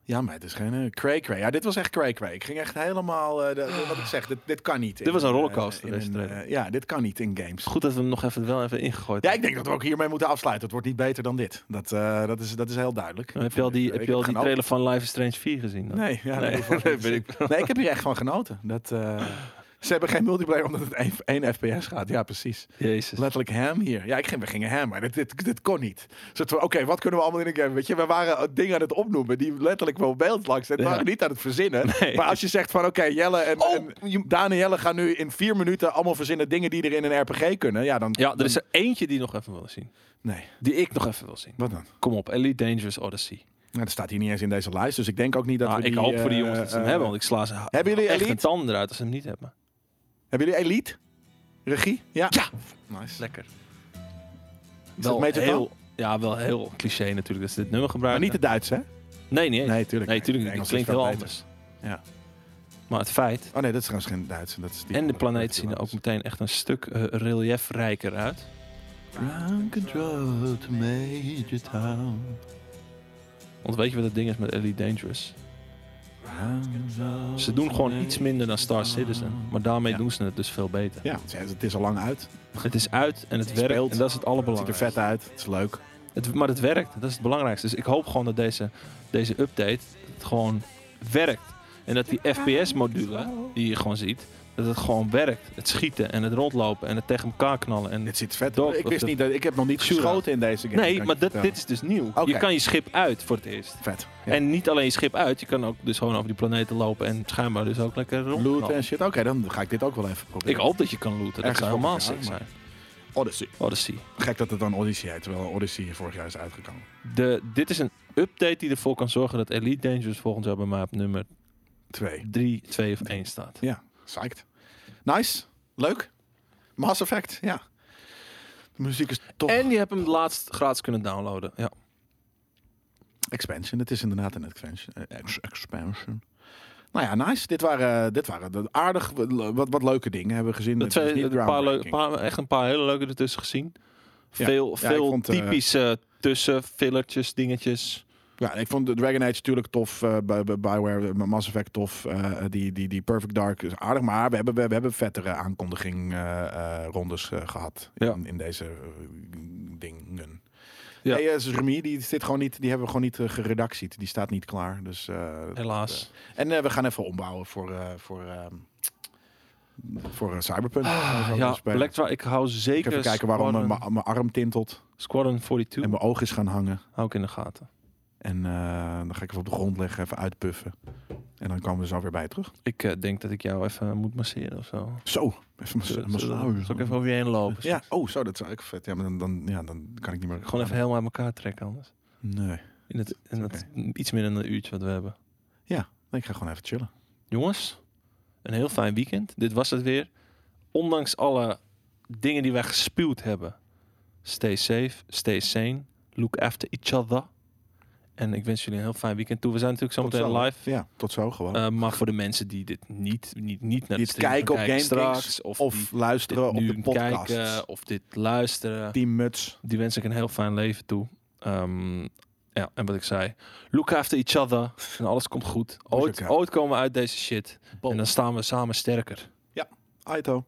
Speaker 1: Ja, maar het is geen eh, cray cray. Ja, dit was echt cray cray. Ik ging echt helemaal... eh, de- de- wat ik zeg, dit, dit kan niet. in
Speaker 2: was een
Speaker 1: eh,
Speaker 2: rollercoaster,
Speaker 1: in
Speaker 2: deze
Speaker 1: een,
Speaker 2: trailer.
Speaker 1: eh, ja, dit kan niet in games.
Speaker 2: Goed dat we hem nog even wel even ingegooid
Speaker 1: Ja, ik denk dat we ook hiermee moeten afsluiten. Het wordt niet beter dan dit. Dat, eh, dat, is, dat is heel duidelijk.
Speaker 2: Nou, Heb je al die,
Speaker 1: Ik
Speaker 2: heb je
Speaker 1: heb
Speaker 2: al die
Speaker 1: geen
Speaker 2: trailer van Life is Strange 4 gezien? dan?
Speaker 1: Nee, ja,
Speaker 2: Nee,
Speaker 1: dat hoef ik
Speaker 2: dat
Speaker 1: niet.
Speaker 2: weet ik
Speaker 1: nee, ik heb hier echt van genoten. Dat, eh, ze hebben geen multiplayer omdat het één- één FPS gaat. Ja, precies.
Speaker 2: Jezus.
Speaker 1: Letterlijk ham hier. Ja, ik ging, we gingen ham, maar dit, dit, dit kon niet. Zodat we, Oké, wat kunnen we allemaal in een game? Weet je, we waren eh, dingen aan het opnoemen die letterlijk wel beeld langs. Het
Speaker 2: Ja.
Speaker 1: waren niet aan het verzinnen.
Speaker 2: Nee.
Speaker 1: Maar als je zegt van oké, Jelle en,
Speaker 2: Oh,
Speaker 1: en Daan en Jelle gaan nu in vier minuten allemaal verzinnen dingen die er in een RPG kunnen. Ja, dan.
Speaker 2: Ja, er is er eentje die ik nog even wil zien.
Speaker 1: Nee,
Speaker 2: Die ik nog even wil zien.
Speaker 1: wat dan?
Speaker 2: Kom op, Elite Dangerous Odyssey.
Speaker 1: Nou, dat staat hier niet eens in deze lijst. Dus ik denk ook niet dat
Speaker 2: Nou,
Speaker 1: we
Speaker 2: ik
Speaker 1: die,
Speaker 2: hoop voor die
Speaker 1: eh,
Speaker 2: jongens dat ze hem
Speaker 1: eh,
Speaker 2: hebben, want ik sla ze ha-
Speaker 1: Hebben jullie
Speaker 2: echt een
Speaker 1: Elite?
Speaker 2: tand eruit als ze hem niet hebben.
Speaker 1: Hebben jullie Elite? Regie? Ja. Ja. Nice.
Speaker 2: Lekker.
Speaker 1: Is dat Major
Speaker 2: heel, ja, wel heel cliché natuurlijk dat ze dit nummer
Speaker 1: Maar
Speaker 2: gebruiken.
Speaker 1: niet de Duits, hè?
Speaker 2: nee, nee, nee,
Speaker 1: Nee, tuurlijk.
Speaker 2: nee, tuurlijk.
Speaker 1: Het
Speaker 2: Het
Speaker 1: Engels
Speaker 2: klinkt
Speaker 1: is
Speaker 2: heel
Speaker 1: veel
Speaker 2: anders.
Speaker 1: beter. Ja.
Speaker 2: Maar het feit
Speaker 1: Oh nee, dat is trouwens geen Duits. Dat is die
Speaker 2: en de
Speaker 1: andere
Speaker 2: planeet zien er ook
Speaker 1: Duits.
Speaker 2: meteen echt een stuk eh, reliëfrijker uit.
Speaker 1: Ground control to Major Town.
Speaker 2: Want weet je wat het ding is met Elite Dangerous?
Speaker 1: Ground control
Speaker 2: Ze doen gewoon
Speaker 1: to
Speaker 2: iets minder dan Star Citizen. Maar daarmee
Speaker 1: Ja.
Speaker 2: doen ze het dus veel beter.
Speaker 1: Ja, het is- het is al lang uit.
Speaker 2: Het is uit en het
Speaker 1: Het
Speaker 2: werkt.
Speaker 1: speelt.
Speaker 2: En dat
Speaker 1: Het
Speaker 2: is het
Speaker 1: ziet er
Speaker 2: allerbelangrijkste.
Speaker 1: vet uit. Het is leuk.
Speaker 2: Het, maar het werkt, dat is het belangrijkste. Dus ik hoop gewoon dat deze, deze update het gewoon werkt. En dat die FPS-module die je gewoon ziet, dat het gewoon werkt. Het schieten en het rondlopen en het tegen elkaar knallen. En
Speaker 1: Het ziet vet
Speaker 2: Dog,
Speaker 1: uit. Ik
Speaker 2: wat
Speaker 1: wist
Speaker 2: de-
Speaker 1: niet dat ik heb nog niet
Speaker 2: Shootout.
Speaker 1: geschoten in deze game. kan
Speaker 2: nee,
Speaker 1: ik
Speaker 2: maar
Speaker 1: je
Speaker 2: dat,
Speaker 1: vertellen.
Speaker 2: dit is dus nieuw.
Speaker 1: Oké.
Speaker 2: Je kan je schip uit voor het eerst.
Speaker 1: vet. Ja.
Speaker 2: En niet alleen je schip uit, je kan ook dus gewoon over die planeten lopen en schijnbaar dus ook lekker
Speaker 1: loot
Speaker 2: rondlopen.
Speaker 1: en shit. Oké, dan ga ik dit ook wel even proberen.
Speaker 2: Ik hoop dat je kan looten. Dat
Speaker 1: Ergens
Speaker 2: zou
Speaker 1: voor
Speaker 2: helemaal
Speaker 1: elkaar,
Speaker 2: sick
Speaker 1: maar-
Speaker 2: zijn. Oh,
Speaker 1: Odyssey.
Speaker 2: Odyssey.
Speaker 1: Gek dat het dan Odyssey heet, terwijl Odyssey vorig jaar is uitgekomen.
Speaker 2: De, dit is een update die ervoor kan zorgen dat Elite Dangerous volgend jaar bij mij op nummer
Speaker 1: Twee.
Speaker 2: 3, 2 of 1 staat.
Speaker 1: Ja, psyched. Nice. Leuk. Mass Effect, ja. De muziek is tof.
Speaker 2: En je hebt hem laatst gratis kunnen downloaden. Ja.
Speaker 1: Expansion, het is inderdaad een expansion. eh, ex- expansion. Nou ja, nice. Dit waren, dit waren de aardig wat, wat leuke dingen hebben we gezien.
Speaker 2: Dat
Speaker 1: Het is
Speaker 2: twee,
Speaker 1: niet
Speaker 2: een paar leuke,
Speaker 1: groundbreaking.
Speaker 2: paar, echt een paar hele leuke ertussen gezien.
Speaker 1: Ja.
Speaker 2: Veel,
Speaker 1: Ja,
Speaker 2: veel
Speaker 1: ik vond, eh,
Speaker 2: typische tussenfillertjes, dingetjes.
Speaker 1: Ja, ik vond de Dragon Age natuurlijk tof. eh, Bij bij Bioware, eh, Mass Effect tof. eh, die, die, die Perfect Dark is aardig. Maar we hebben, we, we hebben vettere aankondiging eh, eh, rondes eh, gehad
Speaker 2: Ja.
Speaker 1: in, in deze eh, dingen.
Speaker 2: Ja.
Speaker 1: Ja. Remy, die, zit gewoon niet, die hebben we gewoon niet geredactied. geredactied. Die staat niet klaar. Dus, eh,
Speaker 2: Helaas.
Speaker 1: en eh, we gaan even ombouwen voor, eh, voor, eh, voor eh, Cyberpunk. Gaan we zo
Speaker 2: Ah, ja,
Speaker 1: spelen.
Speaker 2: Black Dwarf, ik hou
Speaker 1: Ik
Speaker 2: zeker
Speaker 1: even kijken waarom eh,
Speaker 2: Squadron,
Speaker 1: mijn mijn arm tintelt
Speaker 2: Squadron 42
Speaker 1: en mijn oog is gaan hangen.
Speaker 2: hou ik in de gaten.
Speaker 1: En eh, dan ga ik even op de grond leggen, even uitpuffen. En dan komen we zo weer bij je terug.
Speaker 2: Ik eh, denk dat ik jou even moet masseren of zo.
Speaker 1: Zo, even
Speaker 2: Zal
Speaker 1: mas-
Speaker 2: zal-
Speaker 1: massage.
Speaker 2: zal ik even over je heen lopen?
Speaker 1: Ja, oh, zo, dat zou ik vet. Ja, maar dan, dan, ja, dan kan ik niet meer.
Speaker 2: Gewoon even helemaal uit elkaar trekken anders.
Speaker 1: Nee.
Speaker 2: In het, in het iets minder dan een uurtje wat we hebben.
Speaker 1: Nee, ik ga gewoon even chillen.
Speaker 2: Jongens, een heel fijn weekend. Dit was het weer. Ondanks alle dingen die wij gespuwd hebben. Stay safe, stay sane. Look after each other. En ik wens jullie een heel fijn weekend toe. We zijn natuurlijk
Speaker 1: Tot
Speaker 2: zometeen live.
Speaker 1: Ja, tot zo gewoon.
Speaker 2: Eh, maar voor de mensen die dit niet, niet, niet naar
Speaker 1: Die het
Speaker 2: de stream gaan
Speaker 1: kijken op GameKings
Speaker 2: straks, of,
Speaker 1: of
Speaker 2: die dit
Speaker 1: luisteren op
Speaker 2: nu
Speaker 1: de podcast.
Speaker 2: kijken of dit luisteren, die,
Speaker 1: Die muts.
Speaker 2: wens ik een heel fijn leven toe. Ehm, ja, en wat ik zei, look after each other en alles komt goed. Ooit,
Speaker 1: elkaar.
Speaker 2: ooit komen we uit deze shit
Speaker 1: Boom.
Speaker 2: en dan staan we samen sterker.
Speaker 1: Aito.